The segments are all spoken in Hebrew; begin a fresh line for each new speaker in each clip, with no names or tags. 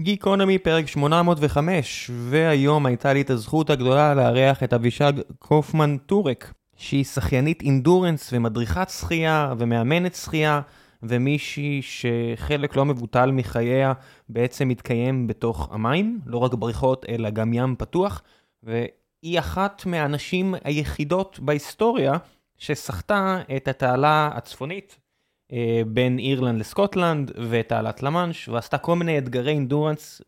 גיקונומי פרק 805, והיום הייתה לי את הזכות הגדולה לארח את אבישג קופמן טורק, שהיא שחיינית אינדורנס ומדריכת שחייה ומאמנת שחייה, ומישהי שחלק לא מבוטל מחייה בעצם מתקיים בתוך המים, לא רק בריכות אלא גם ים פתוח, והיא אחת מהנשים היחידות בהיסטוריה שסחטה את התעלה הצפונית אה, בין אירלנד לסקוטלנד ותעלת למאנש, ועשתה כל מיני אתגרי אינדורנס.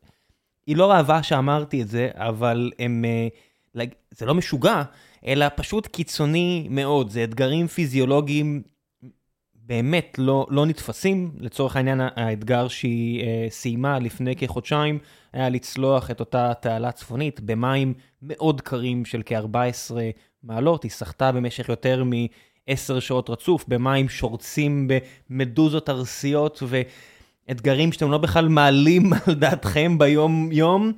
היא לא אהבה שאמרתי את זה, אבל הם... אה, לג- זה לא משוגע, אלא פשוט קיצוני מאוד. זה אתגרים פיזיולוגיים באמת לא, לא נתפסים. לצורך העניין, האתגר שהיא אה, סיימה לפני כחודשיים היה לצלוח את אותה תעלה צפונית במים מאוד קרים של כ-14 מעלות. היא סחטה במשך יותר מ-10 שעות רצוף במים שורצים במדוזות ארסיות ואתגרים שאתם לא בכלל מעלים על דעתכם ביום-יום.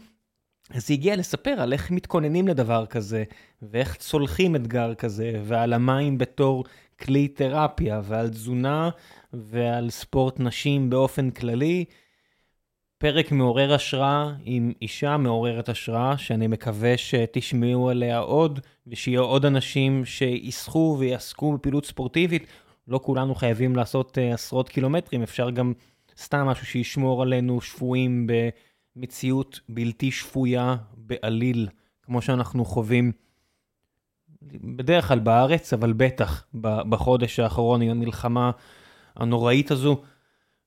אז היא הגיעה לספר על איך מתכוננים לדבר כזה, ואיך צולחים אתגר כזה, ועל המים בתור כלי תרפיה, ועל תזונה, ועל ספורט נשים באופן כללי. פרק מעורר השראה עם אישה מעוררת השראה, שאני מקווה שתשמעו עליה עוד, ושיהיו עוד אנשים שיסחו ויעסקו בפעילות ספורטיבית. לא כולנו חייבים לעשות אה, עשרות קילומטרים, אפשר גם סתם משהו שישמור עלינו שפויים במציאות בלתי שפויה בעליל, כמו שאנחנו חווים בדרך כלל בארץ, אבל בטח ב- בחודש האחרון עם המלחמה הנוראית הזו.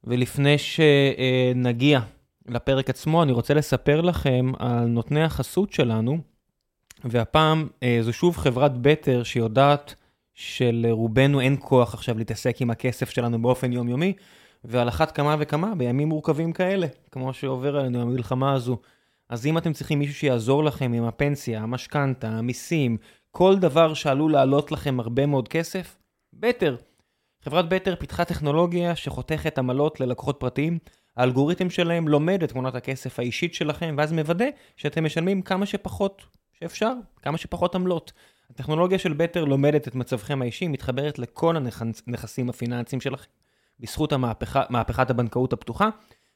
ולפני שנגיע לפרק עצמו, אני רוצה לספר לכם על נותני החסות שלנו, והפעם אה, זו שוב חברת בטר שיודעת שלרובנו אה, אין כוח עכשיו להתעסק עם הכסף שלנו באופן יומיומי, ועל אחת כמה וכמה בימים מורכבים כאלה, כמו שעובר עלינו המלחמה הזו. אז אם אתם צריכים מישהו שיעזור לכם עם הפנסיה, המשכנתה, המיסים, כל דבר שעלול לעלות לכם הרבה מאוד כסף, בטר. חברת בטר פיתחה טכנולוגיה שחותכת עמלות ללקוחות פרטיים. האלגוריתם שלהם לומד את תמונת הכסף האישית שלכם, ואז מוודא שאתם משלמים כמה שפחות שאפשר, כמה שפחות עמלות. הטכנולוגיה של בטר לומדת את מצבכם האישי, מתחברת לכל הנכסים הפיננסיים שלכם, בזכות המהפכה, מהפכת הבנקאות הפתוחה,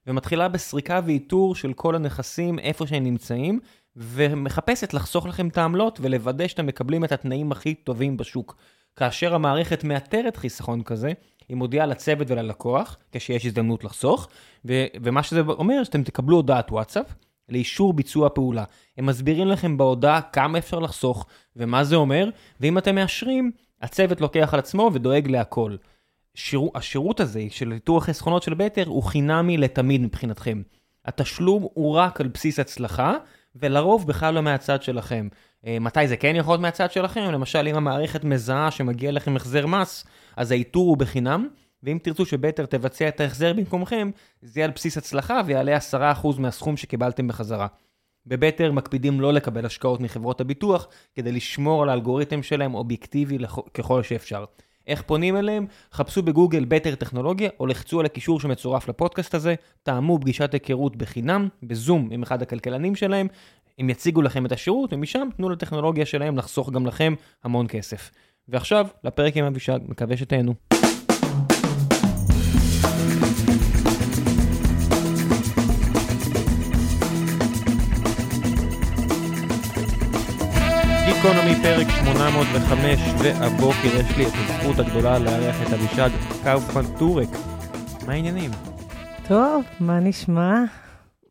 ומתחילה בסריקה ואיתור של כל הנכסים איפה שהם נמצאים, ומחפשת לחסוך לכם את העמלות ולוודא שאתם מקבלים את התנאים הכי טובים בשוק. כאשר המערכת מאתרת חיסכון כזה, היא מודיעה לצוות וללקוח, כשיש הזדמנות לחסוך, ו- ומה שזה אומר, שאתם תקבלו הודעת וואטסאפ לאישור ביצוע פעולה. הם מסבירים לכם בהודעה כמה אפשר לחסוך ומה זה אומר, ואם אתם מאשרים, הצוות לוקח על עצמו ודואג להכל. שיר... השירות הזה של איתור החסכונות של בטר הוא חינמי לתמיד מבחינתכם. התשלום הוא רק על בסיס הצלחה, ולרוב בכלל לא מהצד שלכם. אה, מתי זה כן יכול להיות מהצד שלכם? למשל, אם המערכת מזהה שמגיע לכם החזר מס, אז האיתור הוא בחינם, ואם תרצו שבטר תבצע את ההחזר במקומכם, זה יהיה על בסיס הצלחה ויעלה 10% מהסכום שקיבלתם בחזרה. בבטר מקפידים לא לקבל השקעות מחברות הביטוח, כדי לשמור על האלגוריתם שלהם אובייקטיבי לכ- ככל שאפשר. איך פונים אליהם? חפשו בגוגל בטר טכנולוגיה, או לחצו על הקישור שמצורף לפודקאסט הזה, תאמו פגישת היכרות בחינם, בזום עם אחד הכלכלנים שלהם, הם יציגו לכם את השירות, ומשם תנו לטכנולוגיה שלהם לחסוך גם לכם המון כסף. ועכשיו, לפרק עם אבישג, מקווה שתהנו. גיקונומי פרק 805, והבוקר יש לי את הזכות הגדולה לארח את אבישג קאופמן טורק. מה העניינים?
טוב, מה נשמע?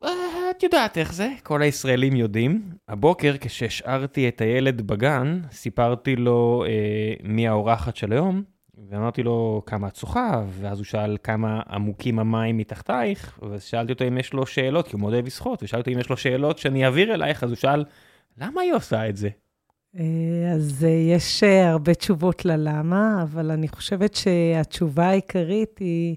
אה, את יודעת איך זה, כל הישראלים יודעים. הבוקר כשהשארתי את הילד בגן, סיפרתי לו אה, מי האורחת של היום, ואמרתי לו כמה את שוחה, ואז הוא שאל כמה עמוקים המים מתחתייך, ואז שאלתי אותו אם יש לו שאלות, כי הוא מאוד אוהב לשחות, ושאלתי אם יש לו שאלות שאני אעביר אלייך, אז הוא שאל, למה היא עושה את זה?
אה, אז אה, יש אה, הרבה תשובות ללמה, אבל אני חושבת שהתשובה העיקרית היא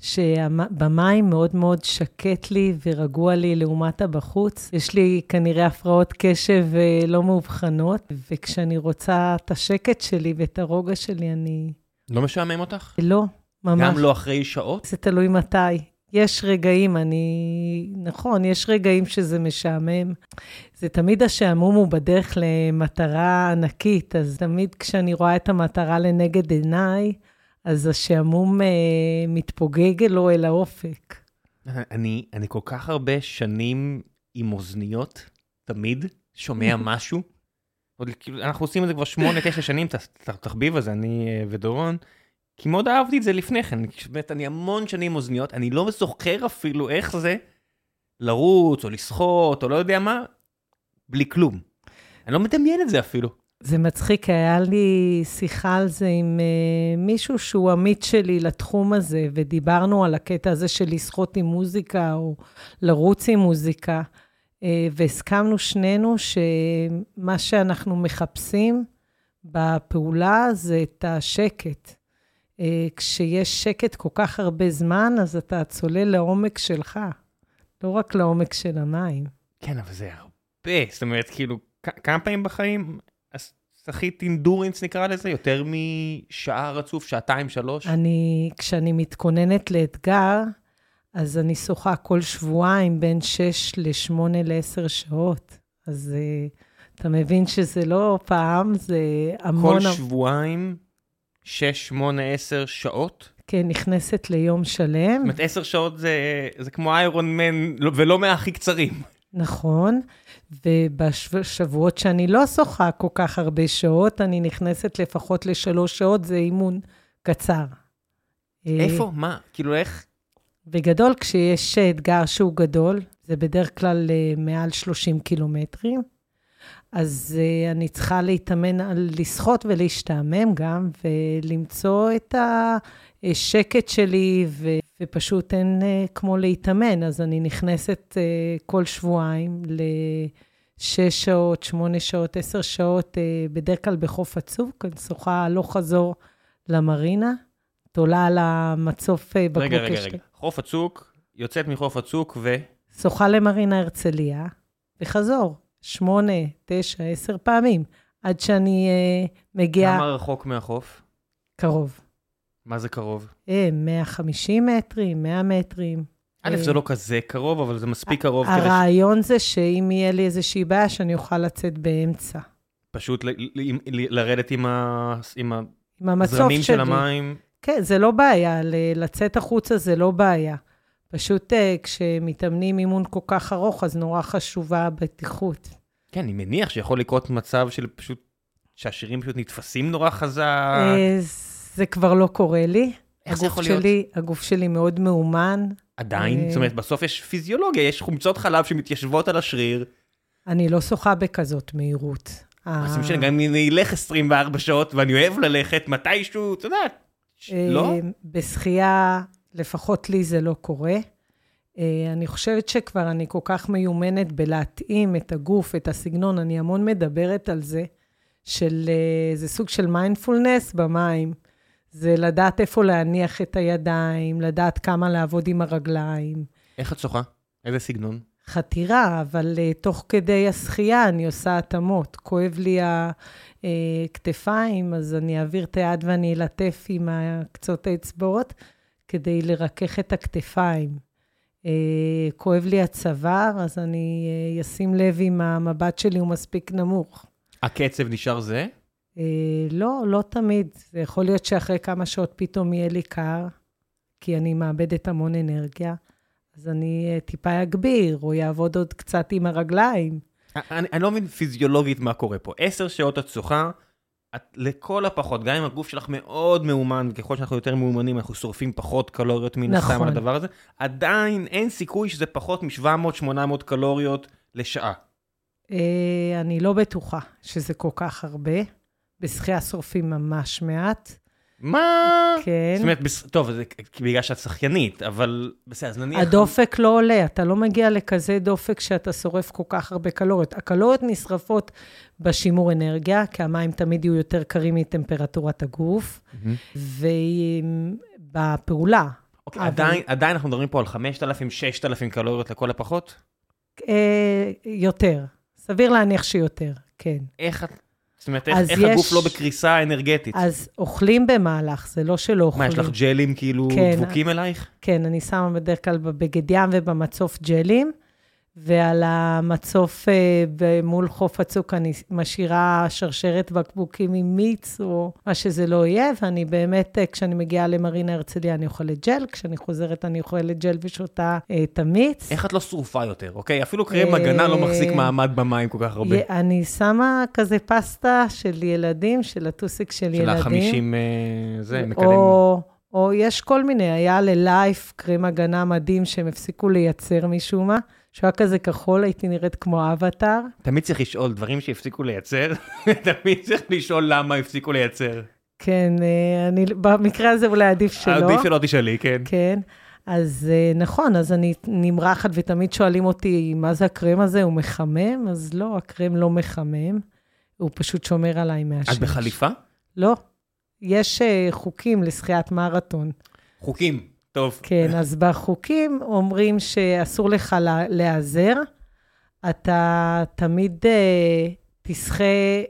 שבמים מאוד מאוד שקט לי ורגוע לי לעומת הבחוץ. יש לי כנראה הפרעות קשב אה, לא מאובחנות, וכשאני רוצה את השקט שלי ואת הרוגע שלי, אני...
לא משעמם אותך?
לא, ממש.
גם לא אחרי שעות?
זה תלוי מתי. יש רגעים, אני... נכון, יש רגעים שזה משעמם. זה תמיד השעמום הוא בדרך למטרה ענקית, אז תמיד כשאני רואה את המטרה לנגד עיניי, אז השעמום אה, מתפוגג לו אל האופק.
אני, אני כל כך הרבה שנים עם אוזניות, תמיד שומע משהו. עוד כאילו, אנחנו עושים את זה כבר שמונה, תשע שנים, את התחביב הזה, אני אה, ודורון, כי מאוד אהבתי את זה לפני כן. באמת, אני המון שנים עם אוזניות, אני לא זוכר אפילו איך זה לרוץ, או לשחות, או לא יודע מה, בלי כלום. אני לא מדמיין את זה אפילו.
זה מצחיק, היה לי שיחה על זה עם אה, מישהו שהוא עמית שלי לתחום הזה, ודיברנו על הקטע הזה של לשחות עם מוזיקה או לרוץ עם מוזיקה, אה, והסכמנו שנינו שמה שאנחנו מחפשים בפעולה זה את השקט. אה, כשיש שקט כל כך הרבה זמן, אז אתה צולל לעומק שלך, לא רק לעומק של המים.
כן, אבל זה הרבה. זאת אומרת, כאילו, כ- כמה פעמים בחיים אז שחית אינדורנס נקרא לזה? יותר משעה רצוף, שעתיים, שלוש?
אני, כשאני מתכוננת לאתגר, אז אני שוחה כל שבועיים בין 6 ל-8 ל-10 שעות. אז uh, אתה מבין שזה לא פעם, זה המון...
כל שבועיים, שש, שמונה, עשר שעות?
כן, נכנסת ליום שלם.
זאת אומרת, עשר שעות זה, זה כמו איירון מן, לא- ולא מהכי קצרים.
נכון, ובשבועות שאני לא שוחה כל כך הרבה שעות, אני נכנסת לפחות לשלוש שעות, זה אימון קצר. אה,
איפה? מה? כאילו, איך?
בגדול, כשיש אתגר שהוא גדול, זה בדרך כלל אה, מעל 30 קילומטרים, אז אה, אני צריכה להתאמן על לשחות ולהשתעמם גם, ולמצוא את השקט שלי, ו, ופשוט אין אה, כמו להתאמן. אז אני נכנסת אה, כל שבועיים לשש שעות, שמונה שעות, עשר שעות, אה, בדרך כלל בחוף עצוב, כאן שוחה הלוך חזור למרינה. תולה על המצוף אה, בקבוק
רגע, רגע,
יש לי.
רגע. חוף הצוק, יוצאת מחוף הצוק, ו...
שוחה למרינה הרצליה, וחזור, שמונה, תשע, עשר פעמים, עד שאני אה, מגיעה
כמה רחוק מהחוף?
קרוב.
מה זה קרוב?
אה, 150 מטרים, 100 מטרים.
א', זה לא כזה קרוב, אבל זה
אה,
מספיק קרוב כדי
הרעיון זה שאם יהיה לי איזושהי בעיה, שאני אוכל לצאת באמצע.
פשוט ל- ל- ל- לרדת עם ה- עם
עם המצוף
הזרמים
שלי.
של המים.
כן, זה לא בעיה, ל- לצאת החוצה זה לא בעיה. פשוט אה, כשמתאמנים אימון כל כך ארוך, אז נורא חשובה הבטיחות.
כן, אני מניח שיכול לקרות מצב של פשוט, שהשירים פשוט נתפסים נורא חזק.
אה, זה כבר לא קורה לי.
איך זה
הגוף
יכול להיות?
שלי, הגוף שלי מאוד מאומן,
עדיין?
אה.
זאת אומרת, בסוף יש פיזיולוגיה, יש חומצות חלב שמתיישבות על השריר.
אני לא שוחה בכזאת מהירות.
אז
אה,
זה משנה, גם אם אני אלך 24 שעות, ואני אוהב ללכת מתישהו, את יודעת, ש-
אה,
לא?
בשחייה, לפחות לי זה לא קורה. אה, אני חושבת שכבר אני כל כך מיומנת בלהתאים את הגוף, את הסגנון, אני המון מדברת על זה, של... אה, זה סוג של מיינדפולנס במים. זה לדעת איפה להניח את הידיים, לדעת כמה לעבוד עם הרגליים.
איך את שוחה? איזה סגנון?
חתירה, אבל uh, תוך כדי השחייה אני עושה התאמות. כואב לי הכתפיים, אז אני אעביר את היד ואני אלטף עם קצות האצבעות כדי לרכך את הכתפיים. Uh, כואב לי הצוואר, אז אני אה, אשים לב אם המבט שלי הוא מספיק נמוך.
הקצב נשאר זה?
אה, לא, לא תמיד. זה יכול להיות שאחרי כמה שעות פתאום יהיה לי קר, כי אני מאבדת המון אנרגיה, אז אני אה, טיפה אגביר, או יעבוד עוד קצת עם הרגליים.
אני, אני לא מבין פיזיולוגית מה קורה פה. עשר שעות את שוחה, את לכל הפחות, גם אם הגוף שלך מאוד מאומן, וככל שאנחנו יותר מאומנים, אנחנו שורפים פחות קלוריות מן הסתם
נכון.
על הדבר הזה, עדיין אין סיכוי שזה פחות מ-700-800 קלוריות לשעה.
אה, אני לא בטוחה שזה כל כך הרבה. בשחייה שורפים ממש מעט.
מה?
כן.
זאת אומרת, בס... טוב, זה כ- בגלל שאת שחיינית, אבל בסדר, אז נניח...
הדופק לא עולה, אתה לא מגיע לכזה דופק שאתה שורף כל כך הרבה קלוריות. הקלוריות נשרפות בשימור אנרגיה, כי המים תמיד יהיו יותר קרים מטמפרטורת הגוף,
מהמם.
אה, ובפעולה.
אוקיי,
אבל-
עדיין, עדיין אנחנו מדברים פה על 5,000-6,000 קלוריות לכל הפחות.
אה, יותר. סביר להניח שיותר, כן.
איך את... זאת אומרת, איך,
אז
איך
יש-
הגוף לא בקריסה אנרגטית?
אז אוכלים במהלך, זה לא שלא
מה,
אוכלים.
יש לך ג'לים כאילו
כן.
דבוקים אלייך?
כן, אני שמה בדרך כלל בבגד ים ובמצוף ג'לים, ועל המצוף אה, ב- מול חוף הצוק אני משאירה שרשרת בקבוקים עם מיץ, או מה שזה לא יהיה, ואני באמת, אה, כשאני מגיעה למרינה הרצליה אני אוכלת ג'ל, כשאני חוזרת אני אוכלת ג'ל ושותה אה, את המיץ.
איך את לא שרופה יותר, אוקיי? אפילו קרם הגנה לא מחזיק מעמד במים כל כך הרבה.
י- אני שמה כזה פסטה של ילדים, של הטוסיק של,
של
ילדים.
החמישים, אה, זה, מקדם.
או, או יש כל מיני, היה ללייף קרם הגנה מדהים שהם הפסיקו לייצר משום מה, שהוא היה כזה כחול, הייתי נראית כמו אבטאר.
תמיד צריך לשאול דברים שהפסיקו לייצר, תמיד צריך לשאול למה הפסיקו לייצר.
כן, אה, אני, במקרה הזה אולי עדיף שלא.
אה, עדיף שלא תשאלי, כן.
כן. אז אה, נכון, אז אני נמרחת, ותמיד שואלים אותי, מה זה הקרם הזה? הוא מחמם? אז לא, הקרם לא מחמם, הוא פשוט שומר עליי מהשמש.
את בחליפה?
לא. יש אה, חוקים לשחיית מרתון.
חוקים. טוב.
כן, אז בחוקים אומרים שאסור לך לה- להיעזר. אתה תמיד אה, תשחה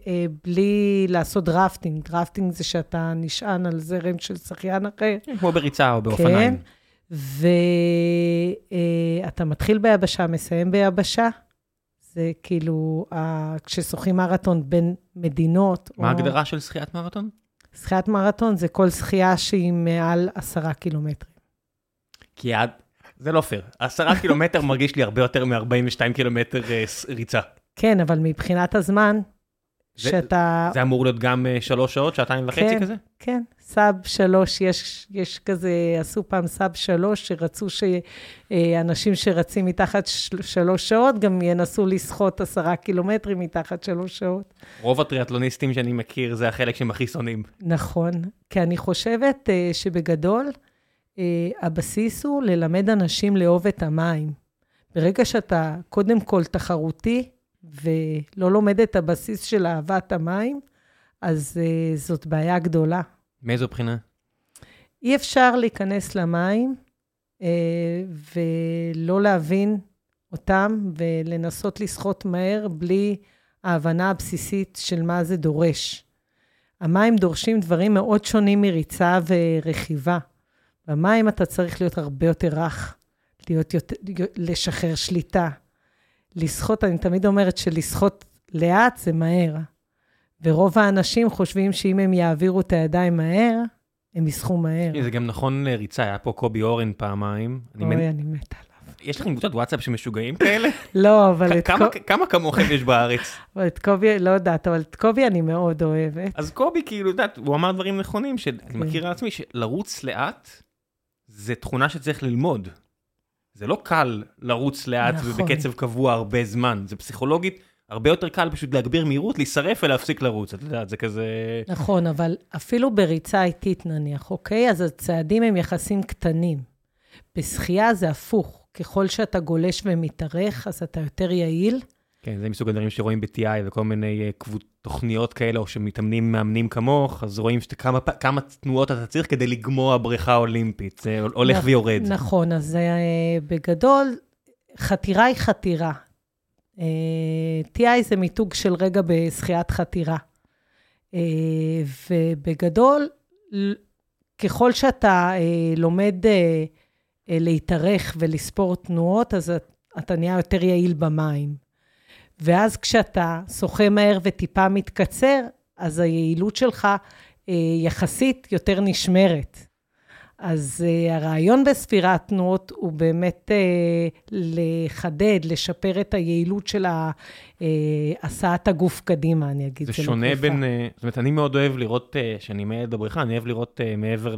אה, בלי לעשות דרפטינג. דרפטינג זה שאתה נשען על זרם של שחיין אחר.
כן, כמו בריצה או באופניים.
ואתה אה, מתחיל ביבשה, מסיים ביבשה. זה כאילו, ה- כששוחים מרתון בין מדינות,
מה ההגדרה של שחיית מרתון?
שחיית מרתון זה כל שחייה שהיא מעל עשרה קילומטרים.
כי עד... זה לא פייר. עשרה קילומטר מרגיש לי הרבה יותר מ-42 קילומטר אה, ס- ריצה.
כן, אבל מבחינת הזמן,
זה-
שאתה...
זה אמור להיות גם אה, שלוש שעות, שעתיים וחצי
כן.
כזה?
כן, סאב שלוש, יש, יש כזה, עשו פעם סאב שלוש, שרצו שאנשים שרצים מתחת של- שלוש שעות, גם ינסו לסחוט עשרה קילומטרים מתחת שלוש שעות.
רוב הטריאטלוניסטים שאני מכיר זה החלק שהם הכי שונאים.
נכון, כי אני חושבת אה, שבגדול, אה, הבסיס הוא ללמד אנשים לאהוב את המים. ברגע שאתה קודם כל תחרותי, ולא לומד את הבסיס של אהבת המים, אז אה, זאת בעיה גדולה.
מאיזו בחינה?
אי אפשר להיכנס למים אה, ולא להבין אותם ולנסות לשחות מהר בלי ההבנה הבסיסית של מה זה דורש. המים דורשים דברים מאוד שונים מריצה ורכיבה. במים אתה צריך להיות הרבה יותר רך, להיות יותר, לשחרר שליטה. לשחות, אני תמיד אומרת שלשחות לאט זה מהר. ורוב האנשים חושבים שאם הם יעבירו את הידיים מהר, הם יסחו מהר.
זה גם נכון לריצה, היה פה קובי אורן פעמיים. אני מנ-
אוי, אני מתה עליו.
יש לכם קבוצת וואטסאפ שמשוגעים כאלה?
לא, אבל
כ-
את,
כמה-
קו...
כמה כמוכם יש בארץ?
אבל את קובי, לא יודעת, אבל את קובי אני מאוד אוהבת.
אז קובי, כאילו, את יודעת, הוא אמר דברים נכונים, שאני
כן.
מכיר על עצמי, שלרוץ לאט זה תכונה שצריך ללמוד. זה לא קל לרוץ לאט
נכון.
ובקצב קבוע הרבה זמן, זה פסיכולוגית. הרבה יותר קל פשוט להגביר מהירות, להישרף ולהפסיק לרוץ, את יודעת, זה כזה...
נכון, אבל אפילו בריצה איטית נניח, אוקיי? אז הצעדים הם יחסים קטנים. בשחייה זה הפוך. ככל שאתה גולש ומתארך, אז אתה יותר יעיל.
כן, זה מסוג הדברים שרואים ב-TI וכל מיני אה, קבוצ- תוכניות כאלה, או שמתאמנים מאמנים כמוך, אז רואים שאתה- כמה פ- כמה תנועות אתה צריך כדי לגמוע בריכה אולימפית, זה הולך
נכ-
ויורד.
נכון, אז אה, בגדול, חתירה היא חתירה. אה, TI זה מיתוג של רגע בשחיית חתירה. אה, ובגדול, ל- ככל שאתה אה, לומד אה, אה, להתארך ולספור תנועות, אז את- אתה נהיה יותר יעיל במים. ואז כשאתה שוחה מהר וטיפה מתקצר, אז היעילות שלך אה, יחסית יותר נשמרת. אז uh, הרעיון בספירת תנועות הוא באמת uh, לחדד, לשפר את היעילות של ה- אה, הסעת הגוף קדימה, אני אגיד.
זה
לא
שונה
תרופה.
בין... אה, זאת אומרת, אני מאוד אוהב לראות, אה, כשאני מילד בבריכה, אני אוהב לראות אה, מעבר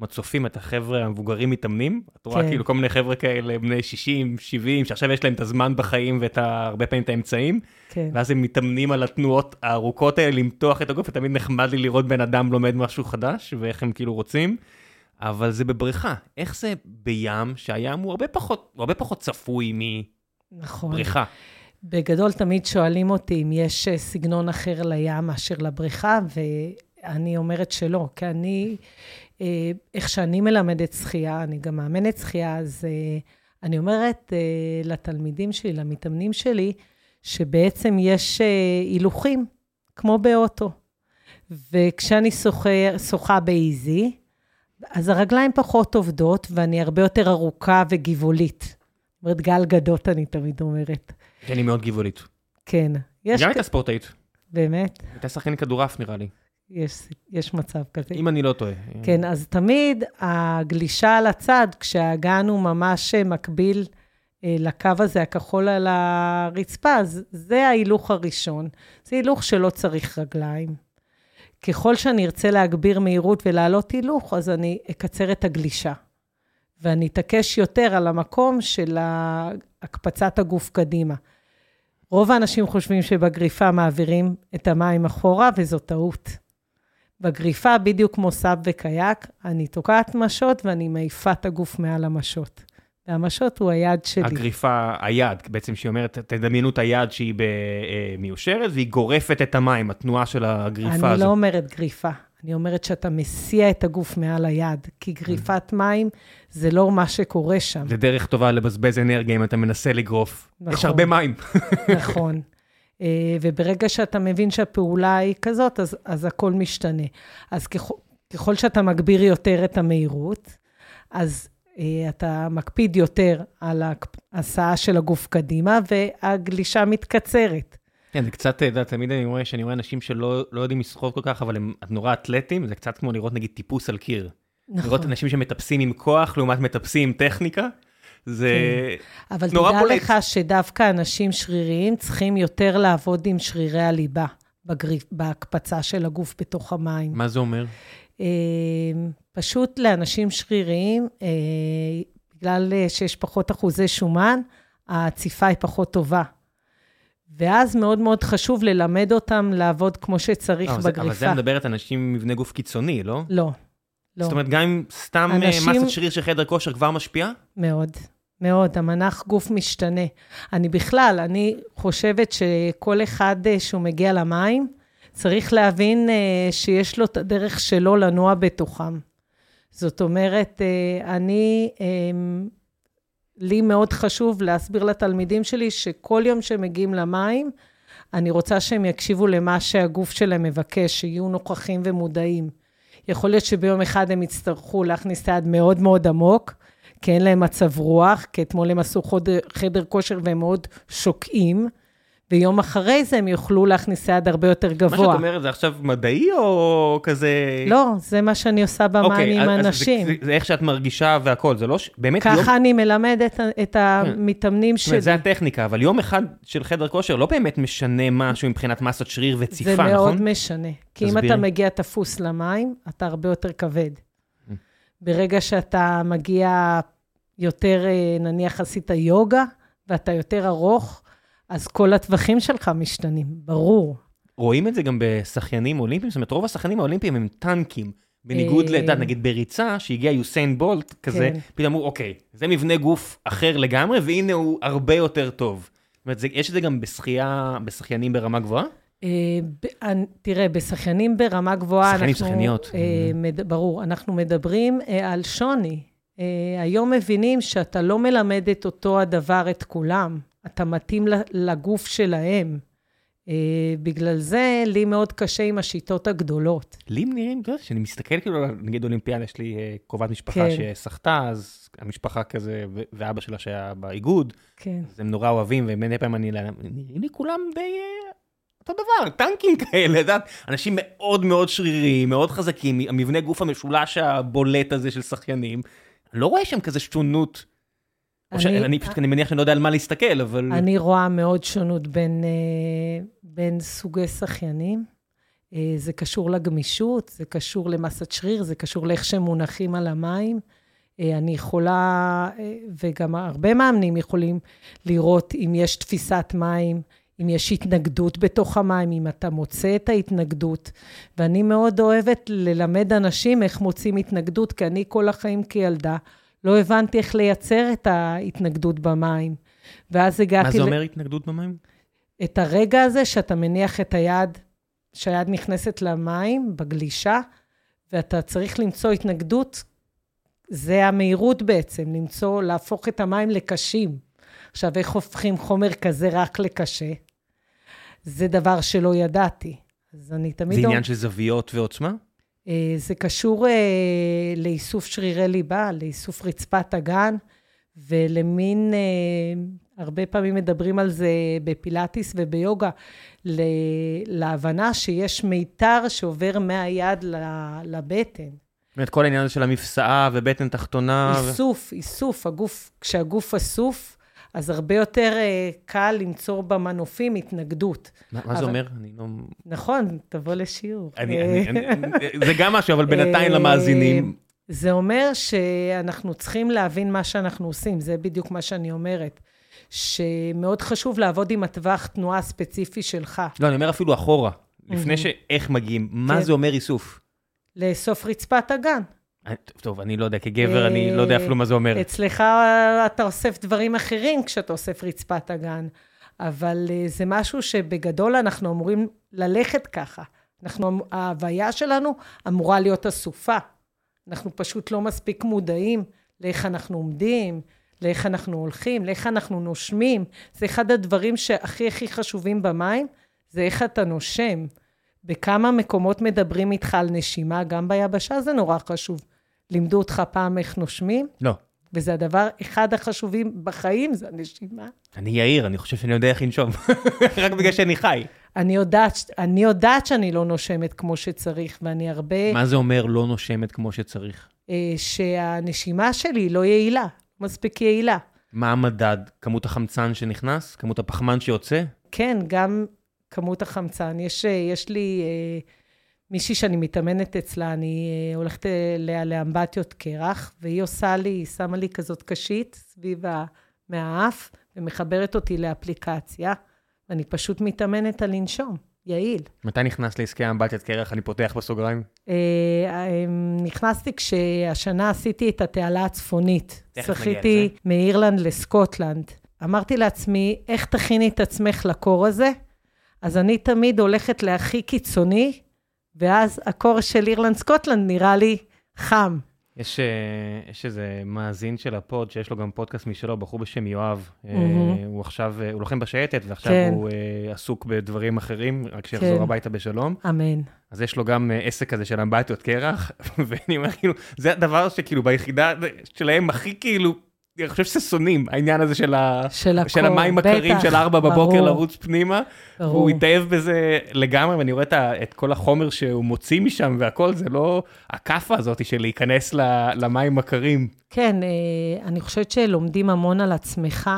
למצופים את החבר'ה המבוגרים מתאמנים. את רואה
כן.
כאילו כל מיני חבר'ה כאלה, בני 60, 70, שעכשיו יש להם את הזמן בחיים ואת ה- הרבה פעמים את האמצעים,
כן.
ואז הם מתאמנים על התנועות הארוכות האלה, למתוח את הגוף, ותמיד נחמד לי לראות בן אדם לומד משהו חדש, ואיך הם כאילו רוצים. אבל זה בבריכה. איך זה בים, שהים הוא הרבה פחות, הוא הרבה פחות צפוי
נכון.
מבריכה?
בגדול תמיד שואלים אותי אם יש אה, סגנון אחר לים מאשר לבריכה, ואני אומרת שלא, כי אני, אה, איך שאני מלמדת שחייה, אני גם מאמנת שחייה, אז אה, אני אומרת אה, לתלמידים שלי, למתאמנים שלי, שבעצם יש אה, הילוכים, כמו באוטו. וכשאני שוחה- שוחה באיזי, אז הרגליים פחות עובדות, ואני הרבה יותר ארוכה וגבעולית. זאת אומרת, גל גדות, אני תמיד אומרת.
כן, היא מאוד גבעולית.
כן. יש,
גם
כ-
הייתה ספורטאית.
באמת,
הייתה שחקנית כדורעף נראה לי,
יש, יש מצב כזה.
אם אני לא טועה.
כן, אז תמיד הגלישה על הצד, כשהאגן הוא ממש אה, מקביל אה, לקו הזה, הכחול על הרצפה, אז זה ההילוך הראשון. זה הילוך שלא צריך רגליים. ככל שאני ארצה להגביר מהירות ולהעלות הילוך, אז אני אקצר את הגלישה. ואני אתעקש יותר על המקום של ה- הקפצת הגוף קדימה. רוב האנשים חושבים שבגריפה מעבירים את המים אחורה, וזו טעות. בגריפה, בדיוק כמו סאב וקייק, אני תוקעת משות ואני מעיפה את הגוף מעל המשות. והמשות הוא היד שלי.
הגריפה, היד, בעצם שהיא אומרת, תדמיינו את היד שהיא ב- אה, מיושרת, והיא גורפת את המים, התנועה של הגריפה
אני
הזו.
לא אומרת גריפה, אני אומרת שאתה מסיע את הגוף מעל היד, כי גריפת מים זה לא מה שקורה שם,
זה דרך טובה לבזבז אנרגיה אם אתה מנסה לגרוף.
נכון.
יש הרבה מים.
נכון. אה, וברגע שאתה מבין שהפעולה היא כזאת, אז, אז הכל משתנה. אז ככל, ככל שאתה מגביר יותר את המהירות, אז אה, אתה מקפיד יותר על ההסעה של הגוף קדימה, והגלישה מתקצרת.
כן, זה קצת, אתה יודע, תמיד אני רואה, שאני רואה אנשים שלא לא יודעים לשחות כל כך, אבל הם נורא אתלטים, זה קצת כמו לראות נגיד טיפוס על קיר.
נכון.
לראות אנשים שמטפסים עם כוח לעומת מטפסים עם טכניקה, זה...
אבל
נורא
תדע
בולט.
לך שדווקא אנשים שריריים צריכים יותר לעבוד עם שרירי הליבה בגריף, בהקפצה של הגוף בתוך המים.
מה זה אומר?
אה, פשוט לאנשים שריריים, אה, בגלל אה, שיש פחות אחוזי שומן, העציפה היא פחות טובה. ואז מאוד מאוד חשוב ללמד אותם לעבוד כמו שצריך
לא, אה, אבל זה-
בגריפה.
אבל זה מדברת על אנשים עם מבנה גוף קיצוני, לא?
לא, לא.
זאת אומרת, גם אם סתם אה,
אנשים-
מסת שריר של חדר כושר כבר משפיעה?
מאוד, מאוד. המנח גוף משתנה. אני בכלל, אני חושבת שכל אחד אה, שהוא מגיע למים, צריך להבין אה, שיש לו את הדרך שלו לנוע בתוכם. זאת אומרת, אה, אני, אה, לי מאוד חשוב להסביר לתלמידים שלי שכל יום שהם מגיעים למים, אני רוצה שהם יקשיבו למה שהגוף שלהם מבקש, שיהיו נוכחים ומודעים. יכול להיות שביום אחד הם יצטרכו להכניס את היד מאוד מאוד עמוק, כי אין להם מצב רוח, כי אתמול הם עשו חודר, חדר כושר והם מאוד שוקעים, ויום אחרי זה הם יוכלו להכניס את היד הרבה יותר
מה
גבוה.
שאת אומרת זה עכשיו מדעי או כזה... אוקיי,
לא, זה מה שאני עושה במים
אז-
עם
אז זה-
אנשים.
זה- זה איך שאת מרגישה והכל, זה לא... ש- באמת, יום- כן.
ככה אני מלמדת את המתאמנים
זאת אומרת,
שלי.
זה הטכניקה, אבל יום אחד של חדר כושר לא באמת משנה משהו מבחינת מסת שריר וציפה,
זה
נכון?
מאוד משנה. כי אם
תסבירי.
אתה מגיע תפוס למים, אתה הרבה יותר כבד.
Mm.
ברגע שאתה מגיע יותר, אה, נניח עשית יוגה, ואתה יותר ארוך, אז כל הטווחים שלך משתנים, ברור.
רואים את זה גם בשחיינים אולימפיים, זאת אומרת, רוב השחיינים האולימפיים הם טנקים. בניגוד
אה.
לדעת, נגיד בריצה, שהגיע יוסיין בולט כזה,
כן.
פתאום אמרו, אוקיי, זה מבנה גוף אחר לגמרי, והנה הוא הרבה יותר טוב. זאת אומרת, זה- יש את זה גם בשחייה, בשחיינים ברמה גבוהה?
אה, ב- אנ- תראה, בשחיינים ברמה גבוהה,
שחיינים,
אנחנו...
שחייניות.
אה, מד- ברור, אנחנו מדברים אה, על שוני. אה, היום מבינים שאתה לא מלמד את אותו הדבר את כולם, אתה מתאים ל- לגוף שלהם. אה, בגלל זה, לי מאוד קשה עם השיטות הגדולות.
לי הם נראים, אתה יודע, כשאני מסתכל כאילו, על- נגיד אולימפיאדה, יש לי אה, קרובת משפחה
כן.
שסחטה, אז המשפחה כזה, ו- ואבא שלה שהיה באיגוד,
כן.
אז הם נורא אוהבים, ומדי פעם אני, נראים לי כולם די אה, אותו דבר, טנקים כאלה, את יודעת, אנשים מאוד מאוד שריריים, מאוד חזקים, המבנה גוף המשולש הבולט הזה של שחיינים, אני לא רואה שם כזה שונות. אני, ש...
אני-
אני פשוט, אני מניח שאני לא יודע על מה להסתכל, אבל...
אני רואה מאוד שונות בין, אה, בין סוגי שחיינים. אה, זה קשור לגמישות, זה קשור למסת שריר, זה קשור לאיך שהם מונחים על המים. אה, אני יכולה, אה, וגם הרבה מאמנים יכולים לראות אם יש תפיסת מים, אם יש התנגדות בתוך המים, אם אתה מוצא את ההתנגדות. ואני מאוד אוהבת ללמד אנשים איך מוצאים התנגדות, כי אני כל החיים כילדה לא הבנתי איך לייצר את ההתנגדות במים. ואז הגעתי...
מה זה
ל-
אומר התנגדות במים?
את הרגע הזה שאתה מניח את היד, שהיד נכנסת למים בגלישה, ואתה צריך למצוא התנגדות, זה המהירות בעצם, למצוא, להפוך את המים לקשים. עכשיו, איך הופכים חומר כזה רק לקשה? זה דבר שלא ידעתי. אז אני לא- תמיד...
זה
אומ-
עניין של זוויות ועוצמה?
אה, זה קשור אה, לאיסוף שרירי ליבה, לאיסוף רצפת אגן, ולמין, אה, הרבה פעמים מדברים על זה בפילאטיס וביוגה, ל- להבנה שיש מיתר שעובר מהיד ל- לבטן.
זאת אומרת, כל העניין הזה של המפסעה ובטן תחתונה. אה, ו-
איסוף, איסוף, הגוף, כשהגוף אסוף, אז הרבה יותר אה, קל למצוא במנופים התנגדות.
מה מה זה
אבל-
אומר? אני לא...
נכון, תבוא לשיעור.
אני,
אה,
אני, אני, זה גם משהו, אבל בינתיים למאזינים.
זה אומר שאנחנו צריכים להבין מה שאנחנו עושים, זה בדיוק מה שאני אומרת. שמאוד חשוב לעבוד עם הטווח תנועה הספציפי שלך.
לא, אני אומר אפילו אחורה, לפני ש... איך מגיעים, מה
כן.
זה אומר איסוף?
לאסוף רצפת אגן.
אני- טוב, אני לא יודע, כגבר אני
אה,
לא יודע אפילו מה זה אומר.
אצלך אתה אוסף דברים אחרים כשאתה אוסף רצפת אגן, אבל אה, זה משהו שבגדול אנחנו אמורים ללכת ככה. אנחנו, ההוויה שלנו אמורה להיות אסופה. אנחנו פשוט לא מספיק מודעים לאיך אנחנו עומדים, לאיך אנחנו הולכים, לאיך אנחנו נושמים. זה אחד הדברים שהכי הכי חשובים במים, זה איך אתה נושם. בכמה מקומות מדברים איתך על נשימה, גם ביבשה זה נורא חשוב. לימדו אותך פעם איך נושמים,
לא.
וזה הדבר, אחד החשובים בחיים, זה הנשימה.
אני יאיר, אני חושב שאני יודע איך לנשום. רק בגלל שאני חי.
אני יודעת, ש- אני יודעת שאני לא נושמת כמו שצריך, ואני הרבה,
מה זה אומר לא נושמת כמו שצריך?
אה, שהנשימה שלי לא יעילה, מספיק יעילה.
מה המדד? כמות החמצן שנכנס? כמות הפחמן שיוצא?
כן, גם כמות החמצן. יש, אה, יש לי אה, מישהי שאני מתאמנת אצלה, אני אה, הולכת אליה לאמבטיות קרח, והיא עושה לי, היא שמה לי כזאת קשית סביב ה... מהאף, ומחברת אותי לאפליקציה, ואני פשוט מתאמנת על לנשום, יעיל.
מתי נכנס לעסקי האמבטיית קרח? אני פותח בסוגריים.
אה, אה, נכנסתי כשהשנה עשיתי את התעלה הצפונית.
תכף נגיע
זכיתי
לזה.
מאירלנד לסקוטלנד. אמרתי לעצמי, איך תכיני את עצמך לקור הזה? אז אני תמיד הולכת להכי קיצוני, ואז הקור של אירלנד-סקוטלנד נראה לי חם.
יש, אה, יש איזה מאזין של הפוד, שיש לו גם פודקאסט משלו, בחור בשם יואב. אה,
מהמם.
הוא עכשיו, אה, הוא לוחם בשייטת, ועכשיו
כן.
הוא אה, עסוק בדברים אחרים, רק שיחזור
כן.
הביתה בשלום.
אמן.
אז יש לו גם אה, עסק כזה של אמבטיות קרח, ואני אומר, כאילו, זה הדבר שכאילו ביחידה שלהם הכי כאילו, אני חושב ששונאים, העניין הזה של, ה...
של הקור,
של המים הקרים
בטח,
של ארבע בבוקר
ברור,
לרוץ פנימה.
ברור.
הוא התאהב בזה לגמרי, ואני רואה את, ה- את כל החומר שהוא מוציא משם והכל, זה לא הכאפה הזאת של להיכנס ל- למים הקרים.
כן, אה, אני חושבת שלומדים המון על עצמך.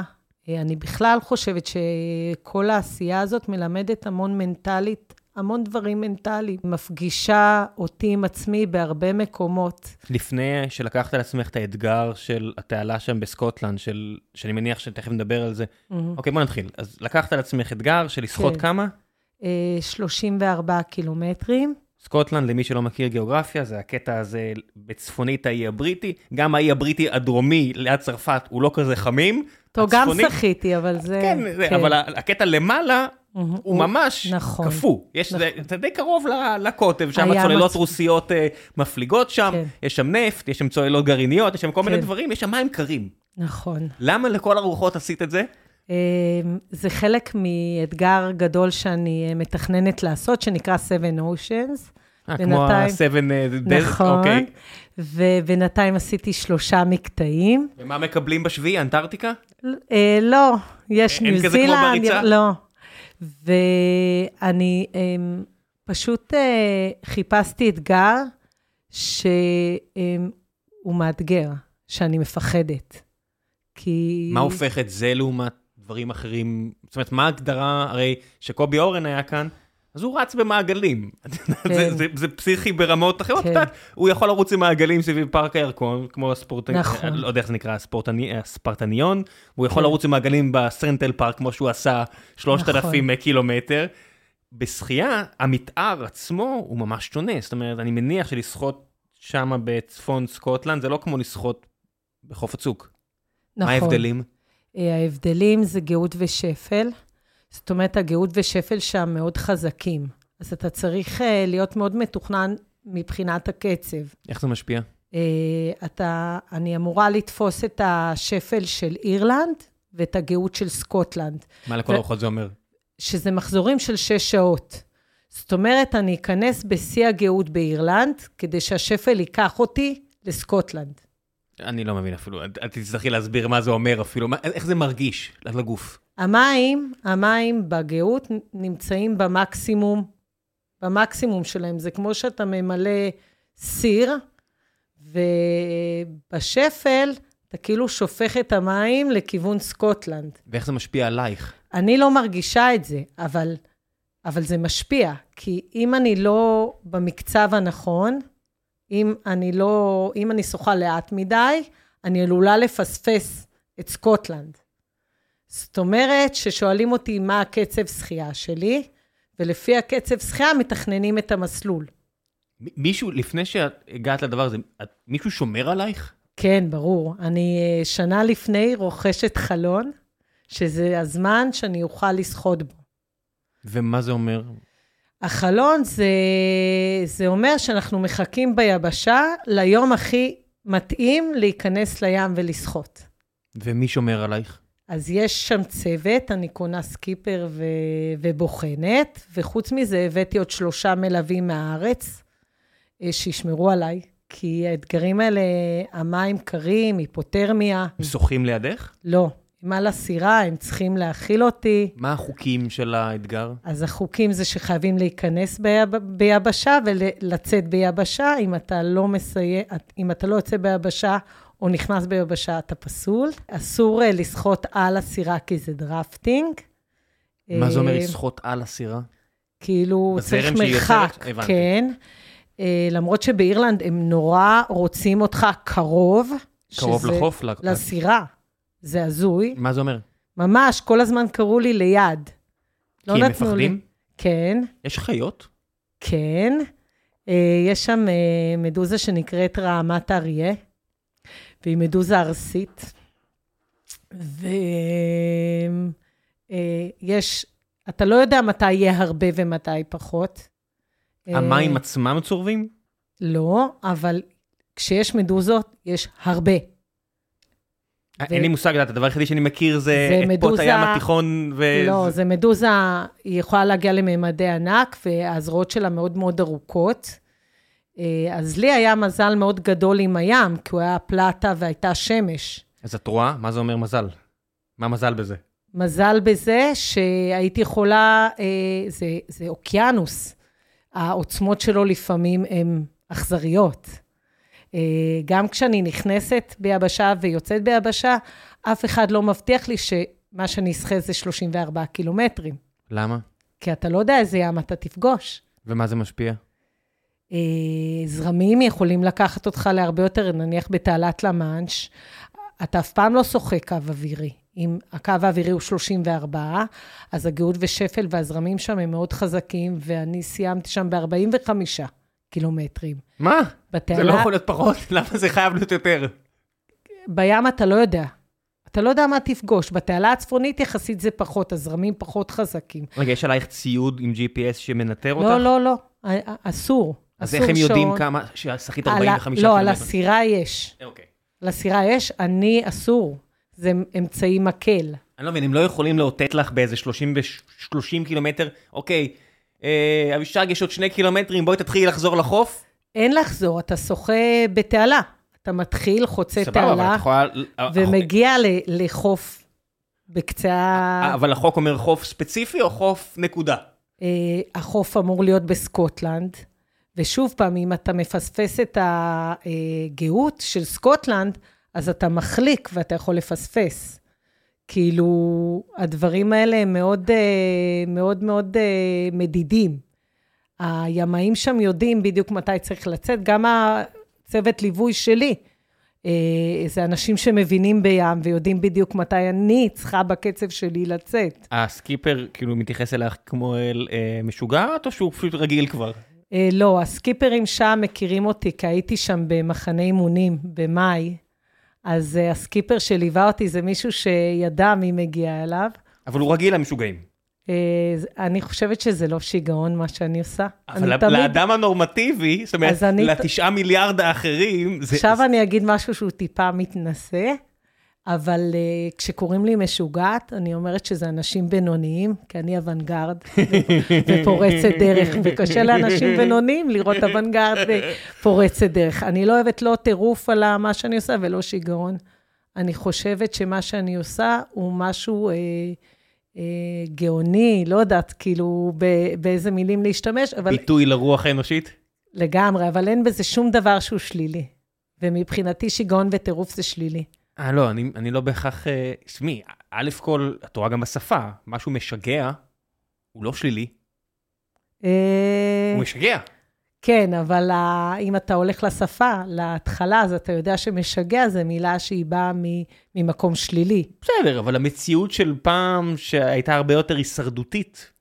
אה, אני בכלל חושבת שכל העשייה הזאת מלמדת המון מנטלית, המון דברים מנטליים. מפגישה אותי עם עצמי בהרבה מקומות.
לפני שלקחת על עצמך את האתגר של התעלה שם בסקוטלנד, של, שאני מניח שתכף נדבר על זה. אוקיי, בוא נתחיל. אז לקחת על עצמך אתגר של לשחות
Mm. כן.
כמה?
אה, 34 קילומטרים.
סקוטלנד, למי שלא מכיר גיאוגרפיה, זה הקטע הזה בצפונית האי הבריטי. גם האי הבריטי הדרומי ליד צרפת הוא לא כזה חמים.
טוב, גם
הצפוני-
שחיתי, אבל זה...
כן, זה- אבל ה- הקטע למעלה
מהמם.
הוא ממש
נכון.
קפוא. יש- זה זה די קרוב ל- לקוטב, שם
היה
הצוללות
מצ-
רוסיות אה, מפליגות שם,
כן.
יש שם נפט, יש שם צוללות גרעיניות, יש שם כל מיני
כן.
דברים, יש שם מים קרים.
נכון.
למה לכל הרוחות עשית את זה? אה,
אמ, זה חלק מאתגר גדול שאני אה, מתכננת לעשות, שנקרא Seven Oceans.
אה, כמו
בינתיים-
ה-7 דז,
נכון.
אוקיי.
ובינתיים עשיתי שלושה מקטעים.
ומה מקבלים בשביעי, אנטארקטיקה?
אה, לא, יש
אין
ניו
כזה כמו
זילנד.
בריצה?
לא. ואני אמ, פשוט אה, חיפשתי אתגר שהוא מאתגר, שאני מפחדת. כי...
מה הופך את זה לעומת דברים אחרים? זאת אומרת, מה ההגדרה, הרי שקובי אורן היה כאן, אז הוא רץ במעגלים. זה, זה, זה פסיכי ברמות אחרות,
כן.
כן. הוא יכול לרוץ עם מעגלים סביב פארק הירקון, כמו הספורט...
נכון. כן.
אני לא יודע איך זה נקרא, הספורטני, הספרטניון, הוא יכול לרוץ עם מעגלים בסטרנטל פארק, כמו שהוא עשה 3,000
נכון.
קילומטר. בשחייה, המתאר עצמו הוא ממש שונה, זאת אומרת, אני מניח שלשחות שמה בצפון סקוטלנד, זה לא כמו לשחות בחוף הצוק.
נכון.
מה ההבדלים?
אה, ההבדלים זה גאות ושפל. זאת אומרת, הגאות ושפל שם מאוד חזקים. אז אתה צריך אה, להיות מאוד מתוכנן מבחינת הקצב.
איך זה משפיע?
אה, אתה, אני אמורה לתפוס את השפל של אירלנד ואת הגאות של סקוטלנד,
מה לכל
ו-
הרוחות זה אומר?
שזה מחזורים של שש שעות. זאת אומרת, אני אכנס בשיא הגאות באירלנד, כדי שהשפל ייקח אותי לסקוטלנד.
אני לא מבין אפילו, את את תצטרכי להסביר מה זה אומר אפילו, מה- איך זה מרגיש לגוף.
המים, המים בגאות נמצאים במקסימום, במקסימום שלהם. זה כמו שאתה ממלא סיר, ובשפל אתה כאילו שופך את המים לכיוון סקוטלנד.
ואיך זה משפיע עלייך.
אני לא מרגישה את זה, אבל, אבל זה משפיע. כי אם אני לא במקצב הנכון, אם אני לא, אם אני שוחה לאט מדי, אני עלולה לפספס את סקוטלנד. זאת אומרת, ששואלים אותי מה הקצב שחייה שלי, ולפי הקצב שחייה מתכננים את המסלול.
מ- מישהו, לפני שהגעת לדבר הזה, את- מישהו שומר עלייך?
כן, ברור. אני אה, שנה לפני רוכשת חלון, שזה הזמן שאני אוכל לשחות בו.
ומה זה אומר?
החלון זה, זה אומר שאנחנו מחכים ביבשה ליום הכי מתאים להיכנס לים ולשחות.
ומי שומר עלייך?
אז יש שם צוות, אני קונה סקיפר ו... ובוחנת, וחוץ מזה הבאתי עוד שלושה מלווים מהארץ אה, שישמרו עליי, כי האתגרים האלה, המים קרים, היפותרמיה,
הם שוחים לידך?
לא. הם על הסירה, הם צריכים להאכיל אותי.
מה החוקים של האתגר?
אז החוקים זה שחייבים להיכנס ביב, ביבשה ולצאת ביבשה. אם אתה לא מסיים, אם אתה לא יוצא ביבשה או נכנס ביבשה, אתה פסול. אסור אה, לשחות על הסירה כי זה דרפטינג.
מה זה אומר
אה,
לשחות על הסירה?
כאילו,
בזרם
צריך
שהיא
מרחק.
יוצרת? הבנתי.
כן. אה, למרות שבאירלנד הם נורא רוצים אותך קרוב.
קרוב
שזה-
לחוף? ל-
לסירה. זה הזוי.
מה זה אומר?
ממש, כל הזמן קראו לי ליד. לא
כי הם
נתנו לי.
מפחדים?
כן.
יש חיות?
כן. אה, יש שם אה, מדוזה שנקראת רעמת אריה, והיא מדוזה ארסית. ויש, אה, אתה לא יודע מתי יהיה הרבה ומתי פחות. אה,
המים עצמם צורבים?
לא, אבל כשיש מדוזות, יש הרבה.
אה, אין לי מושג, את הדבר היחידי שאני מכיר
זה
זה את פות
מדוזה-
הים התיכון ו...
לא, זה מדוזה, היא יכולה להגיע לממדי ענק, והזרועות שלה מאוד מאוד ארוכות. אה, אז לי היה מזל מאוד גדול עם הים, כי הוא היה פלטה והייתה שמש.
אז את רואה? מה זה אומר מזל? מה מזל בזה?
מזל בזה שהייתי יכולה, אה, זה, זה אוקיינוס. העוצמות שלו לפעמים הן אכזריות. אה, גם כשאני נכנסת ביבשה ויוצאת ביבשה, אף אחד לא מבטיח לי שמה שאני אסחה זה 34 קילומטרים,
למה?
כי אתה לא יודע איזה ים אתה תפגוש.
ומה זה משפיע?
אה, זרמים יכולים לקחת אותך להרבה יותר, נניח בתעלת למאנש, אתה אף פעם לא שוחה קו אווירי. אם הקו האווירי הוא 34, אז הגאות ושפל והזרמים שם הם מאוד חזקים, ואני סיימתי שם ב-45 קילומטרים.
מה?
בתעלה,
זה לא יכול להיות פחות, למה זה חייב להיות יותר?
בים אתה לא יודע. אתה לא יודע מה תפגוש. בתעלה הצפונית יחסית זה פחות, הזרמים פחות חזקים.
רגע, יש עלייך ציוד עם GPS שמנטר אותך?
לא, לא, לא, א- א- אסור.
אז
אסור
איך הם יודעים
שעון.
כמה, ששחית
על ה-
45
לא, על
קילומטר?
הסירה יש.
אה, אוקיי.
לסירה יש, אני אסור. זה אמצעי מקל.
אני לא מבין, הם לא יכולים לאותת לך באיזה 30 ו-30 קילומטר, אוקיי, אה, אבישג, יש עוד שני קילומטרים, בואי תתחילי לחזור לחוף.
אין לחזור, אתה שוחה בתעלה. אתה מתחיל, חוצה
סבבה, אבל
תעלה,
את יכולה... אוקיי.
ומגיע ל- לחוף בקצה...
אה,
ה-
אבל החוק אומר חוף ספציפי או חוף נקודה?
אה, החוף אמור להיות בסקוטלנד. ושוב פעם, אם אתה מפספס את הגאות של סקוטלנד, אז אתה מחליק ואתה יכול לפספס. כאילו, הדברים האלה הם מאוד אה, מאוד, מאוד אה, מדידים. הימאים שם יודעים בדיוק מתי צריך לצאת, גם הצוות ליווי שלי. אה, זה אנשים שמבינים בים ויודעים בדיוק מתי אני צריכה בקצב שלי לצאת.
הסקיפר כאילו מתייחס אלייך כמו אל אה, משוגעת, או שהוא פשוט רגיל כבר?
אה, לא, הסקיפרים שם מכירים אותי, כי הייתי שם במחנה אימונים במאי, אז אה, הסקיפר שליווה אותי זה מישהו שידע מי מגיע אליו.
אבל הוא רגיל למשוגעים.
אה, ז- אני חושבת שזה לא שיגעון מה שאני עושה.
אבל
אני
ל- לאדם הנורמטיבי, זאת אומרת,
אז אני-
לתשעה מיליארד האחרים, זה...
עכשיו
זה-
אני אגיד משהו שהוא טיפה מתנשא. אבל uh, כשקוראים לי משוגעת, אני אומרת שזה אנשים בינוניים, כי אני אוונגרד ו- ופורצת דרך, וקשה לאנשים בינוניים לראות אוונגרד ופורצת דרך. אני לא אוהבת לא טירוף על מה שאני עושה ולא שיגעון. אני חושבת שמה שאני עושה הוא משהו אה, אה, גאוני, לא יודעת כאילו ב- באיזה מילים להשתמש, אבל
ביטוי לרוח האנושית?
לגמרי, אבל אין בזה שום דבר שהוא שלילי. ומבחינתי שיגעון וטירוף זה שלילי.
אה, לא, אני, אני לא בהכרח... אה, שמי, א' כל, את רואה גם בשפה, משהו משגע, הוא לא שלילי,
אה,
הוא משגע.
כן, אבל ה- אם אתה הולך לשפה, להתחלה, אז אתה יודע שמשגע זה מילה שהיא באה מ- ממקום שלילי.
בסדר, אבל המציאות של פעם, שהייתה הרבה יותר הישרדותית,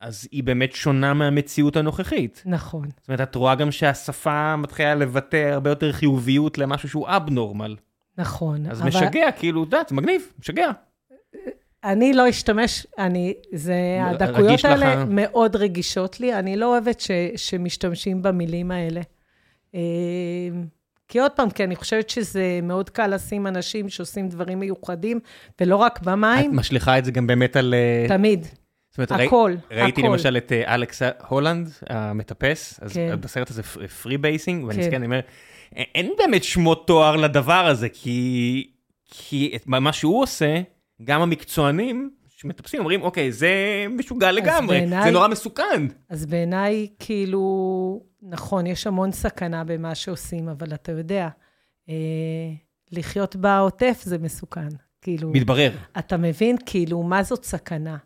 אז היא באמת שונה מהמציאות הנוכחית.
נכון,
זאת אומרת, את רואה גם שהשפה מתחילה לבטא הרבה יותר חיוביות למשהו שהוא אבנורמל.
נכון.
אז
אבל
משגע, כאילו, את יודעת, מגניב, משגע.
אני לא אשתמש, אני, זה,
ר- רגיש
הדקויות
לך?
האלה מאוד רגישות לי, אני לא אוהבת ש, שמשתמשים במילים האלה. אה, כי עוד פעם, כי אני חושבת שזה מאוד קל לשים אנשים שעושים דברים מיוחדים, ולא רק
את
במים,
משליכה את זה גם באמת על... אה,
תמיד,
זאת אומרת, ראי-
הכל,
ראיתי
הכל.
למשל את אה, אלכס הולנד, המטפס, אז
כן.
בסרט הזה פ- פרי בייסינג, ואני
כן.
מסתכל, אני אומר, "א- אין באמת שמות תואר לדבר הזה, כי כי את מה- מה שהוא עושה, גם המקצוענים שמטפסים אומרים, אוקיי, זה משוגע לגמרי,
בעיניי-
זה נורא מסוכן.
אז בעיניי, כאילו, נכון, יש המון סכנה במה שעושים, אבל אתה יודע, אה, לחיות בעוטף זה מסוכן. כאילו,
מתברר.
אתה מבין, כאילו, מה זאת סכנה?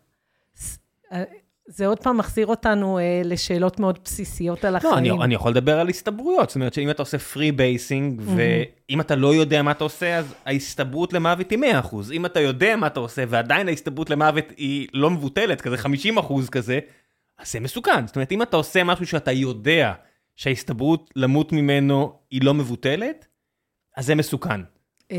ס- אה, זה עוד פעם מחזיר אותנו אה, לשאלות מאוד בסיסיות על החיים.
לא, אני, אני יכול לדבר על הסתברויות, זאת אומרת שאם אתה עושה פרי בייסינג, ואם אתה לא יודע מה אתה עושה, אז ההסתברות למוות היא 100%. אם אתה יודע מה אתה עושה, ועדיין ההסתברות למוות היא לא מבוטלת, כזה 50% כזה, אז זה מסוכן. זאת אומרת, אם אתה עושה משהו שאתה יודע שההסתברות למות ממנו היא לא מבוטלת, אז זה מסוכן.
אמ,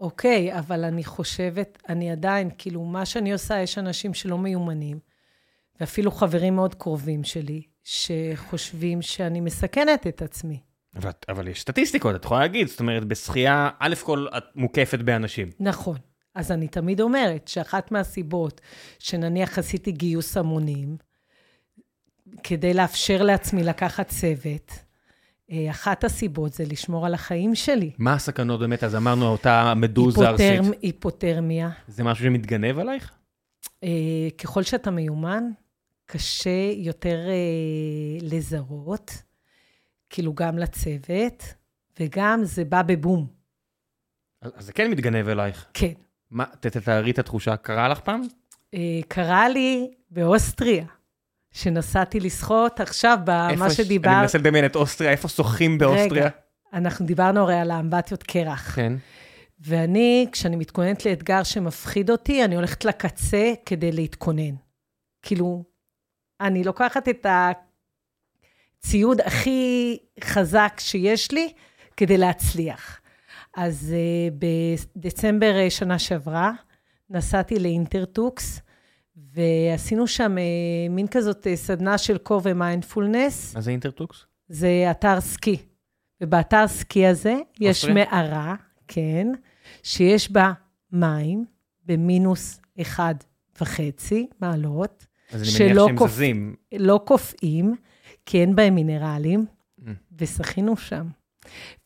אוקיי, אבל אני חושבת, אני עדיין, כאילו, מה שאני עושה, יש אנשים שלא מיומנים, ואפילו חברים מאוד קרובים שלי, שחושבים שאני מסכנת את עצמי.
אבל, אבל יש סטטיסטיקות, את יכולה להגיד, זאת אומרת, בשחייה, א' כל את מוקפת באנשים.
נכון. אז אני תמיד אומרת שאחת מהסיבות שנניח עשיתי גיוס המונים, כדי לאפשר לעצמי לקחת צוות, אה, אחת הסיבות זה לשמור על החיים שלי.
מה הסכנות באמת? אז אמרנו, אותה מדוזה ארסית,
היפותרמ- היפותרמיה,
זה משהו שמתגנב עלייך?
אה, ככל שאתה מיומן, קשה יותר אה, לזהות, כאילו גם לצוות, וגם זה בא בבום.
אז אז זה כן מתגנב אלייך.
כן.
מה, ת- תתארי את התחושה, קרה לך פעם?
אה, קרה לי באוסטריה, שנסעתי לשחות עכשיו במה
איפה ש- אני
שדיברת.
מנסה לדמיין את אוסטריה, איפה שוחים באוסטריה?
רגע, אנחנו דיברנו הרי על האמבטיות קרח.
כן.
ואני, כשאני מתכוננת לאתגר שמפחיד אותי, אני הולכת לקצה כדי להתכונן. כאילו, אני לוקחת את הציוד הכי חזק שיש לי כדי להצליח. אז uh, בדצמבר אה, שנה שעברה, נסעתי לאינטרטוקס, ועשינו שם uh, מין כזאת uh, סדנה של קור ומיינדפולנס.
מה זה אינטרטוקס?
זה אתר סקי. ובאתר סקי הזה יש
אוסטריה?
מערה, כן, שיש בה מים במינוס אחד וחצי מעלות,
אז אני
שלא
מניח שהם
קופ-
זזים.
לא קופאים, כי אין בהם מינרלים,
אה.
ושחינו שם.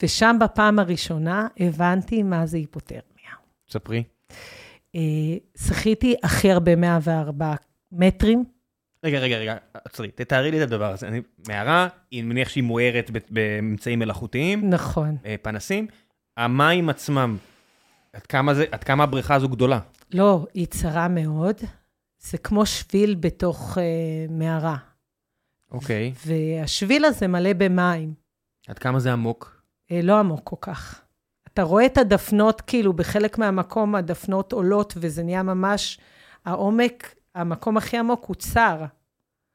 ושם בפעם הראשונה הבנתי מה זה היפותרמיה.
ספרי.
אה, שחיתי הכי הרבה 104 מטרים,
רגע, רגע, רגע, עצרי, תתארי לי את הדבר הזה. אני, מערה, אני מניח שהיא מוארת ב- באמצעים מלאכותיים,
נכון.
אה, פנסים. המים עצמם, עד כמה, זה, עד כמה הבריכה הזו גדולה?
לא, היא צרה מאוד. זה כמו שביל בתוך אה, מערה.
אוקיי.
והשביל הזה מלא במים,
עד כמה זה עמוק?
אה, לא עמוק כל כך. אתה רואה את הדפנות, כאילו בחלק מהמקום הדפנות עולות, וזה נהיה ממש, העומק, המקום הכי עמוק הוא צר.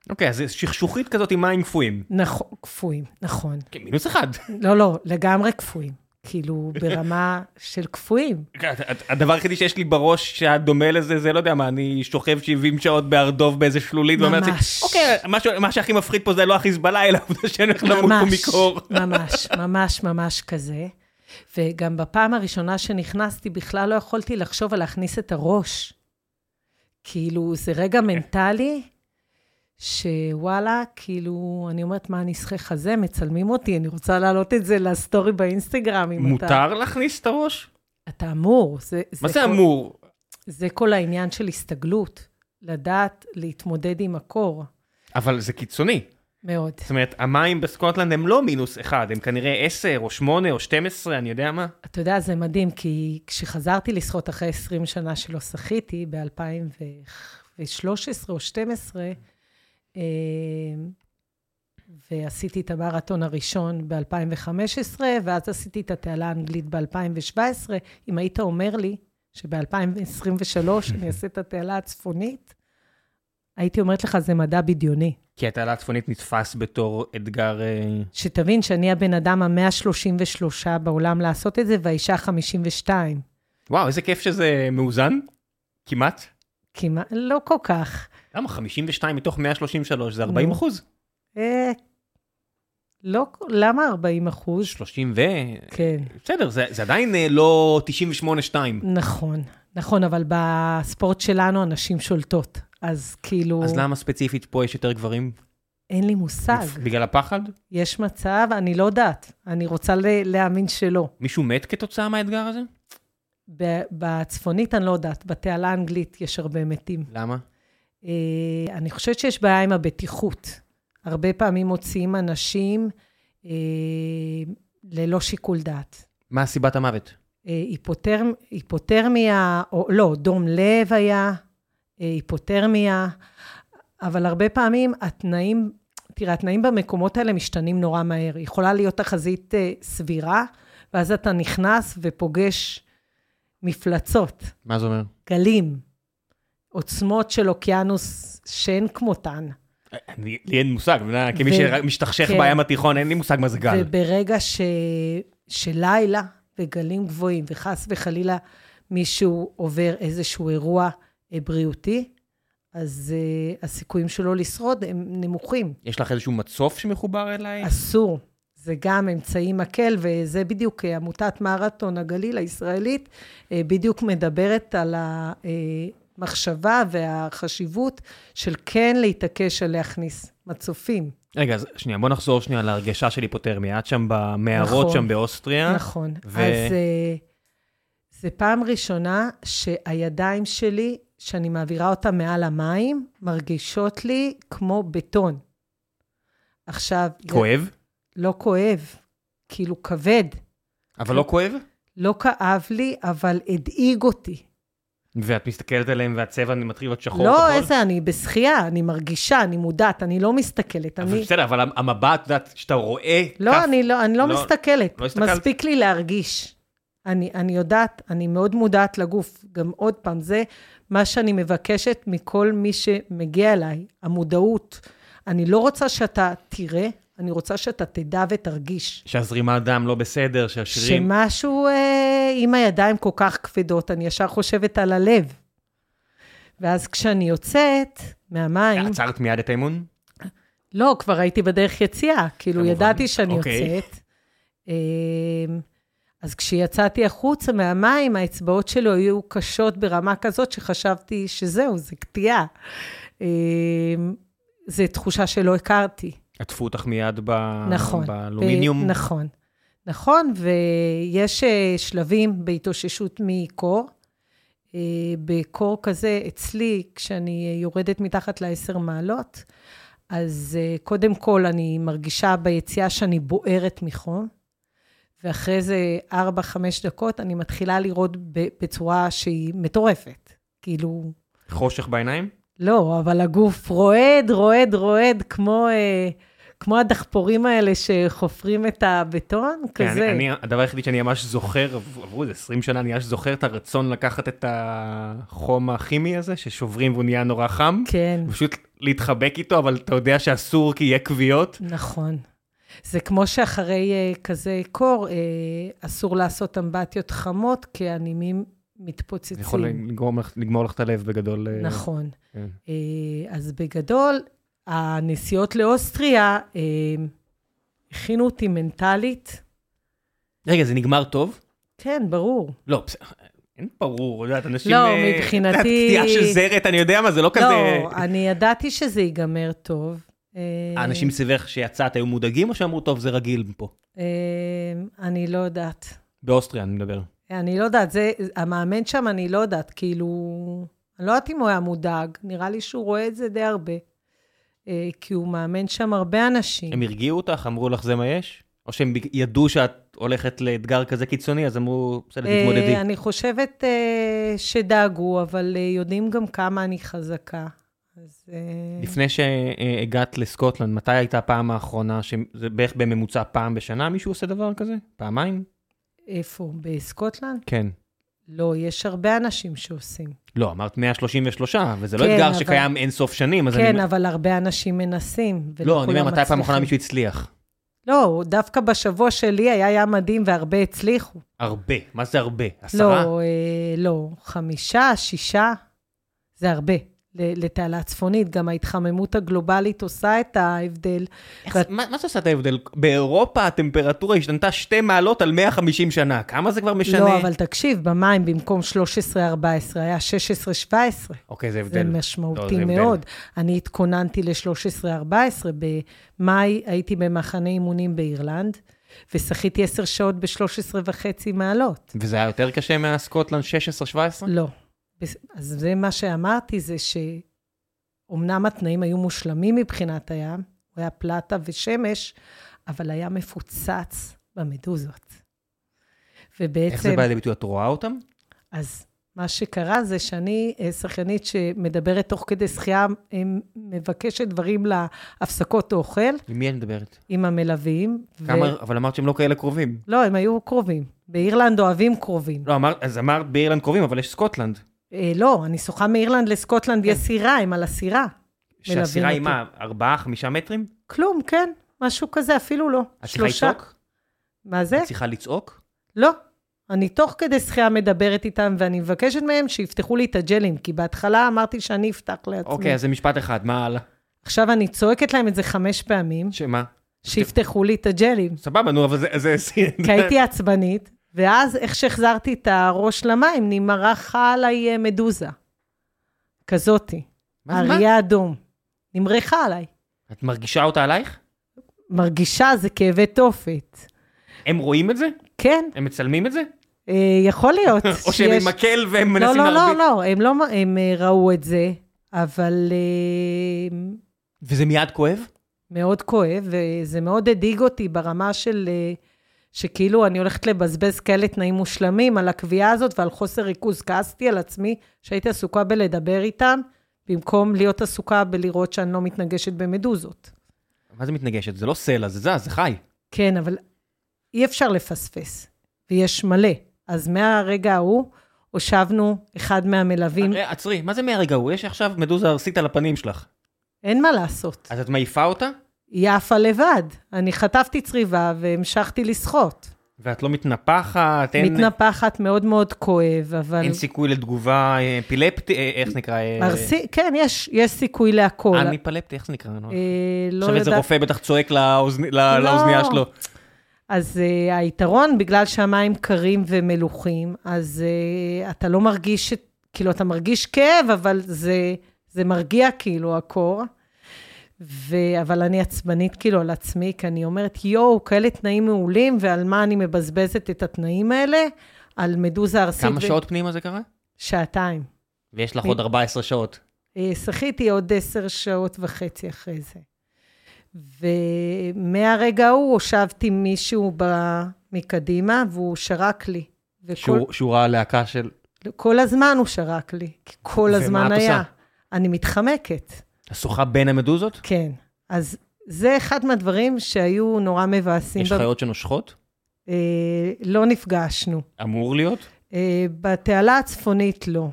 אוקיי, אז זה שכשוכית כזאת עם מים קפואים.
נכון, קפואים, נכון.
כן, מינוס אחד.
לא, לא, לגמרי קפואים. כאילו, ברמה של קפואים.
כן, הד- הדבר היחידי שיש לי בראש שהדומה לזה זה לא יודע מה אני שוכב 70 שעות בהר דוב באיזה שלולית ואומר לעצמי
ממש.
אוקיי מה ש- מה שהכי מפחיד פה זה לא החיזבאללה אלא העובדה שאני הולך למות פה
ממש,
מקור.
ממש, ממש, ממש כזה. וגם בפעם הראשונה שנכנסתי, בכלל לא יכולתי לחשוב על להכניס את הראש. כאילו, זה
כן.
רגע מנטלי, שוואלה, כאילו, אני אומרת, מה, אני אסחך הזה? מצלמים אותי, אני רוצה להעלות את זה לסטורי באינסטגרם, אם אתה...
מותר להכניס את הראש?
אתה אמור. זה,
מה זה
כל-
אמור?
זה כל העניין של הסתגלות, לדעת להתמודד עם הקור,
אבל זה קיצוני.
מאוד.
זאת אומרת, המים בסקוטלנד הם לא מינוס אחד, הם כנראה 10 או 8 או 12, אני יודע מה.
אתה יודע, זה מדהים, כי כשחזרתי לשחות אחרי 20 שנה שלא שחיתי, ב-2013 או 2012, ועשיתי את המרתון הראשון ב-2015, ואז עשיתי את התעלה האנגלית ב-2017. אם היית אומר לי שב-2023 אני אעשה את התעלה הצפונית, הייתי אומרת לך, זה מדע בדיוני.
כי התעלה הצפונית נתפס בתור אתגר... אה,
שתבין שאני הבן אדם ה-133 בעולם לעשות את זה, והאישה ה-52.
וואו, איזה כיף שזה מאוזן. כמעט.
כמעט, לא כל כך.
למה? 52 מתוך 133 זה 40
נו.
אחוז.
אה, לא, למה 40 אחוז?
30 ו...
כן,
בסדר, זה, זה עדיין אה, לא 98-2.
נכון, נכון, אבל בספורט שלנו הנשים שולטות, אז כאילו,
אז למה ספציפית פה יש יותר גברים?
אין לי מושג.
בגלל הפחד?
יש מצב, אני לא יודעת, אני רוצה ל- להאמין שלא.
מישהו מת כתוצאה מהאתגר הזה?
ב- בצפונית אני לא יודעת, בתעלה האנגלית יש הרבה מתים.
למה?
אה, אני חושבת שיש בעיה עם הבטיחות. הרבה פעמים מוציאים אנשים אה, ללא שיקול דעת.
מה סיבת המוות?
אה, היפותרמ, היפותרמיה, או לא, דום לב היה, אה, היפותרמיה, אבל הרבה פעמים התנאים, תראה, התנאים במקומות האלה משתנים נורא מהר. יכולה להיות תחזית אה, סבירה, ואז אתה נכנס ופוגש מפלצות,
מה זה אומר?
גלים, עוצמות של אוקיינוס שאין כמותן.
אני, לי אין מושג, אתה יודע, כמי
ו-
שמשתכשך
כן.
בים התיכון, אין לי מושג מה זה גל.
וברגע ש... שלילה וגלים גבוהים, וחס וחלילה מישהו עובר איזשהו אירוע אה, בריאותי, אז uh, הסיכויים שלו לשרוד הם נמוכים.
יש לך איזשהו מצוף שמחובר אליי?
אסור. זה גם אמצעי מקל, וזה בדיוק אה, עמותת מרתון הגליל הישראלית, אה, בדיוק מדברת על המחשבה והחשיבות של כן להתעקש על להכניס מצופים.
רגע, אז שנייה, בוא נחזור שנייה להרגשה של היפותרמיה. את שם במערות
נכון.
שם באוסטריה.
נכון.
ו-
ו... אז אה, זה פעם ראשונה שהידיים שלי, שאני מעבירה אותן מעל המים, מרגישות לי כמו בטון. עכשיו...
כואב,
לא כואב, כאילו כבד. כן.
אבל לא כואב.
לא כאב לי, אבל הדאיג אותי.
ואת מסתכלת עליהם והצבע מתחיל נכון? להיות שחור
לא,
כחול.
איזה, אני בשחייה, אני מרגישה, אני מודעת, אני לא מסתכלת.
אבל
אני...
בסדר, אבל המבט, את יודעת, שאתה רואה... כף-
לא, אני לא, אני לא,
לא-
מסתכלת.
לא הסתכלת?
מספיק לי להרגיש. אני, אני יודעת, אני מאוד מודעת לגוף. גם עוד פעם, זה מה שאני מבקשת מכל מי שמגיע אליי, המודעות. אני לא רוצה שאתה תראה, אני רוצה שאתה תדע ותרגיש.
שהזרימת דם לא בסדר, שהשרירים...
שמשהו אה, עם הידיים כל כך כבדות, אני ישר חושבת על הלב. ואז כשאני יוצאת מהמים...
עצרת מיד את האימון?
לא, כבר הייתי בדרך יציאה. כאילו,
כמובן.
ידעתי שאני
אוקיי.
יוצאת. אמ, אז כשיצאתי החוצה מהמים, האצבעות שלו היו קשות ברמה כזאת שחשבתי שזהו, זה קטיעה. אמ, זו תחושה שלא הכרתי.
עטפו אותך מיד ב...
נכון.
באלומיניום.
ב- נכון. נכון, ויש אה, שלבים בהתאוששות מקור. אה, בקור כזה, אצלי, כשאני אה, יורדת מתחת לעשר מעלות, אז אה, קודם כל אני מרגישה ביציאה שאני בוערת מחום, ואחרי זה ארבע, חמש דקות אני מתחילה לראות ב- בצורה שהיא מטורפת. כאילו,
חושך בעיניים?
לא, אבל הגוף רועד, רועד, רועד, כמו, אה, כמו הדחפורים האלה שחופרים את הבטון,
כן,
כזה.
אני, אני, הדבר היחידי שאני ממש זוכר, עברו עברו איזה 20 שנה, אני ממש זוכר את הרצון לקחת את החום הכימי הזה, ששוברים והוא נהיה נורא חם,
כן,
ופשוט להתחבק איתו, אבל אתה יודע שאסור כי יהיה כוויות.
נכון. זה כמו שאחרי אה, כזה קור, אה, אסור לעשות אמבטיות חמות, כי הנימים
זה יכול
מתפוצצים.
לגרום לך, לגמור לך את הלב בגדול. אה,
נכון.
כן.
אה, אז בגדול, הנסיעות לאוסטריה אה, הכינו אותי מנטלית
רגע, זה נגמר טוב?
כן, ברור.
לא, בסדר. אין ברור, את יודעת, אנשים...
לא,
אה,
מבחינתי-
את יודעת, קטיעה של זרת, אני יודע מה, זה לא כזה...
לא, אני ידעתי שזה ייגמר טוב. אה,
האנשים סביבך שיצאת היו מודאגים או שאמרו, טוב, זה רגיל פה?
אה, אני לא יודעת.
באוסטריה, אני מדבר.
אני לא יודעת, זה, המאמן שם, אני לא יודעת, כאילו, אני לא יודעת אם הוא היה מודאג, נראה לי שהוא רואה את זה די הרבה. אה, כי הוא מאמן שם הרבה אנשים.
הם הרגיעו אותך, אמרו לך זה מה יש? או שהם ב- ידעו שאת הולכת לאתגר כזה קיצוני, אז אמרו, בסדר,
אה,
תתמודדי.
אני חושבת אה, שדאגו, אבל אה, יודעים גם כמה אני חזקה. אז... אה,
לפני שהגעת לסקוטלנד, מתי הייתה הפעם האחרונה, שזה בערך בממוצע פעם בשנה מישהו עושה דבר כזה? פעמיים?
איפה? בסקוטלנד?
כן.
לא, יש הרבה אנשים שעושים.
לא, אמרת 133, וזה לא
כן,
אתגר
אבל-
שקיים אינסוף שנים, אז
כן,
אני...
אבל הרבה אנשים מנסים.
לא, אני
ולא
אומר, מתי הפעם האחרונה
מצליחים.
מישהו הצליח?
לא, דווקא בשבוע שלי היה ים מדהים והרבה הצליחו.
הרבה. מה זה הרבה? עשרה?
לא, אה, לא, חמישה, שישה, זה הרבה. ל- לתעלה הצפונית, גם ההתחממות הגלובלית עושה את ההבדל.
איך זה- מה מה זה עושה את ההבדל? באירופה הטמפרטורה השתנתה שתי מעלות על 150 שנה. כמה זה כבר משנה?
לא, אבל תקשיב, במים במקום 13-14 היה 16-17.
אוקיי, זה
זה
הבדל. לא,
משמעותי
זה
לא,
הבדל.
מאוד. אני התכוננתי ל-13-14, במאי הייתי במחנה אימונים באירלנד, ושחיתי 10 שעות ב-13 וחצי מעלות.
וזה היה יותר קשה מהסקוטלנד 16-17?
לא. בס- אז זה מה שאמרתי, זה שאומנם התנאים היו מושלמים מבחינת הים, הוא היה פלטה ושמש, אבל היה מפוצץ במדוזות. ובעצם...
איך זה בא לידי ביטוי? את רואה אותם?
אז מה שקרה זה שאני אה, שחקנית שמדברת תוך כדי שחייה, אה, מבקשת דברים להפסקות אוכל
עם מי את מדברת?
עם המלווים. ו-
כמה, אבל אמרת שהם לא כאלה קרובים.
לא, הם היו קרובים. באירלנד אוהבים קרובים.
לא, אמר, אז אמרת באירלנד קרובים, אבל יש סקוטלנד.
אה, לא, אני שוחה מאירלנד לסקוטלנד,
כן.
יש סירה, הם על הסירה.
שהסירה היא
מלווים
מה, ארבעה, חמישה מטרים?
כלום, כן, משהו כזה, אפילו לא.
את צריכה לצעוק?
מה זה?
את צריכה לצעוק?
לא. אני תוך כדי שחייה מדברת איתם, ואני מבקשת מהם שיפתחו לי את הג'לים, כי בהתחלה אמרתי שאני אפתח לעצמי.
אוקיי, אז זה משפט אחד, מה הלאה?
עכשיו אני צועקת להם את זה חמש פעמים,
שמה?
שיפתחו לי את הג'לים.
סבבה, נו, אבל זה... זה...
כי הייתי עצבנית, ואז איך שהחזרתי את הראש למים, נמרחה עליי אה, מדוזה. כזאתי.
מה זה, מה?
אריה אדום. נמרחה עליי.
את מרגישה אותה עלייך?
מרגישה זה כאבי תופת.
הם רואים את זה?
כן,
הם מצלמים את זה?
אה, יכול להיות
או שהם עם מקל והם מנסים
לא,
להרביץ?
לא, לא, לא, הם לא, מ- הם אה, ראו את זה, אבל אה,
וזה מיד כואב?
מאוד כואב, וזה מאוד הדאיג אותי ברמה של... אה, שכאילו אני הולכת לבזבז כאלה תנאים מושלמים על הקביעה הזאת ועל חוסר ריכוז. כעסתי על עצמי שהייתי עסוקה בלדבר איתם, במקום להיות עסוקה בלראות שאני לא מתנגשת במדוזות.
מה זה מתנגשת? זה לא סלע, זה זז, זה חי.
כן, אבל אי אפשר לפספס, ויש מלא. אז מהרגע ההוא, הושבנו אחד מהמלווים,
אה, עצרי, מה זה מהרגע ההוא? יש עכשיו מדוזה ארסית על הפנים שלך.
אין מה לעשות.
אז את מעיפה אותה?
היא עפה לבד. אני חטפתי צריבה והמשכתי לשחות.
ואת לא מתנפחת? אין-
מתנפחת מאוד מאוד כואב, אבל...
אין סיכוי לתגובה אפילפטית, איך זה נקרא? אה,
ארסי, כן, יש, יש סיכוי להכל.
אני פלפטי, איך זה נקרא? אני לא-
אה, לא
עכשיו איזה
יודעת.
רופא בטח צועק לאוזני- לא- לאוזנייה שלו.
אז uh, היתרון, בגלל שהמים קרים ומלוכים, אז uh, אתה לא מרגיש, את- כאילו, אתה מרגיש כאב, אבל זה, זה מרגיע, כאילו, הקור. ו... אבל אני עצבנית, כאילו, על עצמי, כי אני אומרת, יואו, כאלה תנאים מעולים, ועל מה אני מבזבזת את התנאים האלה? על מדוזה ארסית.
כמה שעות פנימה זה קרה?
שעתיים.
ויש לך עוד 14 שעות.
אה, שחיתי עוד עשר שעות וחצי אחרי זה. ומהרגע ההוא הושבתי מישהו ב... מקדימה, והוא שרק לי. וכל
שהוא שהוא ראה להקה של...
כל הזמן הוא שרק לי, כי כל
ומה את
הזמן היה.
עושה?
אני מתחמקת,
השוחה בין המדוזות?
כן. אז זה אחד מהדברים שהיו נורא מבאסים.
יש
ב-
חיות שנושכות?
אה, לא נפגשנו.
אמור להיות?
אה, בתעלה הצפונית לא.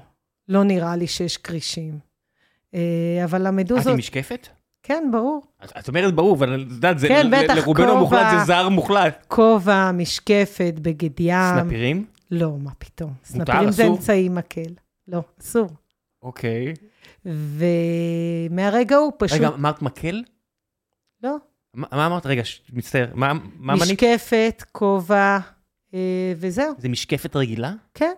לא נראה לי שיש כרישים. אה, אבל
את
המדוזות...
עם משקפת?
כן, ברור.
אז- את אומרת ברור, אבל את יודעת, זה-
כן,
ל-
בטח,
לרובנו
כובע.
המוחלט זה זר מוחלט.
כובע, משקפת, בגד ים.
סנפירים?
לא, מה פתאום.
מותר,
סנפירים זה
אסור?
אמצעי מקל. לא, אסור.
אוקיי.
ומהרגע הוא פשוט...
רגע, אמרת מקל?
לא.
מה מה אמרת? רגע, ש- מצטער. מה מה מנית?
משקפת, כובע, אה, וזהו,
זה משקפת רגילה?
כן.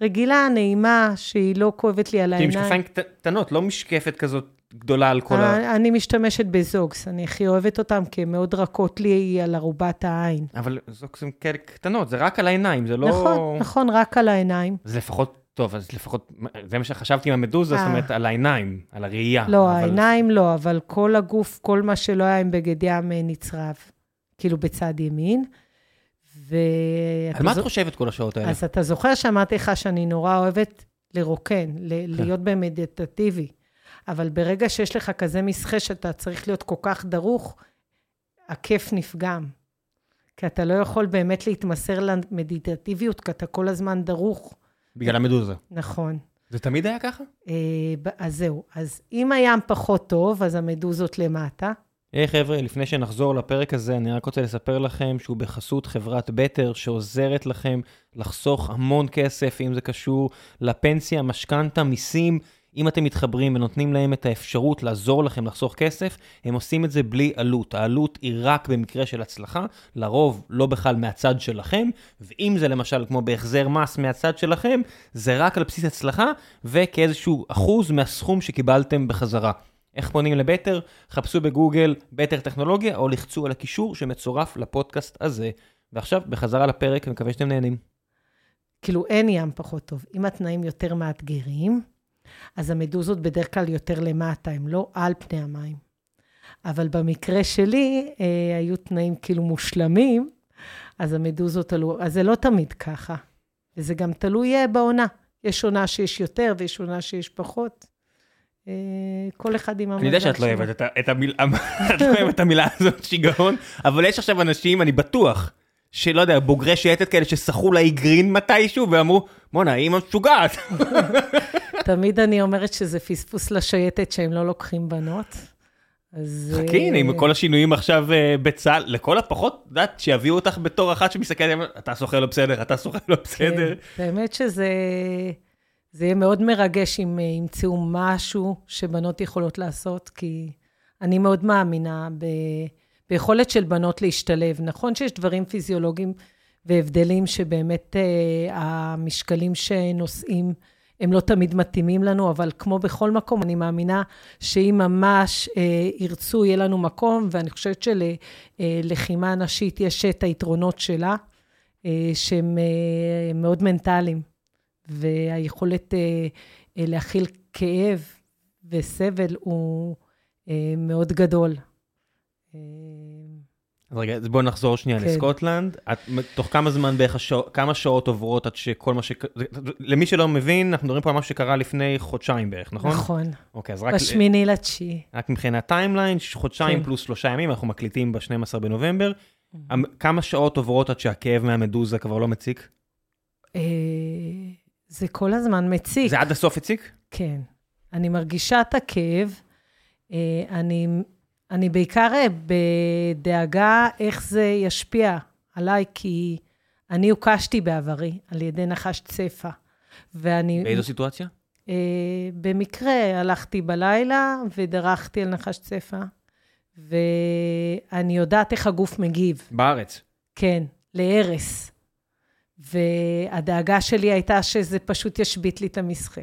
רגילה, נעימה, שהיא לא כואבת לי על
זה
העיניים.
משקפיים קט- קטנות, לא משקפת כזאת גדולה על כל ה...
אה, אני משתמשת בזוגס, אני הכי אוהבת אותם, כי הן מאוד רכות לי על ארובת העין.
אבל זוקסים כאלה קטנות, זה רק על העיניים, זה לא...
נכון, נכון, רק על העיניים.
אז לפחות, טוב, אז לפחות, זה מה שחשבתי עם המדוזה,
אה.
זאת אומרת, על העיניים, על הראייה.
לא,
אה, אבל-
העיניים לא, אבל כל הגוף, כל מה שלא היה עם בגד ים אה, נצרב, כאילו בצד ימין. ו...
על מה את חושבת כל השעות האלה?
אז אתה זוכר שאמרתי לך שאני נורא אוהבת לרוקן, ל-
כן.
להיות במדיטטיבי, אבל ברגע שיש לך כזה מסחה שאתה צריך להיות כל כך דרוך, הכיף נפגם. כי אתה לא יכול באמת להתמסר למדיטטיביות, כי אתה כל הזמן דרוך.
בגלל המדוזה.
נכון.
זה תמיד היה ככה?
אה, ב- אז זהו. אז אם הים פחות טוב, אז המדוזות למטה.
היי חבר'ה, לפני שנחזור לפרק הזה, אני רק רוצה לספר לכם שהוא בחסות חברת בטר, שעוזרת לכם לחסוך המון כסף, אם זה קשור לפנסיה, משכנתה, מיסים. אם אתם מתחברים ונותנים להם את האפשרות לעזור לכם לחסוך כסף, הם עושים את זה בלי עלות. העלות היא רק במקרה של הצלחה, לרוב לא בכלל מהצד שלכם, ואם זה למשל כמו בהחזר מס מהצד שלכם, זה רק על בסיס הצלחה וכאיזשהו אחוז מהסכום שקיבלתם בחזרה. איך פונים לבטר? חפשו בגוגל בטר טכנולוגיה, או לחצו על הקישור שמצורף לפודקאסט הזה. ועכשיו, בחזרה לפרק, מקווה שאתם נהנים.
כאילו אין ים פחות טוב. אם התנאים יותר מאתגרים, אז המדוזות בדרך כלל יותר למטה, הן לא על פני המים. אבל במקרה שלי, אה, היו תנאים כאילו מושלמים, אז המדוזות עלו, אז זה לא תמיד ככה. וזה גם תלוי אה, בעונה. יש עונה שיש יותר ויש עונה שיש פחות. אה, כל אחד עם המזל
אני יודע שאת לא
שלו.
אוהבת את ה- את המילה- את לא אוהבת את המילה הזאת, שיגעון, אבל יש עכשיו אנשים, אני בטוח, שלא יודע, בוגרי שייטת כאלה שסחרו לאי גרין מתישהו, ואמרו, בואנה, היא אימא משוגעת.
תמיד אני אומרת שזה פספוס לשייטת שהם לא לוקחים בנות. אז... אה,
חכי, הנה, כן, עם כל השינויים עכשיו אה, בצה"ל, לכל הפחות, את יודעת, שיביאו אותך בתור אחת שמסתכלת, אתה סוחר לא בסדר, אתה סוחר לא בסדר.
כן, האמת שזה... זה יהיה מאוד מרגש אם אה, ימצאו משהו שבנות יכולות לעשות, כי אני מאוד מאמינה ב... ביכולת של בנות להשתלב. נכון שיש דברים פיזיולוגיים והבדלים שבאמת אה, המשקלים שנושאים הם לא תמיד מתאימים לנו, אבל כמו בכל מקום, אני מאמינה שאם ממש אה, ירצו, יהיה לנו מקום, ואני חושבת שללחימה נשית יש את היתרונות שלה. אה, שהם אה, מאוד מנטליים, והיכולת אה, אה, להכיל כאב וסבל הוא אה, מאוד גדול. אה,
אז רגע, אז בואו נחזור שנייה
כן.
לסקוטלנד. את, תוך כמה זמן בערך, השעות, כמה שעות עוברות עד שכל מה ש... למי שלא מבין, אנחנו מדברים פה על משהו שקרה לפני חודשיים בערך, נכון?
נכון,
אוקיי, אז רק,
בשמיני לתשיעי.
רק מבחינת טיימליין, ש- חודשיים
כן. Mm.
פלוס שלושה ימים, אנחנו מקליטים ב-12 בנובמבר. המ- כמה שעות עוברות עד שהכאב מהמדוזה כבר לא מציק?
אה, זה כל הזמן מציק.
זה עד הסוף הציק?
כן. אני מרגישה את הכאב. אה, אני, אני בעיקר אה, בדאגה איך זה ישפיע עליי, כי אני הוקשתי בעברי על ידי נחש צפע. ואני...
באיזו סיטואציה?
אה, במקרה הלכתי בלילה ודרכתי על נחש צפע, ואני יודעת איך הגוף מגיב.
בארץ. לא
כן, להרס. והדאגה שלי הייתה שזה פשוט ישבית לי את המסחה.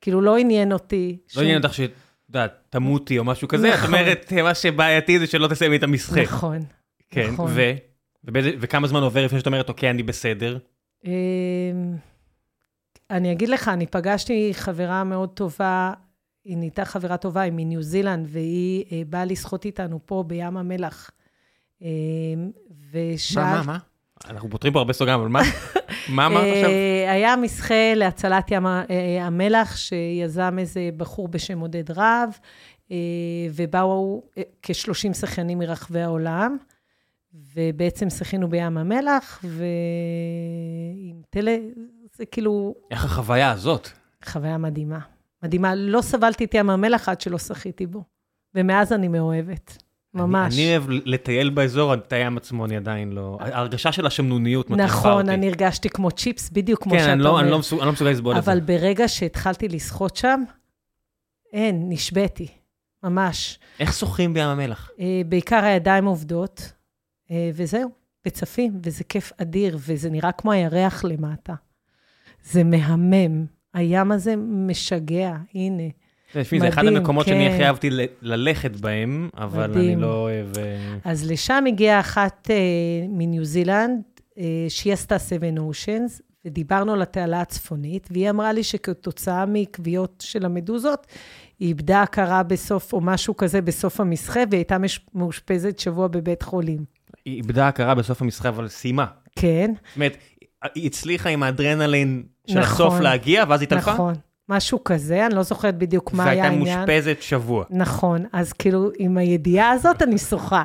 כאילו, לא עניין אותי.
לא
שום-
עניין אותך שאת יודעת, תמותי או משהו כזה, את
נכון.
אומרת, "אה, מה שבעייתי זה שלא תסיימי את המשחק.
נכון.
כן,
נכון.
ו... ובאיזה- וכמה זמן עובר לפני שאת אומרת, אוקיי, אני בסדר?
אמ, אני אגיד לך, אני פגשתי חברה מאוד טובה, היא נהייתה חברה טובה, היא מניו זילנד, והיא אה, באה לשחות איתנו פה בים המלח. אמ, ושאל...
מה, מה, מה? אנחנו פותרים פה הרבה סוגרים, אבל מה? מה אמרת
אה,
עכשיו?
היה מסחה להצלת ים ה- אה, המלח, שיזם איזה בחור בשם עודד רהב, אה, ובאו אה, כ-30 שחיינים מרחבי העולם, ובעצם שחינו בים המלח, ועם טלה, זה כאילו
איך החוויה הזאת?
חוויה מדהימה. מדהימה. לא סבלתי את ים המלח עד שלא שחיתי בו, ומאז אני מאוהבת. ממש.
אני, אני אוהב לטייל באזור, את הים עצמו אני עדיין לא... ההרגשה של השמנוניות מטריפה אותי.
נכון, אני הרגשתי כמו צ'יפס, בדיוק כמו
כן,
שאתה
אני לא,
אומר.
אני לא מסוג- אני לא מסוגל לסבול את זה.
אבל ברגע שהתחלתי לשחות שם, אין, נשבעתי, ממש.
איך שוחים בים המלח?
אה, בעיקר הידיים עובדות, אה, וזהו. וצפים, וזה כיף אדיר, וזה נראה כמו הירח למטה. זה מהמם. הים הזה משגע, הנה.
תשמעי, זה אחד
מדהים,
המקומות שאני
כן.
הכי אהבתי ל- ללכת בהם, אבל אני
מדהים.
לא אוהב... אה,
אז לשם הגיעה אחת אה, מניו זילנד, אה, שהיא עשתה 7 Oceans, ודיברנו על התעלה הצפונית, והיא אמרה לי שכתוצאה מכוויות של המדוזות, היא איבדה הכרה בסוף, או משהו כזה, בסוף המסחה, והיא הייתה מש- מאושפזת שבוע בבית חולים.
היא איבדה הכרה בסוף המשחק, אבל סיימה.
כן,
זאת אומרת, היא הצליחה עם האדרנלין של
נכון.
הסוף להגיע, ואז היא התעלפה,
נכון. משהו כזה, אני לא זוכרת בדיוק מה היה
והייתה
העניין.
מאושפזת שבוע.
נכון, אז כאילו, עם הידיעה הזאת אני שוחה.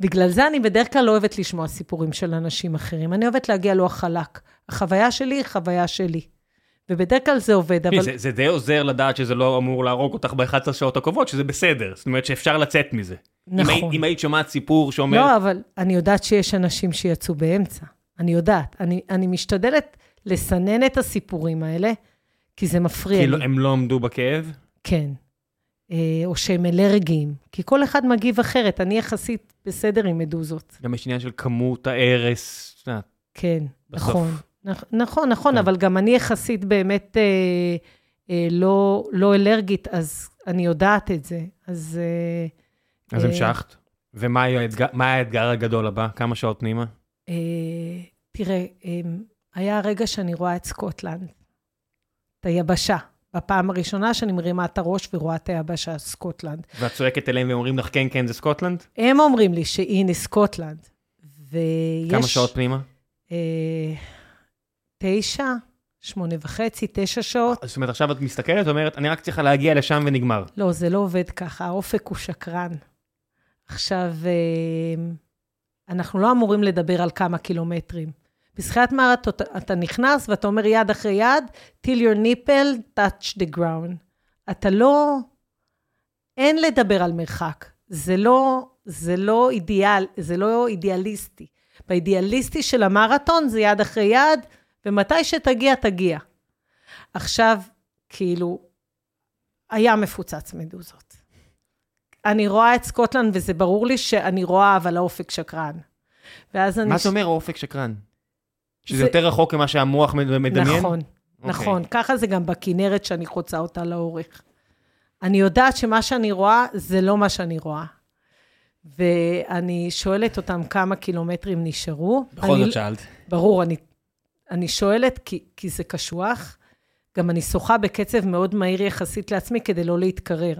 בגלל זה אני בדרך כלל לא אוהבת לשמוע סיפורים של אנשים אחרים. אני אוהבת להגיע לו החלק. החוויה שלי היא חוויה שלי. ובדרך כלל זה עובד, אבל...
תראי, זה- זה די עוזר לדעת שזה לא אמור להרוג אותך ב-11 שעות הקרובות, שזה בסדר. זאת אומרת שאפשר לצאת מזה. אם
נכון.
היית- אם היית שומעת סיפור שאומר,
לא, אבל אני יודעת שיש אנשים שיצאו באמצע. אני יודעת. אני, אני משתדלת לסנן את הסיפורים האלה, כי זה מפריע לי.
כאילו, הם לא עמדו בכאב,
כן. אה, או שהם אלרגיים. כי כל אחד מגיב אחרת. אני יחסית בסדר עם מדוזות.
גם יש עניין של כמות ההרס. את יודעת,
כן,
בסוף.
נכון. נכ- נכון, נכון,
כן.
אבל גם אני יחסית באמת אה, אה, לא, לא אלרגית, אז אני יודעת את זה. אז אה,
אז
אה,
המשכת. ומה היה האתגר- מה היה האתגר הגדול הבא? כמה שעות פנימה?
אה, תראה, אה, היה הרגע שאני רואה את סקוטלנד, את היבשה. בפעם הראשונה שאני מרימה את הראש ורואה את היבשה, סקוטלנד.
ואת צועקת אליהם והם אומרים לך, כן, כן, זה סקוטלנד?
הם אומרים לי שהנה סקוטלנד. ויש...
כמה שעות פנימה?
אה, תשע, שמונה וחצי, תשע שעות.
זאת אומרת, עכשיו את מסתכלת ואומרת, אני רק צריכה להגיע לשם ונגמר.
לא, זה לא עובד ככה, האופק הוא שקרן. עכשיו, אה, אנחנו לא אמורים לדבר על כמה קילומטרים. בשחיית מרתון אתה נכנס ואתה אומר יד אחרי יד, till your nipple touch the ground. אתה לא... אין לדבר על מרחק. זה לא, זה לא אידיאל, זה לא אידיאליסטי. באידיאליסטי של המרתון זה יד אחרי יד, ומתי שתגיע, תגיע. עכשיו, כאילו, היה מפוצץ מדוזות. אני רואה את סקוטלנד, וזה ברור לי שאני רואה, אבל האופק שקרן. ואז אני...
מה זה אומר אופק שקרן? שזה
זה-
יותר רחוק ממה שהמוח מד- מדמיין?
נכון,
אוקיי.
נכון. ככה זה גם בכנרת שאני חוצה אותה לאורך. אני יודעת שמה שאני רואה, זה לא מה שאני רואה. ואני שואלת אותם כמה קילומטרים נשארו.
בכל
אני-
זאת שאלת.
ברור, אני, אני שואלת כי, כי זה קשוח. גם אני שוחה בקצב מאוד מהיר יחסית לעצמי כדי לא להתקרר.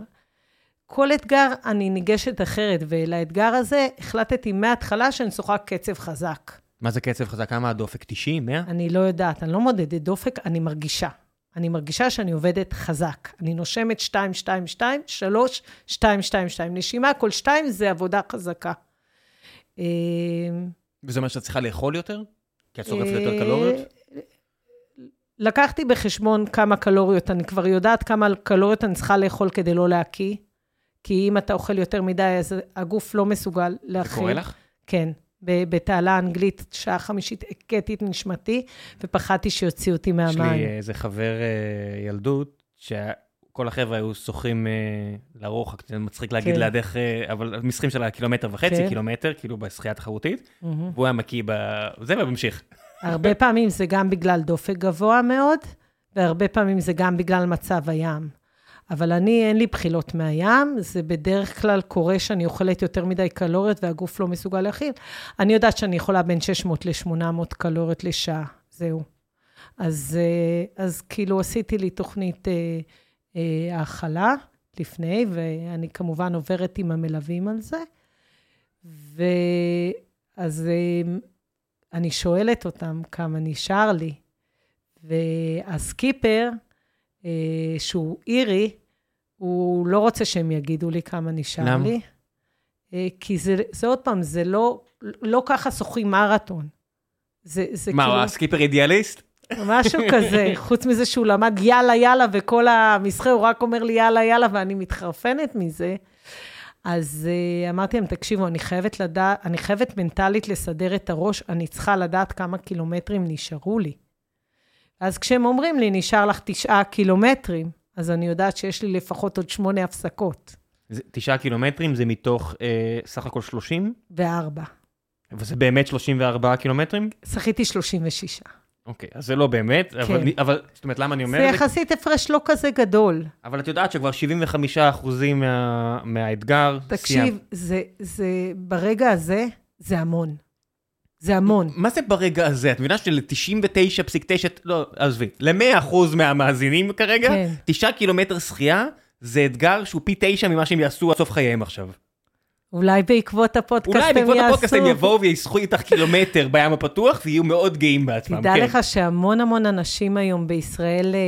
כל אתגר, אני ניגשת אחרת, ולאתגר הזה החלטתי מההתחלה שאני שוחה קצב חזק.
מה זה קצב חזק? כמה הדופק? 90? 100?
אני לא יודעת, אני לא מודדת דופק, אני מרגישה. אני מרגישה שאני עובדת חזק. אני נושמת 2, 2, 2, 3, 2, 2, 2. נשימה כל 2 זה עבודה חזקה. אה,
וזה אומר שאת צריכה לאכול יותר? כי את שורפת
אה,
יותר קלוריות?
לקחתי בחשבון כמה קלוריות, אני כבר יודעת כמה קלוריות אני צריכה לאכול כדי לא להקיא, כי אם אתה אוכל יותר מדי, אז הגוף לא מסוגל
זה
להכיל.
קורה לך?
כן, ב- בתעלה אנגלית, שעה חמישית, הכיתי את נשמתי, ופחדתי שיוציאו אותי
יש
מהמים.
לי אה, איזה חבר אה, ילדות, שכל החבר'ה היו שוחים אה, לרוחק, זה מצחיק להגיד
כן.
לידך, אה, אבל משחים של הקילומטר וחצי,
כן.
קילומטר, כאילו בשחייה תחרותית,
מהמם.
והוא היה מקיא ב... זה, וממשיך.
הרבה פעמים זה גם בגלל דופק גבוה מאוד, והרבה פעמים זה גם בגלל מצב הים. אבל אני, אין לי בחילות מהים, זה בדרך כלל קורה שאני אוכלת יותר מדי קלוריות והגוף לא מסוגל להכיל. אני יודעת שאני יכולה בין 600 ל-800 קלוריות לשעה, זהו. אז, אה, אז כאילו עשיתי לי תוכנית אה, אה, האכלה לפני, ואני כמובן עוברת עם המלווים על זה. ואז אה, אני שואלת אותם כמה נשאר לי. והסקיפר, אה, שהוא אירי, הוא לא רוצה שהם יגידו לי כמה נשאר
למה?
לי. אה, כי זה, זה עוד פעם, זה לא, לא ככה שוחים מרתון. זה, זה
מה, הוא
כאילו...
הסקיפר אידיאליסט?
משהו כזה, חוץ מזה שהוא למד יאללה יאללה, וכל המסחר, הוא רק אומר לי יאללה יאללה, ואני מתחרפנת מזה. אז uh, אמרתי להם, תקשיבו, אני חייבת, לדע... אני חייבת מנטלית לסדר את הראש, אני צריכה לדעת כמה קילומטרים נשארו לי. אז כשהם אומרים לי, נשאר לך תשעה קילומטרים, אז אני יודעת שיש לי לפחות עוד שמונה הפסקות,
זה- תשעה קילומטרים זה מתוך אה, סך הכל 30?
וארבע.
וזה באמת 34 קילומטרים?
שחיתי 36.
אוקיי, אז זה לא באמת, כן. אבל, אבל זאת אומרת, למה אני אומר
זה
את זה?
יחסית הפרש לא כזה גדול.
אבל את יודעת שכבר 75% מה, מהאתגר
תקשיב, זה, זה, ברגע הזה, זה המון. זה המון.
מה זה ברגע הזה? את מבינה של-99.9, לא, עזבי, ל-100% מהמאזינים כרגע,
כן.
9 קילומטר שחייה זה אתגר שהוא פי 9 ממה שהם יעשו עד סוף חייהם עכשיו.
אולי בעקבות הפודקאסט הם
אולי
יעשו...
בעקבות הפודקאסט הם יבואו וייסחו איתך קילומטר בים הפתוח ויהיו מאוד גאים בעצמם.
תדע
כן.
לך שהמון המון אנשים היום בישראל אה,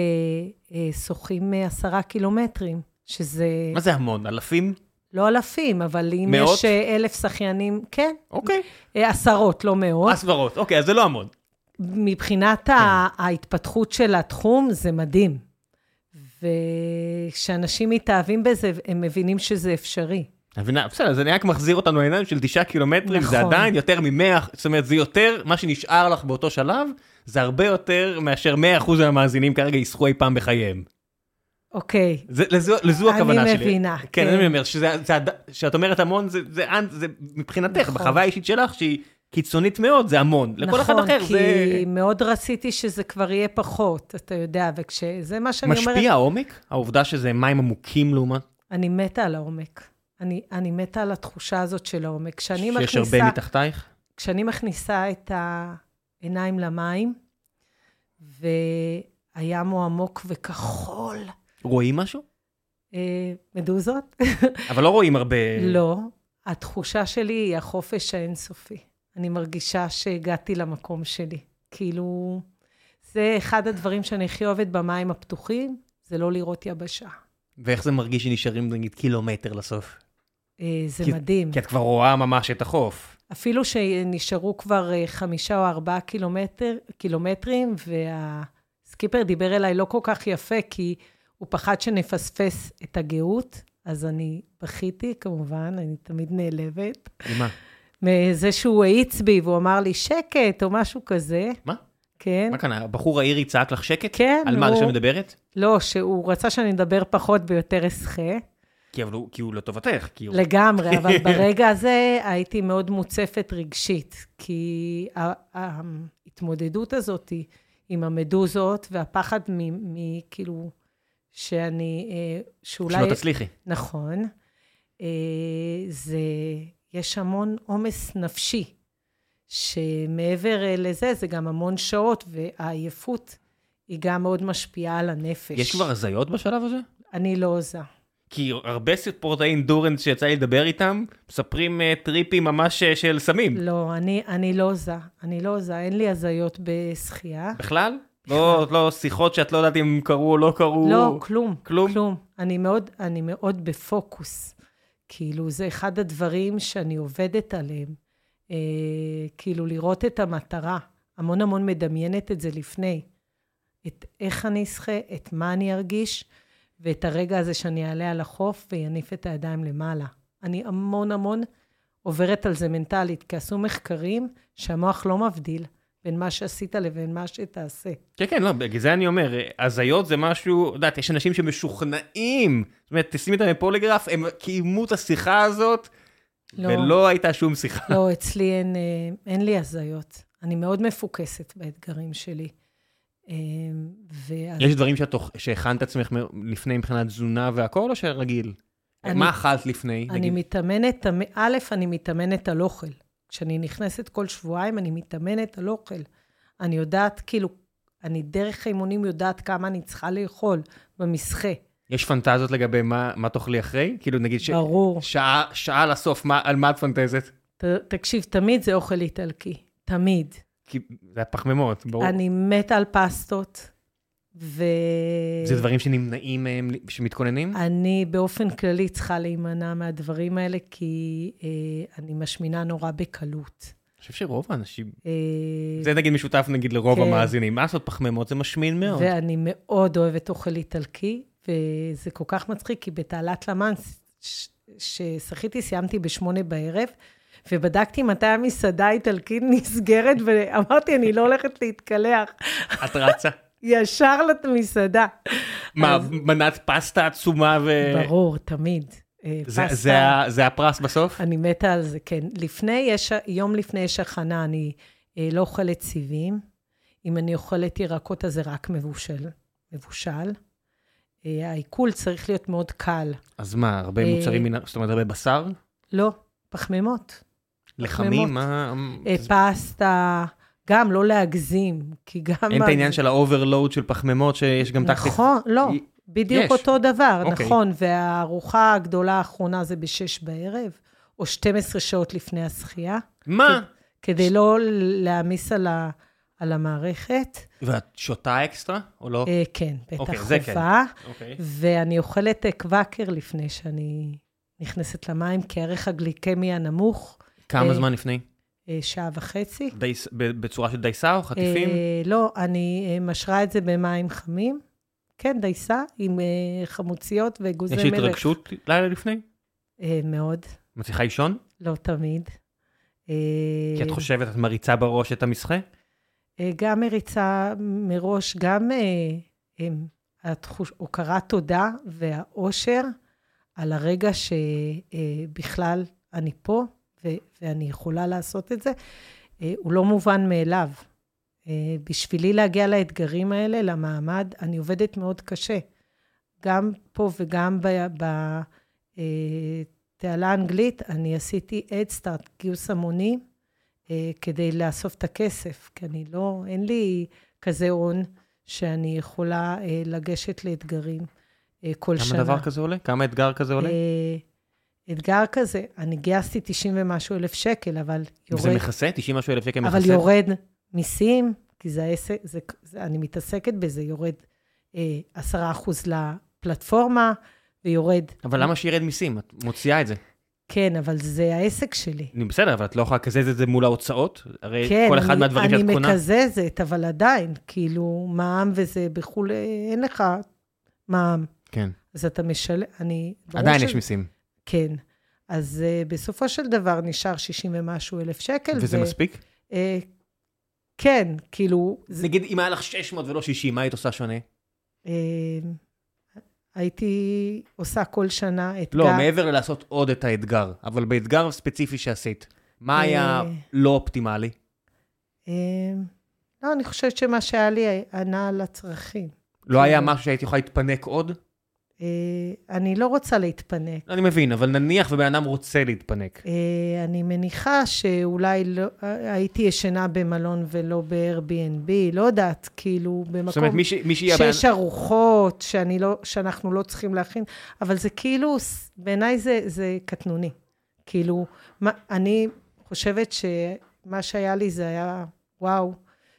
אה, שוחים אה, עשרה קילומטרים, שזה
מה זה המון? אלפים?
לא אלפים, אבל אם
מאות?
יש אה, אלף שחיינים, כן,
אוקיי.
אה, עשרות, לא מאות.
הסברות, אוקיי, אז זה לא המון.
מבחינת ה-
כן.
ההתפתחות של התחום, זה מדהים. וכשאנשים מתאהבים בזה, הם מבינים שזה אפשרי.
את מבינה? בסדר, זה אני רק מחזיר אותנו לעיניים של תשעה קילומטרים, זה
נכון.
עדיין יותר מ-100, זאת אומרת, זה יותר, מה שנשאר לך באותו שלב, זה הרבה יותר מאשר 100% מהמאזינים כרגע ייסחו אי פעם בחייהם.
אוקיי,
זה, לזו, לזו
אני
הכוונה שלי.
מבינה,
כן,
כן.
אני אומר, שזה, זה, הד- שאת אומרת המון, זה, זה, זה, זה מבחינתך,
נכון.
בחוויה האישית שלך, שהיא קיצונית מאוד, זה המון. לכל
נכון,
אחד אחר
כי
זה...
מאוד רציתי שזה כבר יהיה פחות, אתה יודע, וכשזה מה שאני
משפיע
אומרת,
העומק? העובדה שזה מים עמוקים לעומת...
אני מתה על העומק. אני, אני מתה על התחושה הזאת של העומק. כשאני
שיש
מכניסה,
הרבה מתחתייך?
כשאני מכניסה את העיניים למים, והים הוא עמוק וכחול,
רואים משהו?
אה, מדוזות?
אבל לא רואים הרבה...
לא. התחושה שלי היא החופש האינסופי. אני מרגישה שהגעתי למקום שלי. כאילו, זה אחד הדברים שאני הכי אוהבת במים הפתוחים, זה לא לראות יבשה.
ואיך זה מרגיש שנשארים, נגיד, קילומטר לסוף?
אה, זה מדהים.
כי כן. את כבר רואה ממש את החוף.
אפילו שנשארו כבר אה, חמישה או ארבעה קילומטר, קילומטרים, והסקיפר דיבר אליי לא כל כך יפה, כי הוא פחד שנפספס את הגאות, אז אני בכיתי, כמובן, אני תמיד נעלבת.
מה?
מזה שהוא האיץ בי והוא אמר לי שקט או משהו כזה,
מה?
כן?
מה כאן, הבחור האירי צעק לך שקט?
כן,
על מה, על
הוא-
זה שאת מדברת?
לא, שהוא רצה שאני אדבר פחות ויותר אסחה.
כי אבל הוא- כי הוא לטובתך, כי הוא...
לגמרי, אבל ברגע הזה הייתי מאוד מוצפת רגשית, כי ה- ההתמודדות הזאת היא עם המדוזות והפחד מ- מ- כאילו, שאני, אה, שאולי...
שלא תצליחי.
נכון. אה, זה, יש המון עומס נפשי, שמעבר אה, לזה, זה גם המון שעות, והעייפות היא גם מאוד משפיעה על הנפש.
יש כבר הזיות בשלב הזה?
אני לא עוזה.
כי הרבה ספורטאי אינדורנס שיצא לי לדבר איתם, מספרים אה, טריפים ממש אה, של סמים.
לא, אני, אני לא עוזה. אני לא עוזה, אין לי הזיות בשחייה.
בכלל? לא, לא שיחות שאת לא יודעת אם קרו או לא קרו.
לא, כלום.
כלום?
כלום. אני מאוד, אני מאוד בפוקוס. כאילו, זה אחד הדברים שאני עובדת עליהם. אה, כאילו, לראות את המטרה. המון המון מדמיינת את זה לפני. את איך אני אשחה, את מה אני ארגיש, ואת הרגע הזה שאני אעלה על החוף ויניף את הידיים למעלה. אני המון המון עוברת על זה מנטלית, כי עשו מחקרים שהמוח לא מבדיל בין מה שעשית לבין מה שתעשה.
כן, כן, לא, בגלל זה אני אומר, אה, הזיות זה משהו, את יודעת, יש אנשים שמשוכנעים, זאת אומרת, תשימי אותם בפוליגרף, הם קיימו את השיחה הזאת,
לא.
ולא הייתה שום שיחה.
לא, אצלי אין, אה, אין לי הזיות. אני מאוד מפוקסת באתגרים שלי. אה, ואז
יש דברים שאת, תוכ- שהכנת עצמך מ- לפני מבחינת תזונה והכל, או שרגיל?
אני-
מה אכלת לפני?
אני
נגיד?
מתאמנת, א', אני מתאמנת על אוכל. כשאני נכנסת כל שבועיים, אני מתאמנת על אוכל. אני יודעת, כאילו, אני דרך האימונים יודעת כמה אני צריכה לאכול במסחה.
יש פנטזיות לגבי מה, מה תאכלי אחרי? כאילו, נגיד, ש...
ברור.
שעה, שעה לסוף, מה, על מה את פנטזת?
ת, תקשיב, תמיד זה אוכל איטלקי. תמיד.
כי זה הפחמימות, ברור.
אני מתה על פסטות, ו...
זה דברים שנמנעים מהם, שמתכוננים?
Mm-hmm.
אני באופן כללי צריכה להימנע מהדברים האלה, כי אה, אני משמינה נורא בקלות.
אני חושב שרוב האנשים...
אה,
זה נגיד משותף נגיד לרוב
כן.
המאזינים. מה לעשות, פחמימות זה משמין מאוד.
ואני מאוד אוהבת אוכל איטלקי, וזה כל כך מצחיק, כי בתעלת למאנס, ש- ששחיתי, סיימתי בשמונה בערב, ובדקתי מתי המסעדה האיטלקית נסגרת, ואמרתי, אני לא הולכת להתקלח.
את רצה.
ישר למסעדה.
מה,
אז-
מנת פסטה עצומה ו...
ברור, תמיד. אה,
אה, זה,
פסטה.
זה, ה- זה הפרס בסוף?
אני מתה על זה, כן. לפני, יש, יום לפני יש הכנה, אני אה, לא אוכלת סיבים. אם אני אוכלת ירקות, אז זה רק מבושל. מבושל. אה, העיכול צריך להיות מאוד קל.
אז מה, הרבה
אה,
מוצרים, מן ה- זאת אומרת, הרבה בשר?
לא, פחמימות.
לחמים? מה...
אה, פסטה, גם לא להגזים, כי גם...
אין את
אז-
העניין של האוברלואוד של פחמימות, שיש גם טקטית.
נכון, לא,
היא-
בדיוק
יש.
אותו דבר,
אוקיי.
נכון. והארוחה הגדולה האחרונה זה בשש בערב, או 12 שעות לפני השחייה,
מה?
כדי לא להעמיס על, ה, על המערכת.
ואת שותה אקסטרה, או לא?
אה, כן, בטח
אוקיי, זה כן.
חובה.
אוקיי.
ואני אוכלת אה, קוואקר לפני שאני נכנסת למים, כי הערך הגליקמי הנמוך,
כמה
אה,
זמן לפני?
אה, שעה וחצי.
דייס- ב- בצורה של דייסה או חטיפים?
אה, לא, אני אה, משרה את זה במים חמים. כן, דייסה עם אה, חמוציות ואגוזי
יש
מלך.
התרגשות לילה לפני?
אה, מאוד,
מצליחה לישון?
לא תמיד. אה,
כי את חושבת, את מריצה בראש את המסחה?
אה, גם מריצה מראש, גם אה, הם, התחוש, הוקרת תודה והאושר על הרגע שבכלל אני פה ו, ואני יכולה לעשות את זה, אה, הוא לא מובן מאליו. אה, בשבילי להגיע לאתגרים האלה, למעמד, אני עובדת מאוד קשה, גם פה וגם בתעלה האנגלית, אני עשיתי אדסטארט, גיוס המוני, אה, כדי לאסוף את הכסף, כי אני לא, אין לי כזה הון שאני יכולה אה, לגשת לאתגרים אה, כל שנה.
כמה דבר כזה עולה? כמה אתגר כזה עולה?
אה, אתגר כזה, אני גייסתי 90 ומשהו אלף שקל, אבל
זה
יורד,
מכסה? 90 משהו אלף שקל
אבל
מכסה?
יורד מיסים, כי זה העסק, זה, זה, אני מתעסקת בזה, יורד אה, 10% לפלטפורמה, ויורד,
אבל למה שירד מיסים? את מוציאה את זה.
כן, אבל זה העסק שלי.
נו, בסדר, אבל את לא יכולה לקזז את זה מול ההוצאות? הרי
כן,
אה, כל אחד
אני,
מהדברים
אני
שאת קונה...
מקזזת, אבל עדיין, כאילו, מע"מ וזה בחו"ל, אה, אין לך מע"מ,
כן.
אז אתה משלם, אני... ברור
עדיין
ש-
יש מיסים.
כן. אז uh, בסופו של דבר נשאר 60 ומשהו אלף שקל.
וזה מספיק?
Uh, כן, כאילו, זה,
נגיד, אם היה לך 600 ולא 60, מה היית עושה שונה?
uh, הייתי עושה כל שנה אתגר.
לא, מעבר ללעשות עוד את האתגר, אבל באתגר הספציפי שעשית, מה היה
אה. לא
לא אופטימלי?
Uh, לא, אני חושבת שמה שהיה לי ענה על הצרכים.
לא היה
אה.
משהו שהייתי יכולה להתפנק עוד?
Uh, אני לא רוצה להתפנק.
אני מבין, אבל נניח ובן אדם רוצה להתפנק.
אה, אני מניחה שאולי לא, אה, הייתי ישנה במלון ולא ב-Airbnb, לא יודעת, כאילו, במקום...
זאת אומרת, מי ש- מי שיהיה... הבן-
שיש ארוחות שאני לא, שאנחנו לא צריכים להכין, אבל זה כאילו, ס- בעיניי זה, זה קטנוני. כאילו, מה, אני חושבת שמה שהיה לי זה היה וואו,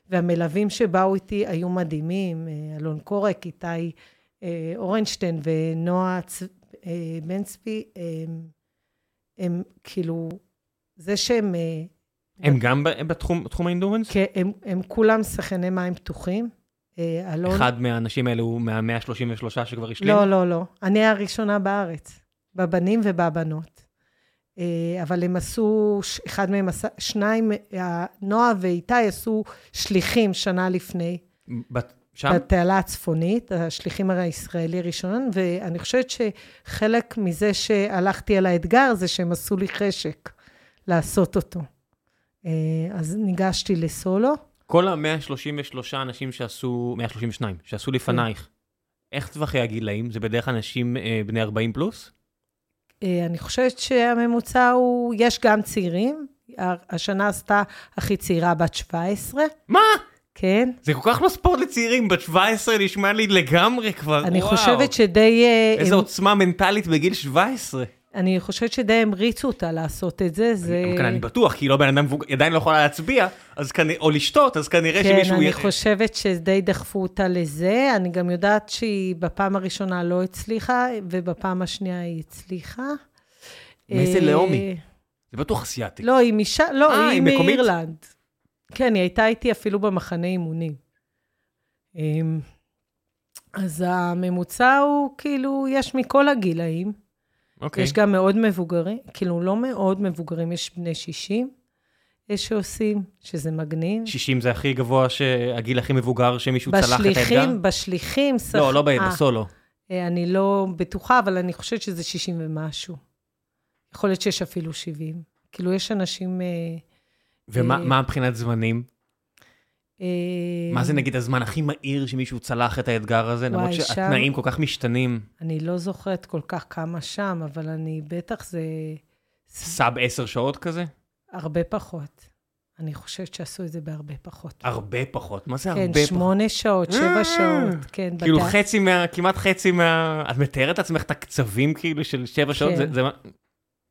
והמלווים שבאו איתי היו מדהימים, אה, אלון קורק, איתי אה, אורנשטיין ונועה צ... אה, בן צבי, הם, הם כאילו, זה שהם, אה,
הם גם ב- בתחום תחום האינדורנס?
כ- הם, הם כולם שחייני מים פתוחים, אה, אלון...
אחד מהאנשים האלה הוא מה-133 שכבר השלים?
לא, לא, לא. אני הראשונה בארץ, בבנים ובבנות. אה, אבל הם עשו, ש- אחד מהם עשה, שניים, אה, נועה ואיתי עשו שליחים שנה לפני,
בת- שם?
בתעלה הצפונית, השליחים הרי הישראלי ראשון, ואני חושבת שחלק מזה שהלכתי על האתגר זה שהם עשו לי חשק לעשות אותו. אה, אז ניגשתי לסולו.
כל ה-133 אנשים שעשו, 132, שעשו לפנייך,
כן.
איך טווחי הגילאים? זה בדרך כלל אנשים אה, בני 40 פלוס?
אה, אני חושבת שהממוצע הוא, יש גם צעירים. ה- השנה עשתה הכי צעירה בת 17,
מה?
כן?
זה כל כך לא ספורט לצעירים, בת 17 נשמע לי לגמרי כבר,
אני
אה, וואו.
חושבת שדי... אה,
איזה
הם-
עוצמה מנטלית בגיל 17.
אני חושבת שדי המריצו אותה לעשות את זה. זה...
גם כאן אני בטוח, כי היא לא בן אדם, מבוג- היא עדיין לא יכולה להצביע, אז כנ- או לשתות, אז כנראה
כן,
שמישהו...
אני
י-
חושבת שדי דחפו אותה לזה. אני גם יודעת שהיא בפעם הראשונה לא הצליחה, ובפעם השנייה היא הצליחה.
מאיזה
אה,
לאום היא? זה בטוח אסיאתי.
לא, היא משם,
אה,
לא,
היא
היא
מקומית?
מאירלנד. כן, היא הייתה איתי אפילו במחנה אימונים. אמ, אז הממוצע הוא כאילו, יש מכל הגילאים.
אוקיי.
יש גם מאוד מבוגרים, כאילו לא מאוד מבוגרים, יש בני 60 שעושים, שזה מגניב.
60 זה הכי גבוה, ש- הגיל הכי מבוגר שמישהו צלח את האתגר?
בשליחים, בשליחים, שח-
לא, לא ב-
אה,
בסולו.
אה, אני לא בטוחה, אבל אני חושבת שזה 60 ומשהו. יכול להיות שיש אפילו 70. כאילו, יש אנשים... אה,
ומה
אה,
מה מבחינת זמנים?
אה,
מה זה נגיד הזמן הכי מהיר שמישהו צלח את האתגר הזה? למרות
וואי, שם-
שהתנאים כל כך משתנים,
אני לא זוכרת כל כך כמה שם, אבל אני בטח זה
סאב עשר שעות כזה?
הרבה פחות. אני חושבת שעשו את זה בהרבה פחות.
הרבה פחות. מה זה הרבה
כן,
פחות?
שמונה שעות, שבע
אה,
שעות, כן.
כאילו
בדק-
חצי מה, כמעט חצי מה... את מתארת לעצמך את הקצבים כאילו של שבע שעות?
כן.
זה, זה, מה-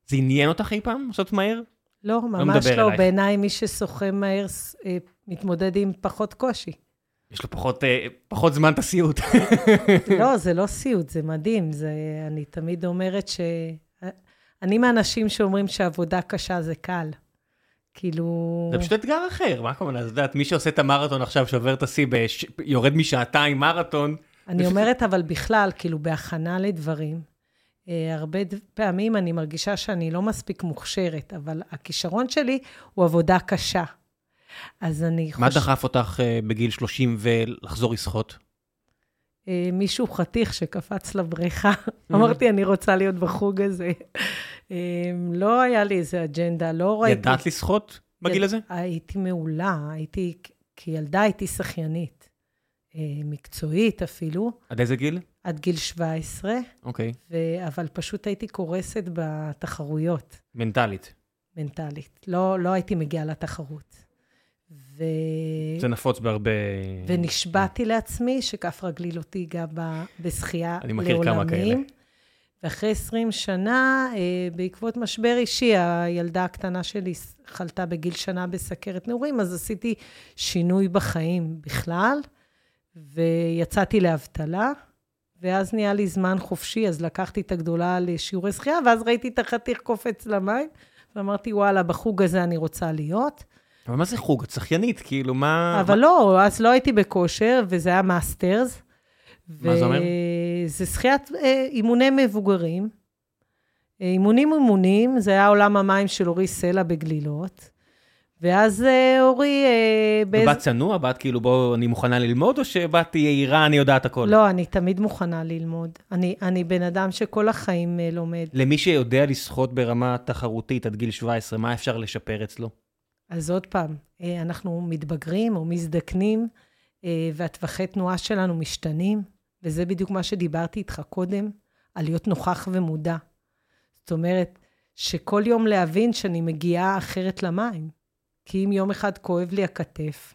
זה עניין אותך אי פעם לעשות מהר?
לא, ממש
מדבר
לא.
אלייך.
בעיניי, מי שסוחב מהר ס- אה, מתמודד עם פחות קושי.
יש לו פחות, אה, פחות זמן תסיעות.
כן. לא, זה לא סיוט, זה מדהים. זה, אני תמיד אומרת ש... אה, אני מהאנשים שאומרים שעבודה קשה זה קל. כאילו...
זה פשוט אתגר אחר, מה הכוונה? את יודעת, מי שעושה את המרתון עכשיו, שובר את השיא, בש... יורד משעתיים מרתון,
אני אומרת, אבל בכלל, כאילו, בהכנה לדברים, אה, הרבה ד- פעמים אני מרגישה שאני לא מספיק מוכשרת, אבל הכישרון שלי הוא עבודה קשה. אז אני
מה
חושבת...
דחף אותך אה, בגיל 30 ולחזור לשחות?
אה, מישהו חתיך שקפץ לבריכה. אמרתי, אני רוצה להיות בחוג הזה. אה, לא היה לי איזה אג'נדה, לא ראיתי...
ידעת לשחות
כן.
בגיל הזה?
הייתי מעולה, הייתי, כילדה הייתי שחיינית, אה, מקצועית אפילו,
עד איזה גיל?
עד גיל 17,
אוקיי.
ו... אבל פשוט הייתי קורסת בתחרויות,
מנטלית.
אוקיי. מנטלית. לא, לא הייתי מגיעה לתחרות. ו...
זה נפוץ בהרבה...
ונשבעתי לעצמי שכף רגלי לא תיגע ב- בשחייה
אני מכיר כמה
לעולמים. ואחרי 20 שנה, אה, בעקבות משבר אישי, הילדה הקטנה שלי ס- חלתה בגיל שנה בסכרת נעורים, אז עשיתי שינוי בחיים בכלל, ויצאתי לאבטלה, ואז נהיה לי זמן חופשי, אז לקחתי את הגדולה לשיעורי שחייה, ואז ראיתי את החתיך קופץ למים, ואמרתי, וואלה, בחוג הזה אני רוצה להיות.
אבל מה זה חוג? את שחיינית, כאילו, מה...
אבל
מה-
לא, אז לא הייתי בכושר, וזה היה מאסטרס.
מה זה אומר?
זה שחיית אה, אימוני מבוגרים. אה, אימונים אימונים, זה היה עולם המים של אורי סלע בגלילות. ואז אה, אורי... אה, באיזה-
באת צנוע? באת כאילו, בוא, אני מוכנה ללמוד, או שבאת יהירה, אני יודעת הכל?
לא, אני תמיד מוכנה ללמוד. אני, אני בן אדם שכל החיים אה, לומד.
למי שיודע לשחות ברמה תחרותית עד גיל 17, מה אפשר לשפר אצלו?
אז עוד פעם, אה, אנחנו מתבגרים או מזדקנים, אה, והטווחי תנועה שלנו משתנים, וזה בדיוק מה שדיברתי איתך קודם, על להיות נוכח ומודע. זאת אומרת, שכל יום להבין שאני מגיעה אחרת למים. כי אם יום אחד כואב לי הכתף,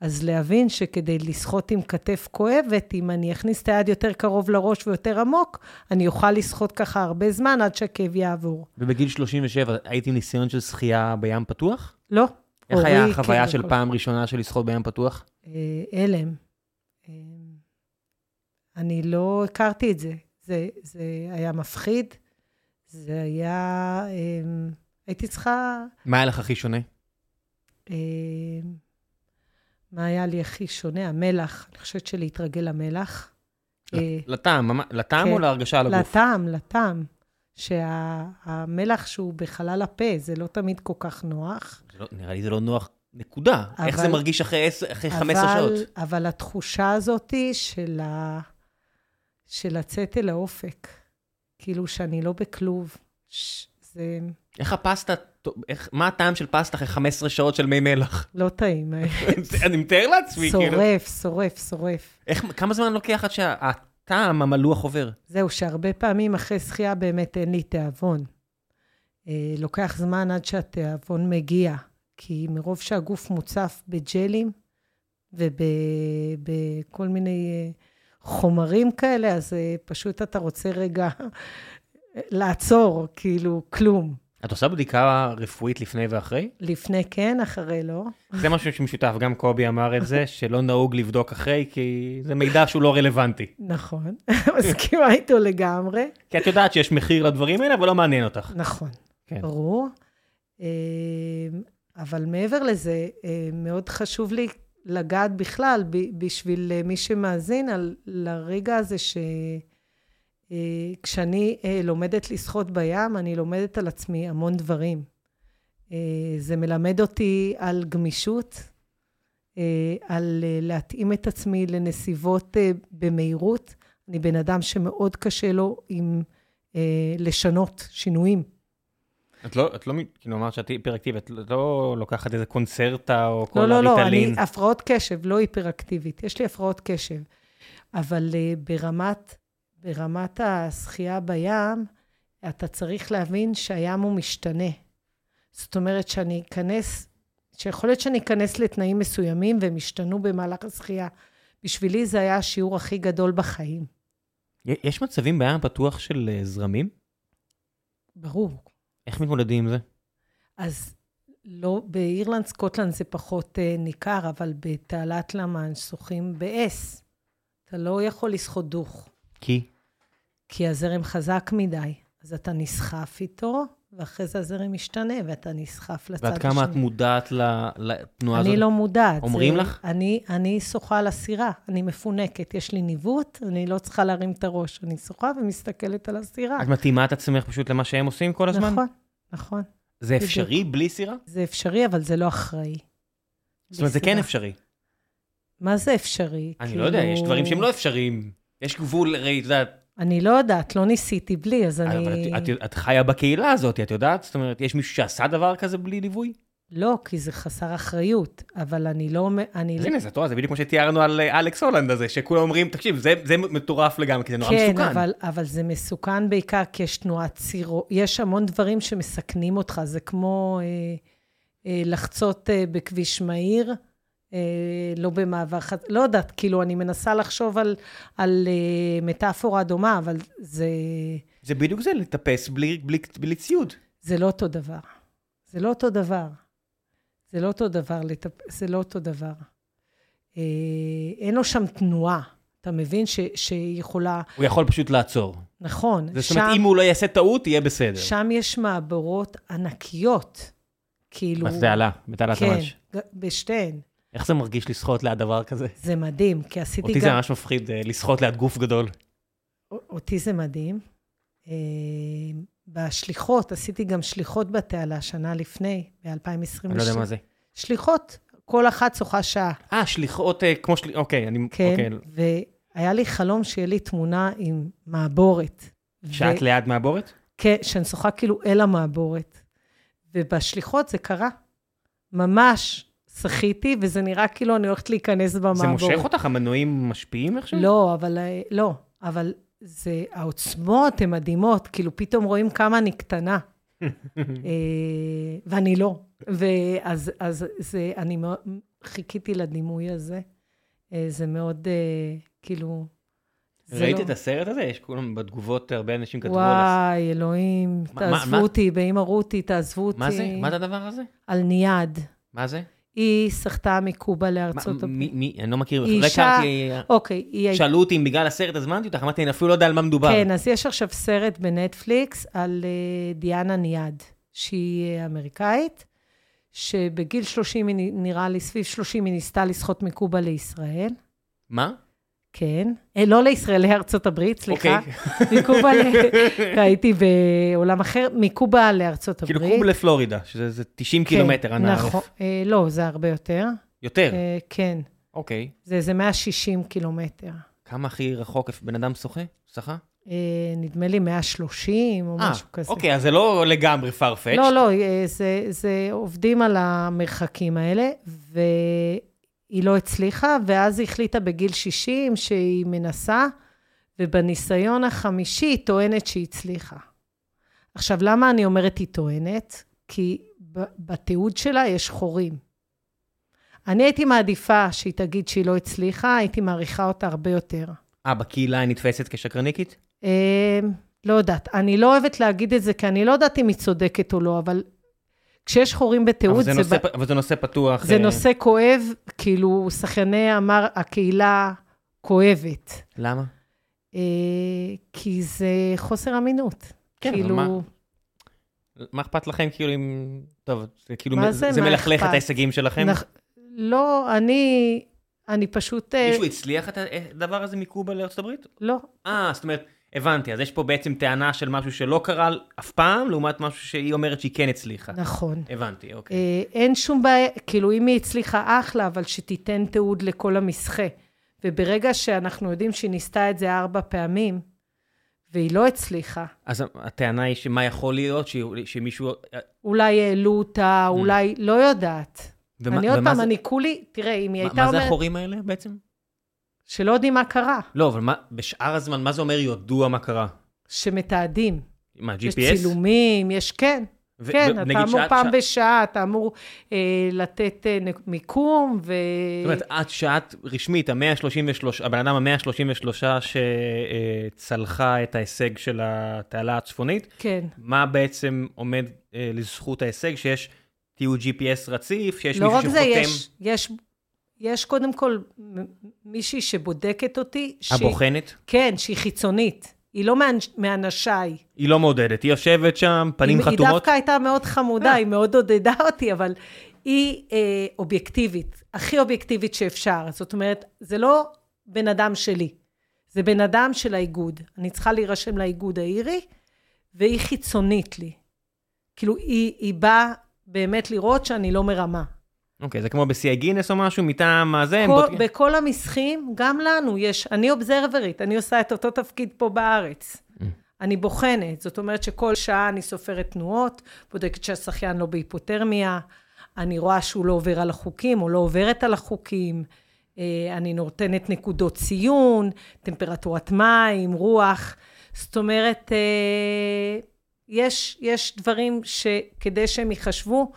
אז להבין שכדי לשחות עם כתף כואבת, אם אני אכניס את היד יותר קרוב לראש ויותר עמוק, אני אוכל לשחות ככה הרבה זמן עד שהכאב יעבור.
ובגיל 37 הייתי עם ניסיון של שחייה בים פתוח?
לא.
איך היה
אורי,
החוויה
כן,
של
הכל.
פעם ראשונה של לשחות בים פתוח?
אה, הלם. אה, אני לא הכרתי את זה. זה, זה היה מפחיד, זה היה... אה, הייתי צריכה...
מה היה לך הכי שונה?
אה, מה היה לי הכי שונה? המלח. אני חושבת שלהתרגל למלח. אה,
לטעם, ממש- לטעם
כן.
או להרגשה על הגוף?
לטעם, לטעם. שהמלח שהוא בחלל הפה, זה לא תמיד כל כך נוח.
זה לא- נראה לי זה לא נוח, נקודה. איך
אבל-
זה מרגיש אחרי עשר- אחרי 15
אבל-
שעות?
אבל התחושה הזאת של, ה... של לצאת אל האופק, כאילו שאני לא בכלוב, ש... זה
איך הפסטה, איך- מה הטעם של פסטה אחרי 15 שעות של מי מלח?
לא טעים.
אני מתאר לעצמי, כאילו.
שורף, שורף, שורף.
איך- כמה זמן לוקח עד שהטעם המלוח עובר?
זהו, שהרבה פעמים אחרי שחייה באמת אין לי תיאבון. אה, לוקח זמן עד שהתיאבון מגיע, כי מרוב שהגוף מוצף בג'לים ובכל מיני אה, חומרים כאלה, אז אה, פשוט אתה רוצה רגע לעצור, כאילו, כלום.
את עושה בדיקה רפואית לפני ואחרי?
לפני כן, אחרי לא.
זה משהו שמשותף, גם קובי אמר את זה, שלא נהוג לבדוק אחרי, כי זה מידע שהוא לא רלוונטי.
נכון, מסכימה איתו לגמרי.
כי את יודעת שיש מחיר לדברים האלה, אבל לא מעניין אותך.
נכון.
כן.
ברור. אמ, אבל מעבר לזה, אמ, מאוד חשוב לי לגעת בכלל, ב- בשביל אה, מי שמאזין, על לרגע הזה שכשאני אה, לומדת לשחות בים, אני לומדת על עצמי המון דברים. אה, זה מלמד אותי על גמישות, אה, על אה, להתאים את עצמי לנסיבות אה, במהירות. אני בן אדם שמאוד קשה לו עם אה, לשנות שינויים.
את לא, את לא, מ- כאילו אמרת שאת היפראקטיבית, את לא לוקחת איזה קונצרטה או כל
לא, לא, לא,
הריטלין.
אני הפרעות קשב, לא היפראקטיבית. יש לי הפרעות קשב. אבל אה, ברמת, ברמת השחייה בים, אתה צריך להבין שהים הוא משתנה. זאת אומרת שאני אכנס, שיכול להיות שאני אכנס לתנאים מסוימים והם ישתנו במהלך השחייה. בשבילי זה היה השיעור הכי גדול בחיים.
י- יש מצבים בים פתוח של אה, זרמים?
ברור.
איך מתמודדים עם זה?
אז לא, באירלנד, סקוטלנד זה פחות אה, ניכר, אבל בתעלת למאן שוחים באס. אתה לא יכול לשחות דוך,
כי?
כי הזרם חזק מדי. אז אתה נסחף איתו, ואחרי זה הזרם משתנה, ואתה נסחף לצד
ועד כמה את מודעת ל- לתנועה הזאת?
אני לא מודעת.
אומרים
זה-
לך?
אני, אני שוחה על הסירה, אני מפונקת. יש לי ניווט, אני לא צריכה להרים את הראש. אני שוחה ומסתכלת על הסירה.
את מתאימה את עצמך פשוט למה שהם עושים כל הזמן?
נכון, נכון.
זה אפשרי בלי סירה?
זה אפשרי, אבל זה לא אחראי.
זאת אומרת, זה כן
בסירה.
אפשרי.
מה זה אפשרי? כאילו,
אני לא יודע, יש דברים שהם לא אפשריים. יש גבול, הרי את יודעת,
אני לא יודעת, לא ניסיתי בלי, אז אני...
אה, אבל את- את- את חיה בקהילה הזאת, את יודעת? זאת אומרת, יש מישהו שעשה דבר כזה בלי ליווי?
לא, כי זה חסר אחריות, אבל אני לא... מ- אני...
אז הנה, זה טועה, זה בדיוק כמו שתיארנו על אה, אלכס הולנד הזה, שכולם אומרים, תקשיב, זה זה מטורף לגמרי, כי זה נורא
כן,
מסוכן.
אבל, אבל זה מסוכן בעיקר כי יש תנועת צירו, יש המון דברים שמסכנים אותך, זה כמו אה, אה, לחצות אה, בכביש מהיר, אה, לא במעבר חד... לא יודעת, כאילו, אני מנסה לחשוב על, על אה, מטאפורה דומה, אבל זה,
זה בדיוק זה, לטפס בלי- בלי בלי ציוד.
זה לא אותו דבר. זה לא אותו דבר. זה לא אותו דבר, לטפ... זה לא אותו דבר. אה, אין לו שם תנועה. אתה מבין ש... שיכולה,
הוא יכול פשוט לעצור.
נכון,
זאת אומרת, אם הוא לא יעשה טעות, יהיה בסדר.
שם יש מעברות ענקיות, כאילו...
אז זה עלה, בתעלת
כן,
ממש.
ג- בשתיהן.
איך זה מרגיש לשחות ליד דבר כזה?
זה מדהים, כי עשיתי
אותי זה
גם...
ממש מפחיד, אה, לשחות ליד גוף גדול.
אותי זה מדהים. אה, בשליחות, עשיתי גם שליחות בתעלה שנה לפני, ב-2022.
אני לא יודע מה זה.
שליחות, כל אחת שוחה שעה.
אה, שליחות אה, כמו של... אוקיי, אני...
כן,
אוקיי.
והיה לי חלום שיהיה לי תמונה עם מעבורת.
שאת ליד מהבורת?
כן, שאני שוחה כאילו אל המעבורת. ובשליחות זה קרה. ממש שחיתי, וזה נראה כאילו אני הולכת להיכנס במעבורת.
זה מושך אותך? המנועים משפיעים איכשהו?
לא, אבל... אה, לא, אבל זה... העוצמות הן מדהימות, כאילו פתאום רואים כמה אני קטנה. אה, ואני לא. ואז אז זה... אני מאוד... חיכיתי לדימוי הזה. אה, זה מאוד, אה, כאילו... זה
ראית
לא-
את הסרט הזה? יש כולם בתגובות, הרבה אנשים כתבו עליו.
וואי, אלוהים,
מה-
תעזבו
מה-
אותי, באמא רותי, תעזבו אותי.
מה זה? מה זה הדבר הזה?
על ניאד.
מה זה?
היא סחטה מקובה
מה-
לארצות
מי?
הברית.
מי? אני לא מכיר.
היא
לא
אישה-
הכרתי,
אוקיי, היא הייתה...
שאלו אותי אם בגלל הסרט הזמנתי אותך, אמרתי, אני אפילו לא יודע על מה מדובר.
כן, אז יש עכשיו סרט בנטפליקס על אה, דיאנה ניאד, שהיא אה, אמריקאית, שבגיל 30, היא נ- נראה לי, סביב 30, היא ניסתה לסחוט מקובה לישראל.
מה?
כן. אה, לא לישראל, לארצות הברית, סליחה.
אוקיי.
מקובה, ל- הייתי בעולם אחר, מקובה לארצות
כאילו
הברית.
קוב לפלורידה, שזה זה 90
כן,
קילומטר, אנא
נכון.
ערף.
אה, לא, זה הרבה יותר.
יותר.
אה, כן.
אוקיי.
זה איזה 160 קילומטר.
כמה הכי רחוק בן אדם שוחה? שחה?
אה, נדמה לי 130 או
אה,
משהו כזה.
אוקיי, אז זה לא לגמרי farfetched.
לא, לא, אה, זה, זה עובדים על המרחקים האלה, והיא לא הצליחה, ואז היא החליטה בגיל 60 שהיא מנסה, ובניסיון החמישי היא טוענת שהיא הצליחה. עכשיו, למה אני אומרת היא טוענת? כי ב- בתיעוד שלה יש חורים. אני הייתי מעדיפה שהיא תגיד שהיא לא הצליחה, הייתי מעריכה אותה הרבה יותר.
אה, בקהילה היא נתפסת כשקרניקית?
אה, לא יודעת. אני לא אוהבת להגיד את זה, כי אני לא יודעת אם היא צודקת או לא, אבל כשיש חורים
אבל
בתיעוד,
זה
זה,
נושא
ב-
פ- אבל זה נושא פתוח.
זה
אה,
נושא כואב, כאילו, שחייני אמר, הקהילה כואבת.
למה?
אה, כי זה חוסר אמינות.
כן, אבל
כאילו,
מה- מה אכפת לכם כאילו אם... טוב, זה כאילו...
מה
מ-
זה,
זה
מה
מלכלך את
אכפת? נכון.
ההישגים שלכם?
נכ- לא, אני, אני פשוט... אה,
מישהו הצליח את הדבר הזה מקובה לארצות הברית?
לא,
אה, זאת אומרת, הבנתי. אז יש פה בעצם טענה של משהו שלא קרה אף פעם, לעומת משהו שהיא אומרת שהיא כן הצליחה.
נכון.
הבנתי, אוקיי.
אה, אין שום בעיה, כאילו, אם היא הצליחה, אחלה, אבל שתיתן תיעוד לכל המסחה. וברגע שאנחנו יודעים שהיא ניסתה את זה ארבע פעמים, והיא לא הצליחה,
אז הטענה היא שמה יכול להיות, ש- שמישהו...
אולי העלו אותה, אולי, לא יודעת.
Mm. ומה-
אני עוד
ומה
פעם,
זה-
אני כולי, תראה, אם היא
מה-
הייתה
מה זה
אומרת,
החורים האלה בעצם?
שלא יודעים מה קרה,
לא, אבל מה, בשאר הזמן, מה זה אומר ידוע מה קרה?
שמתעדים.
מה, GPS?
יש צילומים, יש, כן,
ו-
כן,
ו-
אתה
נגיד
אמור
שאת-
פעם
שאת-
בשעה, אתה אמור אה, לתת אה, נק- מיקום, ו...
זאת אומרת, את שאת רשמית, ה-133, הבן אדם ה-133 שצלחה את ההישג של התעלה הצפונית,
כן,
מה בעצם עומד אה, לזכות ההישג? שיש תיעוד GPS רציף, שיש
לא
מישהו
רק
שחותם...
זה, יש, יש, יש קודם כל מ- מישהי שבודקת אותי, שהיא-
הבוחנת?
כן, שהיא חיצונית, היא לא מאנש- מאנשיי.
היא לא מעודדת, היא יושבת שם, פנים
היא, היא
חתומות.
דווקא הייתה מאוד חמודה, היא מאוד עודדה אותי, אבל היא אה, אובייקטיבית, הכי אובייקטיבית שאפשר. זאת אומרת, זה לא בן אדם שלי, זה בן אדם של האיגוד. אני צריכה להירשם לאיגוד האירי, והיא חיצונית לי. כאילו, היא, היא באה באמת לראות שאני לא מרמה.
אוקיי, זה כמו בשיא הגינס או משהו, מטעם הזה, הם
כל,
בודקים.
בכל המסחים, גם לנו יש, אני אובזרברית, אני עושה את אותו תפקיד פה בארץ. אני בוחנת, זאת אומרת שכל שעה אני סופרת תנועות, בודקת שהשחיין לא בהיפותרמיה, אני רואה שהוא לא עובר על החוקים או לא עוברת על החוקים, אה, אני נותנת נקודות ציון, טמפרטורת מים, רוח, זאת אומרת, אה, יש, יש דברים שכדי שהם ייחשבו,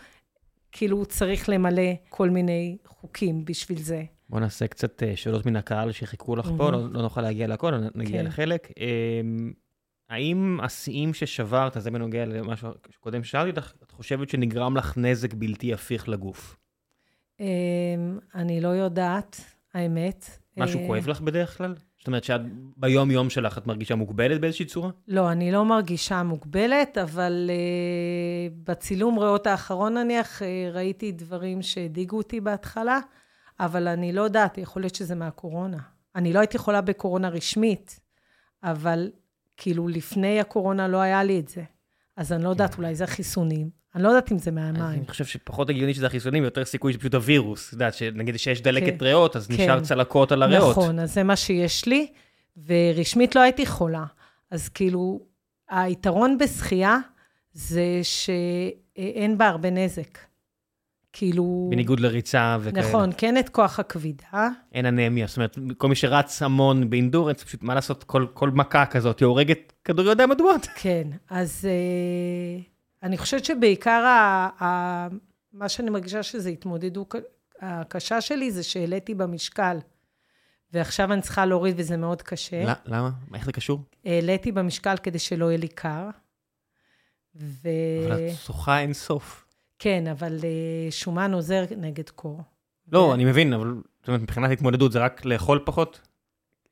כאילו צריך למלא כל מיני חוקים בשביל זה.
בוא נעשה קצת אה, שאלות מן הקהל שחיכו לך פה, לא לא נוכל להגיע לכל, נ- נגיע
כן.
לחלק. אמ, האם השיאים ששברת, זה בנוגע למה שקודם שאלתי אותך, את חושבת שנגרם לך נזק בלתי הפיך לגוף?
אמ, אני לא יודעת, האמת.
משהו
אה,
כואב לך בדרך כלל? זאת אומרת שאת ביום-יום שלך את מרגישה מוגבלת באיזושהי צורה?
לא, אני לא מרגישה מוגבלת, אבל אה, בצילום ריאות האחרון נניח, אה, ראיתי דברים שהדאיגו אותי בהתחלה, אבל אני לא יודעת, יכול להיות שזה מהקורונה. אני לא הייתי חולה בקורונה רשמית, אבל כאילו לפני הקורונה לא היה לי את זה. אז אני לא יודעת,
כן.
אולי זה החיסונים. אני לא יודעת אם זה מהמים.
אני חושב שפחות הגיוני שזה החיסונים, יותר סיכוי שפשוט הווירוס. את יודעת, שנגיד שיש דלקת
כן.
ריאות, אז
כן.
נשאר צלקות על הריאות.
נכון, אז זה מה שיש לי, ורשמית לא הייתי חולה. אז כאילו, היתרון בשחייה זה שאין בה הרבה נזק. כאילו...
בניגוד לריצה וכאלה.
נכון, כן את כוח הכבידה,
אין אנמיה, זאת אומרת, כל מי שרץ המון באינדורנס, פשוט מה לעשות, כל, כל מכה כזאת, היא הורגת כדוריד מדועות.
כן. אז אה, אני חושבת שבעיקר ה, ה, מה שאני מרגישה שזה התמודדות ק- הקשה שלי, זה שהעליתי במשקל, ועכשיו אני צריכה להוריד, וזה מאוד קשה.
למה? איך זה קשור?
העליתי במשקל כדי שלא יהיה לי קר. ו...
אבל את שוחה אין סוף.
כן, אבל אה, שומן עוזר נגד קור. כן.
לא, אני מבין, אבל זאת אומרת, מבחינת התמודדות זה רק לאכול פחות?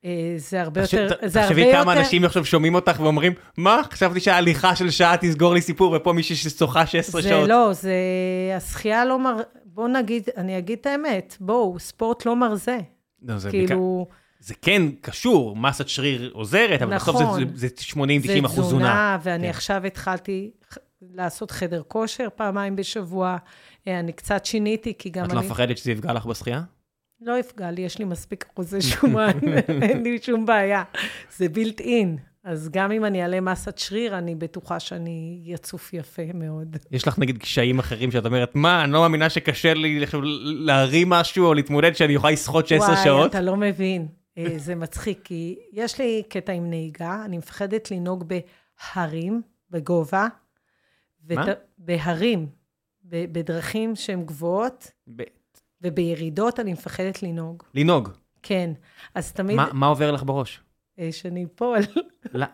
אה, זה הרבה
תחשב-
יותר...
ת-
זה הרבה
תחשבי כמה
יותר-
אנשים עכשיו שומעים אותך ואומרים, מה? חשבתי שההליכה של שעה תסגור לי סיפור, ופה מישהי ששוחה 16
זה
שעות.
לא, זה... השחייה לא מר... בוא נגיד, אני אגיד את האמת, בואו, ספורט לא מרזה.
לא, זה בעיקר-
כאילו,
זה כן קשור, מסת שריר עוזרת, אבל בסוף
נכון.
זה- זה 80-90
זה
אחוז תזונה.
תזונה, ואני
כן.
עכשיו התחלתי ח- לעשות חדר כושר פעמיים בשבוע. אה, אני קצת שיניתי, כי גם
את
אני...
לא מפחדת שזה יפגע לך בשחייה?
לא יפגע לי, יש לי מספיק אחוזי שומן, אין לי שום בעיה. זה בילט אין. אז גם אם אני אעלה מסת שריר, אני בטוחה שאני יצוף יפה מאוד.
יש לך נגיד קשיים אחרים שאת אומרת, מה, אני לא מאמינה שקשה לי עכשיו להרים משהו או להתמודד שאני יכולה לסחוט 16
וואי,
שעות?
אתה לא מבין. אה, זה מצחיק, כי יש לי קטע עם נהיגה, אני מפחדת לנהוג בהרים, בגובה.
מה?
בהרים, ב- בדרכים שהן גבוהות,
ב-
ובירידות אני מפחדת לנהוג.
לנהוג.
כן. אז תמיד,
מה מה עובר לך בראש?
אה, שאני אפול,
לא,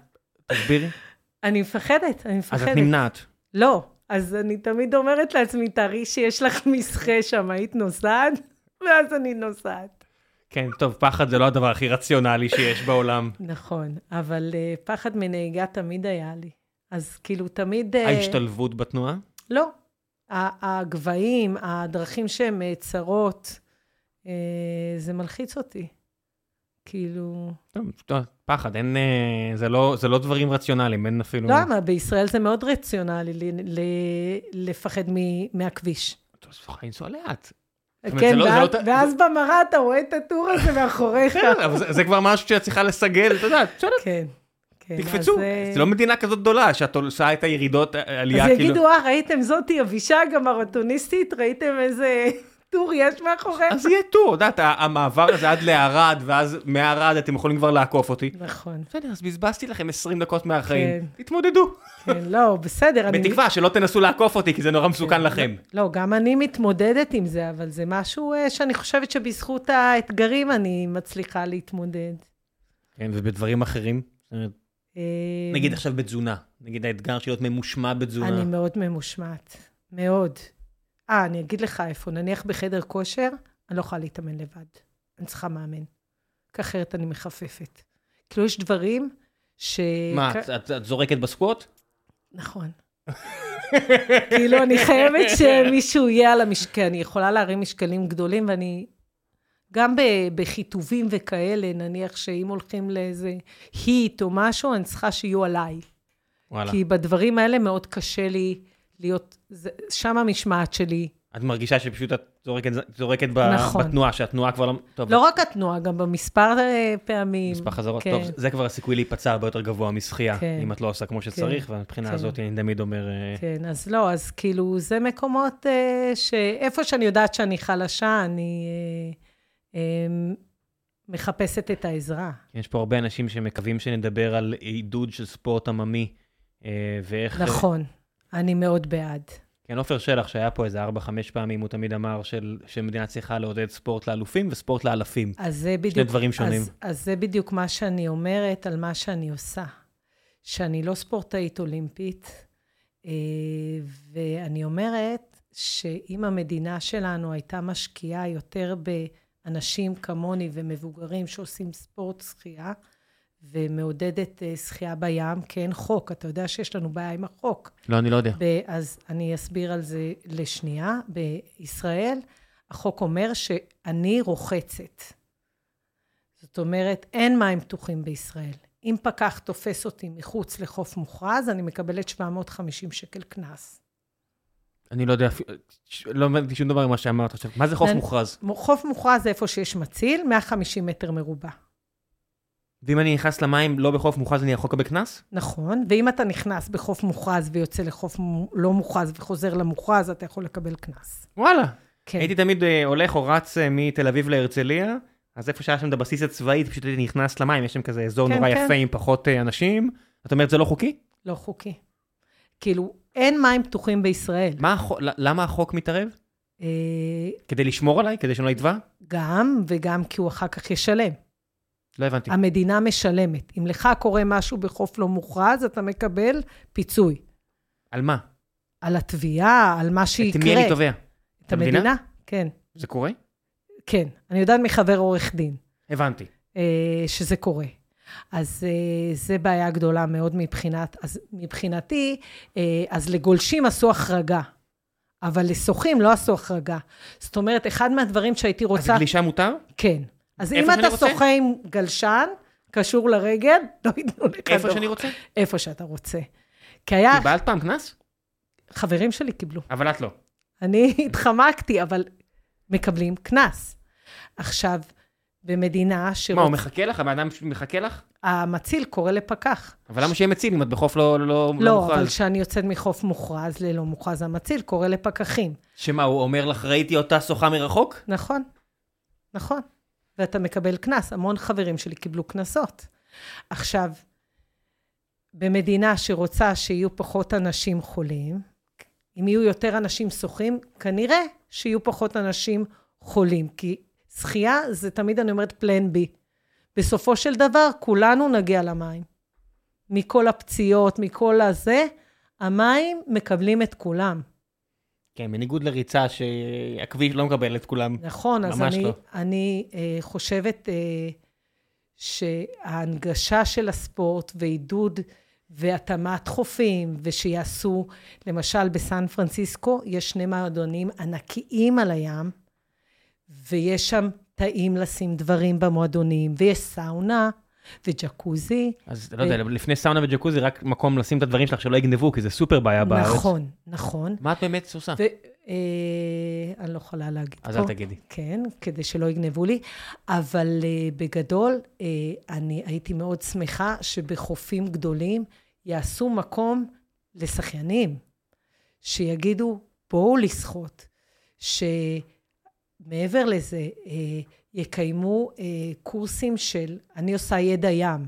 תסבירי.
אני מפחדת, אני
אז
מפחדת.
את נמנעת.
לא, אז אני תמיד אומרת לעצמי, תארי שיש לך מסחה שם, היית נוסעת? ואז אני נוסעת.
כן, טוב, פחד זה לא הדבר הכי רציונלי שיש בעולם.
נכון, אבל uh, פחד מנהיגה תמיד היה לי. אז כאילו תמיד... אה,
ההשתלבות בתנועה?
לא. ה- הגבהים, הדרכים שהן אה, צרות, אה, זה מלחיץ אותי. כאילו...
טוב, טוב, פחד, אין... אה, זה לא- זה לא דברים רציונליים, אין אפילו...
לא, אבל בישראל זה מאוד רציונלי ל- ל- לפחד מ- מהכביש.
טוב, סליחה, לנסוע לאט. אומרת, זה
כן,
לא- זה
ואז-
לא ת-
ואז במראה אתה רואה את הטור הזה מאחוריך.
כן, אבל זה- זה כבר משהו שאת צריכה לסגל, את יודעת, בסדר,
כן. כן,
תקפצו.
אז, אה,
זה לא מדינה כזאת גדולה, שאת עושה את הירידות, עלייה,
אז
כאילו.
יגידו, אה, ראיתם זאתי אבישג המרתוניסטית? ראיתם איזה טור יש מאחוריך?
אז יהיה טור, את יודעת, ה- המעבר הזה עד לערד, ואז מערד אתם יכולים כבר לעקוף אותי.
נכון.
בסדר, אז בזבזתי לכם 20 דקות מהחיים.
כן.
תתמודדו.
כן, לא, בסדר. אני-
בתקווה שלא תנסו לעקוף אותי, כי זה נורא מסוכן לכם.
לא, גם אני מתמודדת עם זה, אבל זה משהו אה, שאני חושבת שבזכות האתגרים אני מצליחה להתמודד.
כן, ובדברים אחרים?
אה,
נגיד עכשיו בתזונה. נגיד האתגר של להיות ממושמע בתזונה.
אני מאוד ממושמעת, מאוד. אה, אני אגיד לך איפה, נניח בחדר כושר, אני לא יכולה להתאמן לבד. אני צריכה מאמן, כי אחרת אני מחפפת. כאילו, יש דברים ש...
מה,
כ-
את- את- את זורקת בסקווט?
נכון. כאילו, אני חייבת שמישהו יהיה על המשקל. אני יכולה להרים משקלים גדולים, ואני... גם ב- בחיטובים וכאלה, נניח שאם הולכים לאיזה היט או משהו, אני צריכה שיהיו עליי.
וואלה.
כי בדברים האלה מאוד קשה לי להיות... זה- שם המשמעת שלי.
את מרגישה שפשוט את זורקת, זורקת ב...
נכון.
בתנועה, שהתנועה כבר לא... טוב,
לא רק התנועה, גם במספר אה, פעמים.
מספר חזרות.
כן.
טוב, זה כבר הסיכוי להיפצע הרבה יותר גבוה משחייה,
כן.
אם את לא עושה כמו שצריך, ומבחינה
כן.
הזאת אני תמיד אומר... אה,
כן, אז לא, אז כאילו, זה מקומות אה, שאיפה שאני יודעת שאני חלשה, אני אה, אה, מחפשת את העזרה.
יש פה הרבה אנשים שמקווים שנדבר על עידוד של ספורט עממי, אה, ואיך...
נכון, אני מאוד בעד.
כן, עופר שלח, שהיה פה איזה 4-5 פעמים, הוא תמיד אמר של, שמדינה צריכה לעודד ספורט לאלופים וספורט לאלפים.
אז זה בדיוק...
דברים שונים.
אז, אז זה בדיוק מה שאני אומרת על מה שאני עושה. שאני לא ספורטאית אולימפית, אה, ואני אומרת שאם המדינה שלנו הייתה משקיעה יותר באנשים כמוני ומבוגרים שעושים ספורט שחייה, ומעודדת אה, שחייה בים, כי אין חוק. אתה יודע שיש לנו בעיה עם החוק.
לא, אני לא יודע.
ב- אז אני אסביר על זה לשנייה. בישראל, החוק אומר שאני רוחצת. זאת אומרת, אין מים פתוחים בישראל. אם פקח תופס אותי מחוץ לחוף מוכרז, אני מקבלת 750 שקל קנס.
אני לא יודע, אפילו- ש- לא הבנתי שום דבר ממה שאמרת עכשיו. מה זה חוף
אני-
מוכרז?
חוף מוכרז זה איפה שיש מציל, 150 מטר מרובע.
ואם אני נכנס למים לא בחוף מוכרז, אני יכול לקבל קנס?
נכון, ואם אתה נכנס בחוף מוכרז ויוצא לחוף מו- לא מוכרז וחוזר למוכרז, אתה יכול לקבל קנס.
וואלה.
כן.
הייתי תמיד אה, הולך או רץ אה, מתל אביב להרצליה, אז איפה שהיה שם את הבסיס הצבאי, פשוט הייתי נכנס למים, יש שם כזה אזור
כן,
נורא
כן.
יפה עם פחות אה, אנשים. את אומרת, זה לא חוקי?
לא חוקי. כאילו, אין מים פתוחים בישראל.
מה החו- ל- למה החוק מתערב?
אה,
כדי לשמור עליי? כדי שאני לא אטבע?
גם, וגם כי הוא אחר כך ישלם.
לא הבנתי.
המדינה משלמת. אם לך קורה משהו בחוף לא מוכרז, אתה מקבל פיצוי.
על מה?
על התביעה, על מה
את
שיקרה.
מי אני תובע?
את המדינה? כן,
זה קורה?
כן. אני יודעת מחבר עורך דין
הבנתי.
אה, שזה קורה. אז אה, זה בעיה גדולה מאוד מבחינת, אז מבחינתי, אה, אז לגולשים עשו החרגה, אבל לשוחים לא עשו החרגה. זאת אומרת, אחד מהדברים שהייתי
אז
רוצה...
גלישה מותר?
כן. אז אם
איפה שאני
אתה
רוצה?
שוחה עם גלשן, קשור לרגל, לא ייתנו לך
איפה
דוח.
שאני רוצה?
איפה שאתה רוצה. כי היה,
קיבלת פעם קנס?
חברים שלי קיבלו.
אבל את לא.
אני התחמקתי, אבל מקבלים קנס. עכשיו, במדינה
מה, הוא
שהמציל
מחכה לך? הבן אדם מחכה לך?
קורא לפקח.
אבל למה שיהיה מציל אם את בחוף לא לא- לא
לא, אבל
מוכרז?
כשאני יוצאת מחוף מוכרז ללא מוכרז, המציל קורא לפקחים.
שמה, הוא אומר לך, ראיתי אותה שוחה מרחוק?
נכון, נכון. ואתה מקבל קנס. המון חברים שלי קיבלו קנסות. עכשיו, במדינה שרוצה שיהיו פחות אנשים חולים, אם יהיו יותר אנשים שוחים, כנראה שיהיו פחות אנשים חולים. כי שחייה זה תמיד, אני אומרת, פלן בי. בסופו של דבר, כולנו נגיע למים. מכל הפציעות, מכל הזה, המים מקבלים את כולם.
כן, בניגוד לריצה שהכביש לא מקבל את כולם.
נכון, אז
ממש
אני,
לא.
אני אה, חושבת אה, שההנגשה של הספורט ועידוד והתאמת חופים, ושיעשו, למשל בסן פרנסיסקו, יש שני מועדונים ענקיים על הים, ויש שם תאים לשים דברים במועדונים, ויש סאונה וג'קוזי.
אז לא
אה.
יודע, לפני סאונה וג'קוזי, רק מקום לשים את הדברים שלך שלא יגנבו, כי זה סופר בעיה בארץ.
נכון, נכון.
מה את באמת עושה?
ו- אה, אני לא יכולה להגיד
אז
פה.
אל תגידי.
כן, כדי שלא יגנבו לי. אבל אה, בגדול, אה, אני הייתי מאוד שמחה שבחופים גדולים יעשו מקום לשחיינים, שיגידו, בואו לשחות. שמעבר לזה, אה, יקיימו אה, קורסים של, אני עושה ידע ים.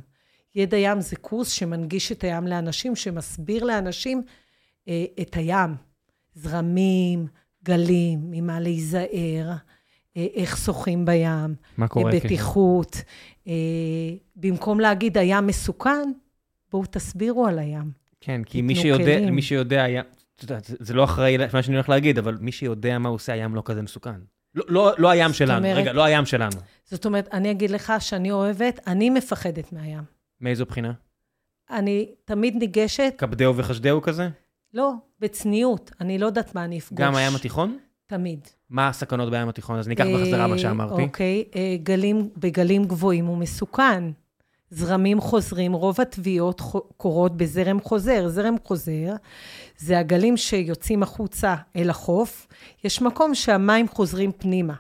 ידע ים זה קורס שמנגיש את הים לאנשים, שמסביר לאנשים אה, את הים. זרמים, גלים, ממה להיזהר, אה, איך שוחים בים,
מה קורה?
אה,
כן.
בטיחות. אה, במקום להגיד הים מסוכן, בואו תסבירו על הים.
כן, כי מי
תיתנו
שיודע,
כלים.
מי שיודע, היה- את יודעת, זה- זה לא אחראי למה שאני הולך להגיד, אבל מי שיודע מה הוא עושה, הים לא כזה מסוכן. לא- לא לא הים שלנו,
אומרת-
רגע, לא הים שלנו.
זאת אומרת, אני אגיד לך שאני אוהבת, אני מפחדת מהים.
מאיזו בחינה?
אני תמיד ניגשת,
קפדהו וחשדהו כזה?
לא, בצניעות, אני לא יודעת מה אני אפגוש.
גם הים התיכון?
תמיד.
מה הסכנות בים התיכון? אז ניקח בחזרה מה
אה,
שאמרתי.
אוקיי, אה, גלים, בגלים גבוהים הוא מסוכן. זרמים חוזרים, רוב הטביעות חו- קורות בזרם חוזר. זרם חוזר זה הגלים שיוצאים החוצה אל החוף. יש מקום שהמים חוזרים פנימה.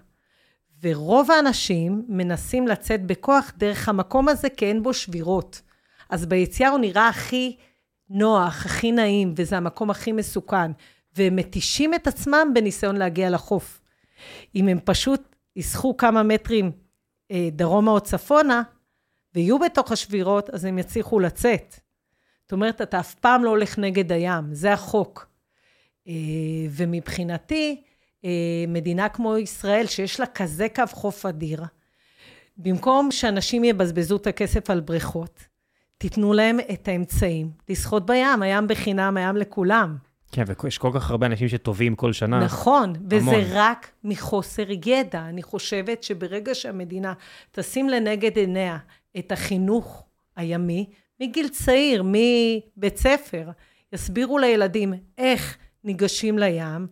ורוב האנשים מנסים לצאת בכוח דרך המקום הזה, כי אין בו שבירות. אז ביציאה הוא נראה הכי נוח, הכי נעים, וזה המקום הכי מסוכן. והם מתישים את עצמם בניסיון להגיע לחוף. אם הם פשוט יסחו כמה מטרים אה, דרומה או צפונה, ויהיו בתוך השבירות, אז הם יצליחו לצאת. זאת אומרת, אתה אף פעם לא הולך נגד הים, זה החוק. אה, ומבחינתי, אה, מדינה כמו ישראל, שיש לה כזה קו חוף אדיר, במקום שאנשים יבזבזו את הכסף על בריכות, תיתנו להם את האמצעים לשחות בים, הים בחינם, הים לכולם.
כן, ויש כל כך הרבה אנשים שטובים כל שנה.
נכון, וזה
המון.
רק מחוסר ידע. אני חושבת שברגע שהמדינה תשים לנגד עיניה את החינוך הימי, מגיל צעיר, מבית ספר, יסבירו לילדים איך ניגשים לים,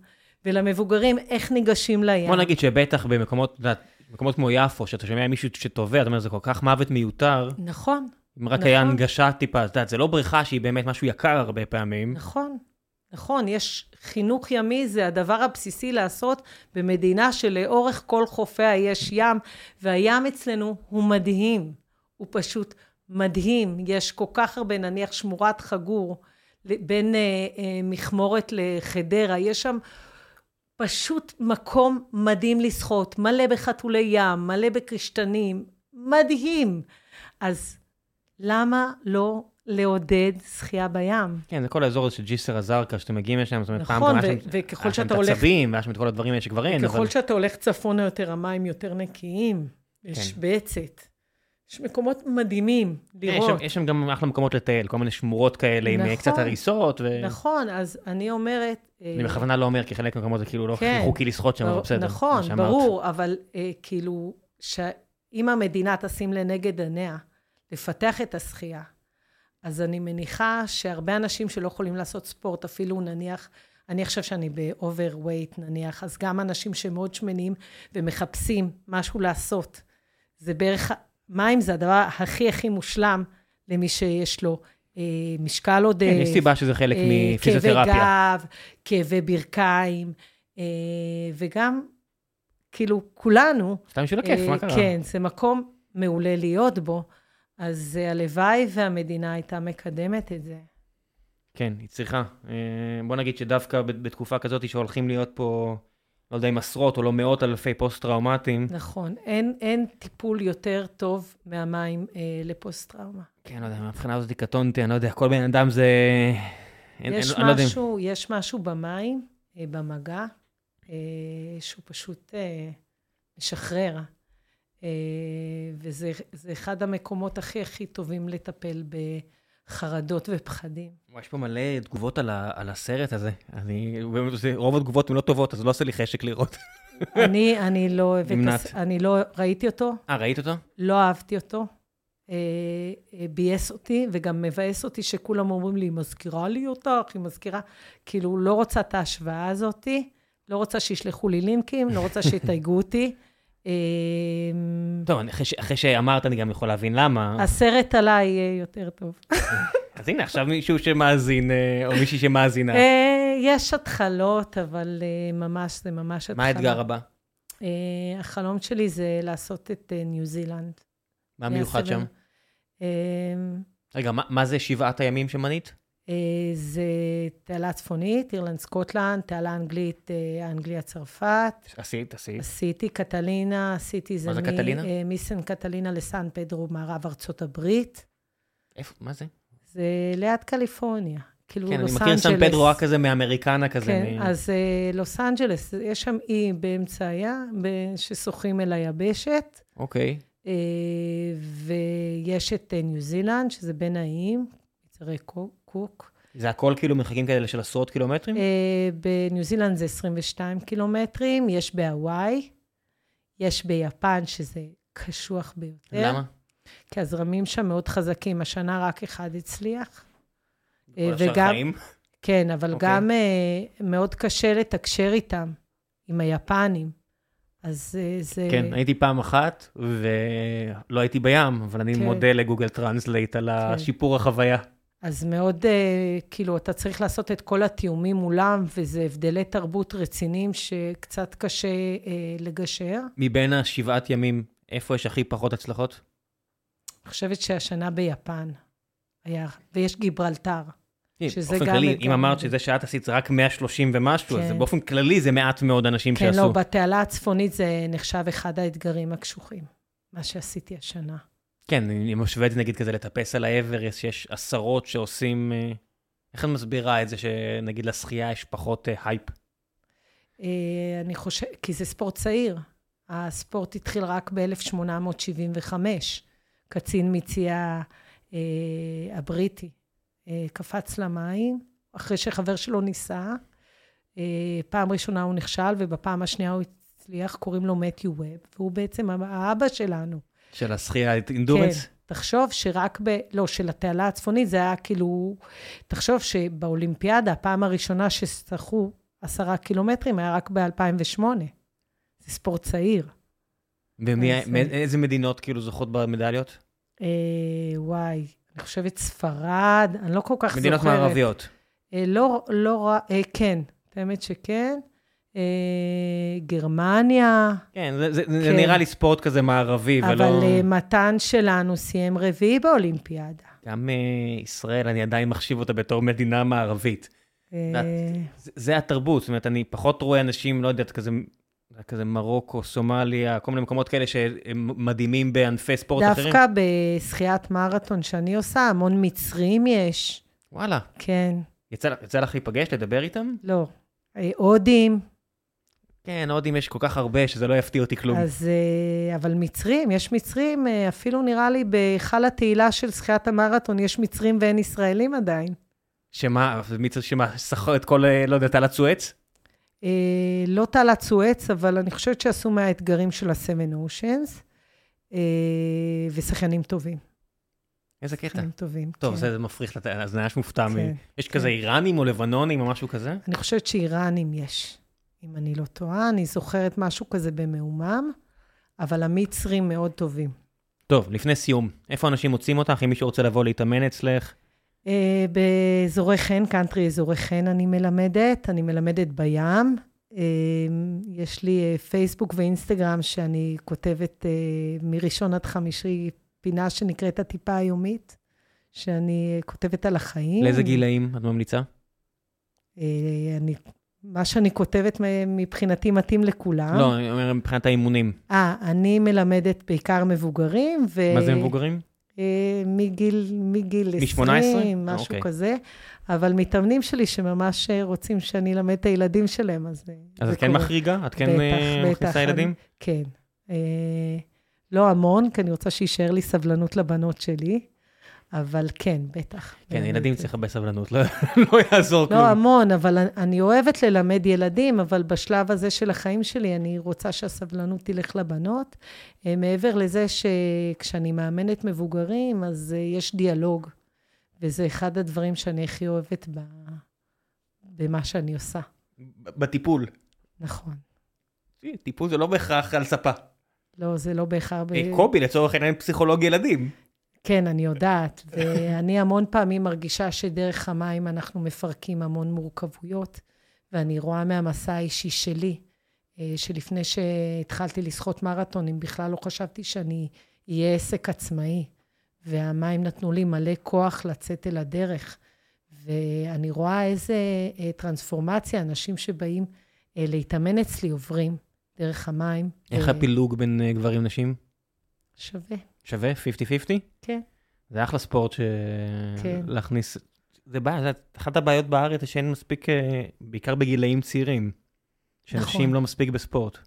ולמבוגרים איך ניגשים לים.
בוא נגיד שבטח במקומות, את יודעת, מקומות כמו יפו, שאתה שומע מישהו שטובע, אתה אומר, זה כל כך מוות מיותר,
נכון,
אם רק היה
נכון.
הנגשה טיפה, את יודעת, זה לא בריכה שהיא באמת משהו יקר הרבה פעמים.
נכון, נכון. יש חינוך ימי, זה הדבר הבסיסי לעשות במדינה שלאורך כל חופיה יש ים, והים אצלנו הוא מדהים. הוא פשוט מדהים. יש כל כך הרבה, נניח שמורת חגור, ל- בין אה, אה, מכמורת לחדרה, יש שם פשוט מקום מדהים לשחות, מלא בחתולי ים, מלא בקשתנים, מדהים. אז למה לא לעודד שחייה בים?
כן, זה כל האזור הזה של ג'יסר א-זרקא, שאתם מגיעים לשם, זאת אומרת, פעם
נכון,
גם
ו-
היה שם-
וככל
היה שם
שאתה
אה, את
הולך-
הצבים, והיה שם את כל הדברים האלה שכבר אין, אבל
ככל שאתה הולך צפונה יותר, המים יותר נקיים, יש
כן.
בצת. יש מקומות מדהימים
אה, יש
לראות.
שם- יש שם גם אחלה מקומות לטייל, כל מיני שמורות כאלה עם אה,
נכון.
קצת הריסות, ואני
נכון, אז אני אומרת... אה,
בכוונה לא אומר, כי חלק מהמקומות זה כאילו לא
כן.
חוקי לשחות שם, אבל
בר-
בסדר. מה
נכון,
שאמרת.
ברור, אבל אה, כאילו, שאם המדינה תשים לנגד עיניה לפתח את השחייה, אז אני מניחה שהרבה אנשים שלא יכולים לעשות ספורט, אפילו נניח, אני עכשיו שאני באוברווייט נניח, אז גם אנשים שמאוד שמנים ומחפשים משהו לעשות, זה בערך, מים זה הדבר הכי הכי מושלם למי שיש לו אה, משקל אה, עודף.
כן, יש סיבה שזה חלק
אה,
מפיזיותרפיה.
כאבי גב, כאבי ברכיים, אה, וגם, כאילו, כולנו...
סתם בשביל הכיף,
אה,
מה קרה?
כן, זה מקום מעולה להיות בו, אז אה, הלוואי והמדינה הייתה מקדמת את זה.
כן, היא צריכה. אה, בוא נגיד שדווקא בת- בתקופה כזאת שהולכים להיות פה, לא יודע אם עשרות או לא מאות אלפי פוסט-טראומטיים,
נכון, אין, אין טיפול יותר טוב מהמים אה, לפוסט-טראומה.
כן, לא יודע, מהבחינה הזאת קטונתי, אני לא יודע, כל בן אדם זה... אין- אין-
יש,
אני לא יודע אם-
משהו, יש משהו במים, אה, במגע, אה, שהוא פשוט אה, משחרר. אה, וזה זה אחד המקומות הכי הכי טובים לטפל בחרדות ופחדים.
וואי, יש פה מלא תגובות על, ה, על הסרט הזה. אני, באמת, זה- רוב התגובות הן לא טובות, אז לא עושה לי חשק לראות.
אני, אני לא אוהבת...
נמנעת.
הס- אני לא... ראיתי אותו,
אה, ראית אותו?
לא אהבתי אותו. אה, אה, ביאס אותי, וגם מבאס אותי שכולם אומרים לי, היא מזכירה לי אותך, היא מזכירה... כאילו, לא רוצה את ההשוואה הזאתי, לא רוצה שישלחו לי לינקים, לא רוצה שיתייגו אותי. אה,
טוב, אני- אחרי, ש- אחרי שאמרת, אני גם יכול להבין למה. אז,
הסרט עליי יהיה יותר טוב.
אז הנה, עכשיו מישהו שמאזין, אה, או מישהי שמאזינה.
אה, יש התחלות, אבל אה, ממש, זה ממש התחלות.
מה האתגר הבא?
אה, החלום שלי זה לעשות את אה, ניו זילנד.
מה מיוחד שם?
הסבב. אה,
רגע, מה- מה זה שבעת הימים שמנית?
אה, זה תעלה צפונית, אירלנד סקוטלנד, תעלה אנגלית, אה, אנגליה צרפת.
עשית, עשית.
עשיתי קטלינה, עשיתי זה
מה זה קטלינה?
אה, מיסן קטלינה לסן פדרו, מערב ארצות הברית.
איפה, מה זה?
זה ליד קליפורניה. כאילו
כן, אני
לוס
מכיר סן
אנג'לס.
פדרו רק כזה מאמריקנה כזה.
כן,
מ-
אז אה, לוס אנג'לס, יש שם אי באמצע הים, ב- ששוחים אל היבשת,
אוקיי.
אה, ויש את אה, ניו זילנד, שזה בין האיים, מצרי קו- קוק.
זה הכל כאילו מרחקים כאלה של עשרות קילומטרים?
אה, בניו זילנד זה 22 קילומטרים, יש בהוואי, יש ביפן, שזה קשוח ביותר.
למה?
כי הזרמים שם מאוד חזקים, השנה רק אחד הצליח. אה,
כל השאר חיים?
כן, אבל okay.
אוקיי.
גם אה, מאוד קשה לתקשר איתם, עם היפנים. אז אה, זה...
כן, הייתי פעם אחת, ולא הייתי בים, אבל אני
כן.
מודה לגוגל טרנסלייט על השיפור החוויה.
אז מאוד, אה, כאילו, אתה צריך לעשות את כל התיאומים מולם, וזה הבדלי תרבות רציניים שקצת קשה אה, לגשר.
מבין השבעת ימים, איפה יש הכי פחות הצלחות?
אני חושבת שהשנה ביפן היה, ויש גיברלטר. שזה
באופן
גם
כללי,
וגם.
אם אמרת שזה שאת עשית זה רק 130 ומשהו, אז
כן.
באופן כללי זה מעט מאוד אנשים
כן,
שעשו.
לא, בתעלה הצפונית זה נחשב אחד האתגרים הקשוחים, מה שעשיתי השנה.
כן, אני משווה את זה נגיד כזה לטפס על האברס, שיש עשרות שעושים... אה, איך את מסבירה את זה שנגיד לשחייה יש פחות אה, הייפ?
אה, אני חושבת, כי זה ספורט צעיר. הספורט התחיל רק ב-1875. קצין מציאה אה, הבריטי אה, קפץ למים, אחרי שחבר שלו ניסה. אה, פעם ראשונה הוא נכשל, ובפעם השנייה הוא הצליח, קוראים לו מתיו ווב, והוא בעצם האבא שלנו.
של השחייה, את אינדורנס?
כן. תחשוב שרק ב... לא, של התעלה הצפונית, זה היה כאילו... תחשוב שבאולימפיאדה, הפעם הראשונה שסטחו עשרה קילומטרים היה רק ב-2008. זה ספורט צעיר. אז, אה,
ומאיזה מדינות כאילו זוכות במדליות?
אה, וואי, אני חושבת ספרד, אני לא כל כך
מדינות
זוכרת.
מערביות.
אה, לא, לא רע... אה, כן, האמת שכן. אה, גרמניה,
כן, זה- זה זה
כן.
נראה לי ספורט כזה מערבי,
אבל
ולא...
אה, מתן שלנו סיים רביעי באולימפיאדה.
גם אה, ישראל, אני עדיין מחשיב אותה בתור מדינה מערבית. יודעת,
אה,
זה- זה התרבות, זאת אומרת, אני פחות רואה אנשים, לא יודעת, כזה... כזה מרוקו, סומליה, כל מיני מקומות כאלה שהם מדהימים בענפי ספורט אחרים.
דווקא בשחיית מרתון שאני עושה, המון מצרים יש.
וואלה,
כן,
יצא, לך- יצא לך להיפגש, לדבר איתם?
לא. אה, הודים,
כן, עוד אם יש כל כך הרבה, שזה לא יפתיע אותי כלום. אז...
אז... אה, אבל מצרים, יש מצרים, אה, אפילו נראה לי בהיכל התהילה של שחיית המרתון יש מצרים ואין ישראלים עדיין.
שמה, מי צריך שמה, סחר את כל, אה, לא יודעת, על הצואץ?
אה, לא תעלת סואץ, אבל אני חושבת שעשו מהאתגרים של ה-Seven Oceans, אה, ושחיינים טובים.
איזה קטע.
שחיינים טובים,
טוב,
כן.
זה, זה מפריך, לת... אז אני ממש מופתע. מ...
כן,
יש כזה איראנים או לבנונים או משהו כזה?
אני חושבת שאיראנים יש, אם אני לא טועה. אני זוכרת משהו כזה במעומם, אבל המצרים מאוד טובים.
טוב, לפני סיום, איפה אנשים מוצאים אותך? אם מישהו רוצה לבוא להתאמן אצלך?
אה, באזורי חן, קאנטרי אזורי חן אני מלמדת, אני מלמדת בים. אה, יש לי אה, פייסבוק ואינסטגרם שאני כותבת אה, מראשון עד חמישי פינה שנקראת הטיפה היומית, שאני אה, כותבת על החיים.
לאיזה גילאים את ממליצה?
אה, אני, מה שאני כותבת מבחינתי מתאים לכולם.
לא, אני אומר מבחינת האימונים.
אה, אני מלמדת בעיקר מבוגרים, ו...
מה זה מבוגרים?
אה, מגיל, מגיל
מ-
20,
18? אה,
משהו
אוקיי.
כזה. אבל מתאמנים שלי שממש אה, רוצים שאני אלמד את הילדים שלהם, אז... אה,
אז
זה
את כן
קורה.
מחריגה? את כן
בטח,
אה,
בטח,
מכניסה
אני-
ילדים?
כן. אה, לא המון, כי אני רוצה שיישאר לי סבלנות לבנות שלי, אבל כן, בטח.
כן,
אה,
ילדים
כן.
צריך הרבה סבלנות, לא לא יעזור
לא
כלום.
המון, אבל אני- אני אוהבת ללמד ילדים, אבל בשלב הזה של החיים שלי, אני רוצה שהסבלנות תלך לבנות. אה, מעבר לזה שכשאני מאמנת מבוגרים, אז אה, יש דיאלוג, וזה אחד הדברים שאני הכי אוהבת ב... במה שאני עושה. אמ-
בטיפול.
נכון.
טיפול זה לא בהכרח על ספה.
לא, זה לא בהכרח... ב-
אה, קובי לצורך העניין פסיכולוג ילדים.
כן, אני יודעת. ואני המון פעמים מרגישה שדרך המים אנחנו מפרקים המון מורכבויות, ואני רואה מהמסע האישי שלי, אה, שלפני שהתחלתי לשחות מרתונים, בכלל לא חשבתי שאני אהיה עסק עצמאי. והמים נתנו לי מלא כוח לצאת אל הדרך. ואני רואה איזה אה, טרנספורמציה אנשים שבאים אה, להתאמן אצלי עוברים דרך המים.
איך
אה,
הפילוג בין אה, גברים נשים?
שווה.
שווה? 50-50?
כן.
זה אחלה ספורט ש...
כן.
להכניס... זה בעיה, זה אחת הבעיות בארץ, זה שאין מספיק, אה, בעיקר בגילאים צעירים, שאנשים
נכון.
לא מספיק בספורט.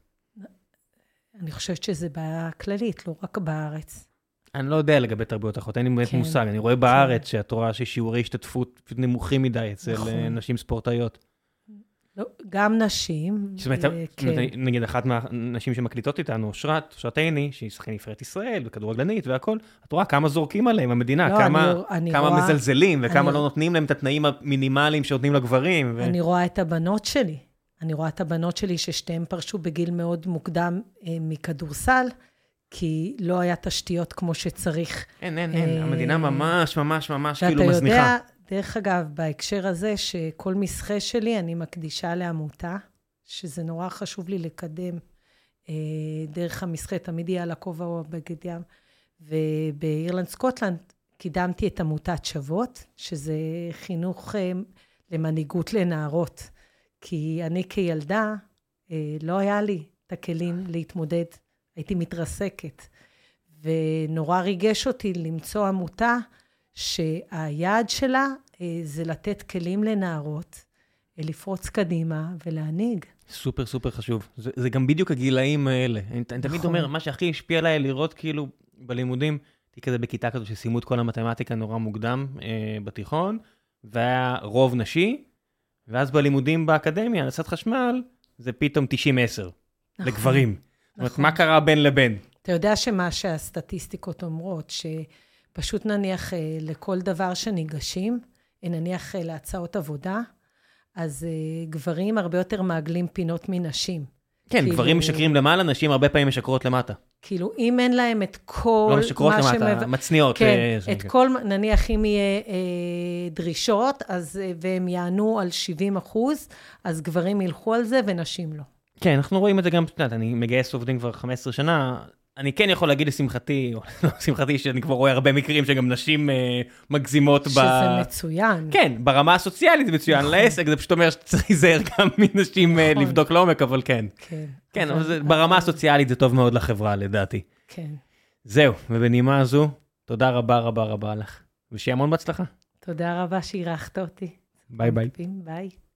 אני חושבת שזו בעיה כללית, לא רק בארץ.
אני לא יודע לגבי תרבויות אחרות, אין לי באמת
כן.
מושג. אני רואה בארץ שאת רואה ששיעורי השתתפות פשוט נמוכים מדי אצל
נכון.
אה, נשים ספורטאיות.
לא, גם נשים.
זאת אומרת,
אה,
זאת אומרת, נגיד אחת מהנשים שמקליטות איתנו, אושרת, אושרת עיני, שהיא שחקנית נבחרת ישראל וכדורגלנית והכול, את רואה כמה זורקים עליהם המדינה,
לא,
אה, כמה...
אני, אני
כמה
רואה,
מזלזלים וכמה
אני-
לא נותנים להם את התנאים המינימליים שנותנים לגברים. ו-
אני רואה את הבנות שלי. אני רואה את הבנות שלי ששתיהן פרשו בגיל מאוד מוקדם אה, מכדורסל, כי לא היה תשתיות כמו שצריך.
אין, אין, אין, המדינה
אה,
ממש ממש ממש
ואתה
כאילו
יודע,
מזניחה.
דרך אגב, בהקשר הזה, שכל מסחה שלי אני מקדישה לעמותה, שזה נורא חשוב לי לקדם אה, דרך המסחה, תמיד יהיה על הכובע או בגד ים. ובאירלנד סקוטלנד קידמתי את עמותת שוות, שזה חינוך אה, למנהיגות לנערות. כי אני כילדה, אה, לא היה לי את הכלים להתמודד, הייתי מתרסקת. ונורא ריגש אותי למצוא עמותה שהיעד שלה אה, זה לתת כלים לנערות, אה, לפרוץ קדימה ולהנהיג.
סופר סופר חשוב. זה זה גם בדיוק הגילאים האלה. אני ת- אני תמיד
נכון.
אומר, מה שהכי השפיע עליי לראות כאילו בלימודים, הייתי כזה בכיתה כזו שסיימו את כל המתמטיקה נורא מוקדם אה, בתיכון, והיה רוב נשי, ואז בלימודים באקדמיה, הנדסת חשמל, זה פתאום 90-10
נכון.
לגברים. זאת אומרת,
נכון.
מה קרה בין לבין?
אתה יודע שמה שהסטטיסטיקות אומרות, שפשוט נניח אה, לכל דבר שניגשים, אה, נניח אה, להצעות עבודה, אז אה, גברים הרבה יותר מעגלים פינות מנשים.
כן,
כאילו-
גברים משקרים למעלה, נשים הרבה פעמים משקרות למטה.
כאילו, אם אין להם את כל
לא משקרות
מה
למטה,
שמב...
מצניעות.
כן,
אה, זה
את כל, מה- נניח אם יהיה אה, דרישות, אז, אה, והם יענו על 70 אחוז, אז גברים ילכו על זה ונשים לא.
כן, אנחנו רואים את זה גם, את יודעת, אני מגייס עובדים כבר 15 שנה, אני כן יכול להגיד לשמחתי, או לא לשמחתי, שאני כבר רואה הרבה מקרים שגם נשים אה, מגזימות ב...
שזה מצוין.
כן, ברמה הסוציאלית זה מצוין,
נכון.
לעסק זה פשוט אומר שצריך להיזהר גם מנשים אה,
נכון.
לבדוק לעומק, אבל כן.
כן.
כן, אבל זה- ברמה הסוציאלית זה טוב מאוד לחברה, לדעתי.
כן.
זהו, ובנימה זו, תודה רבה רבה רבה לך, ושיהיה המון בהצלחה.
תודה רבה שאירחת אותי.
ביי ביי.
ביי.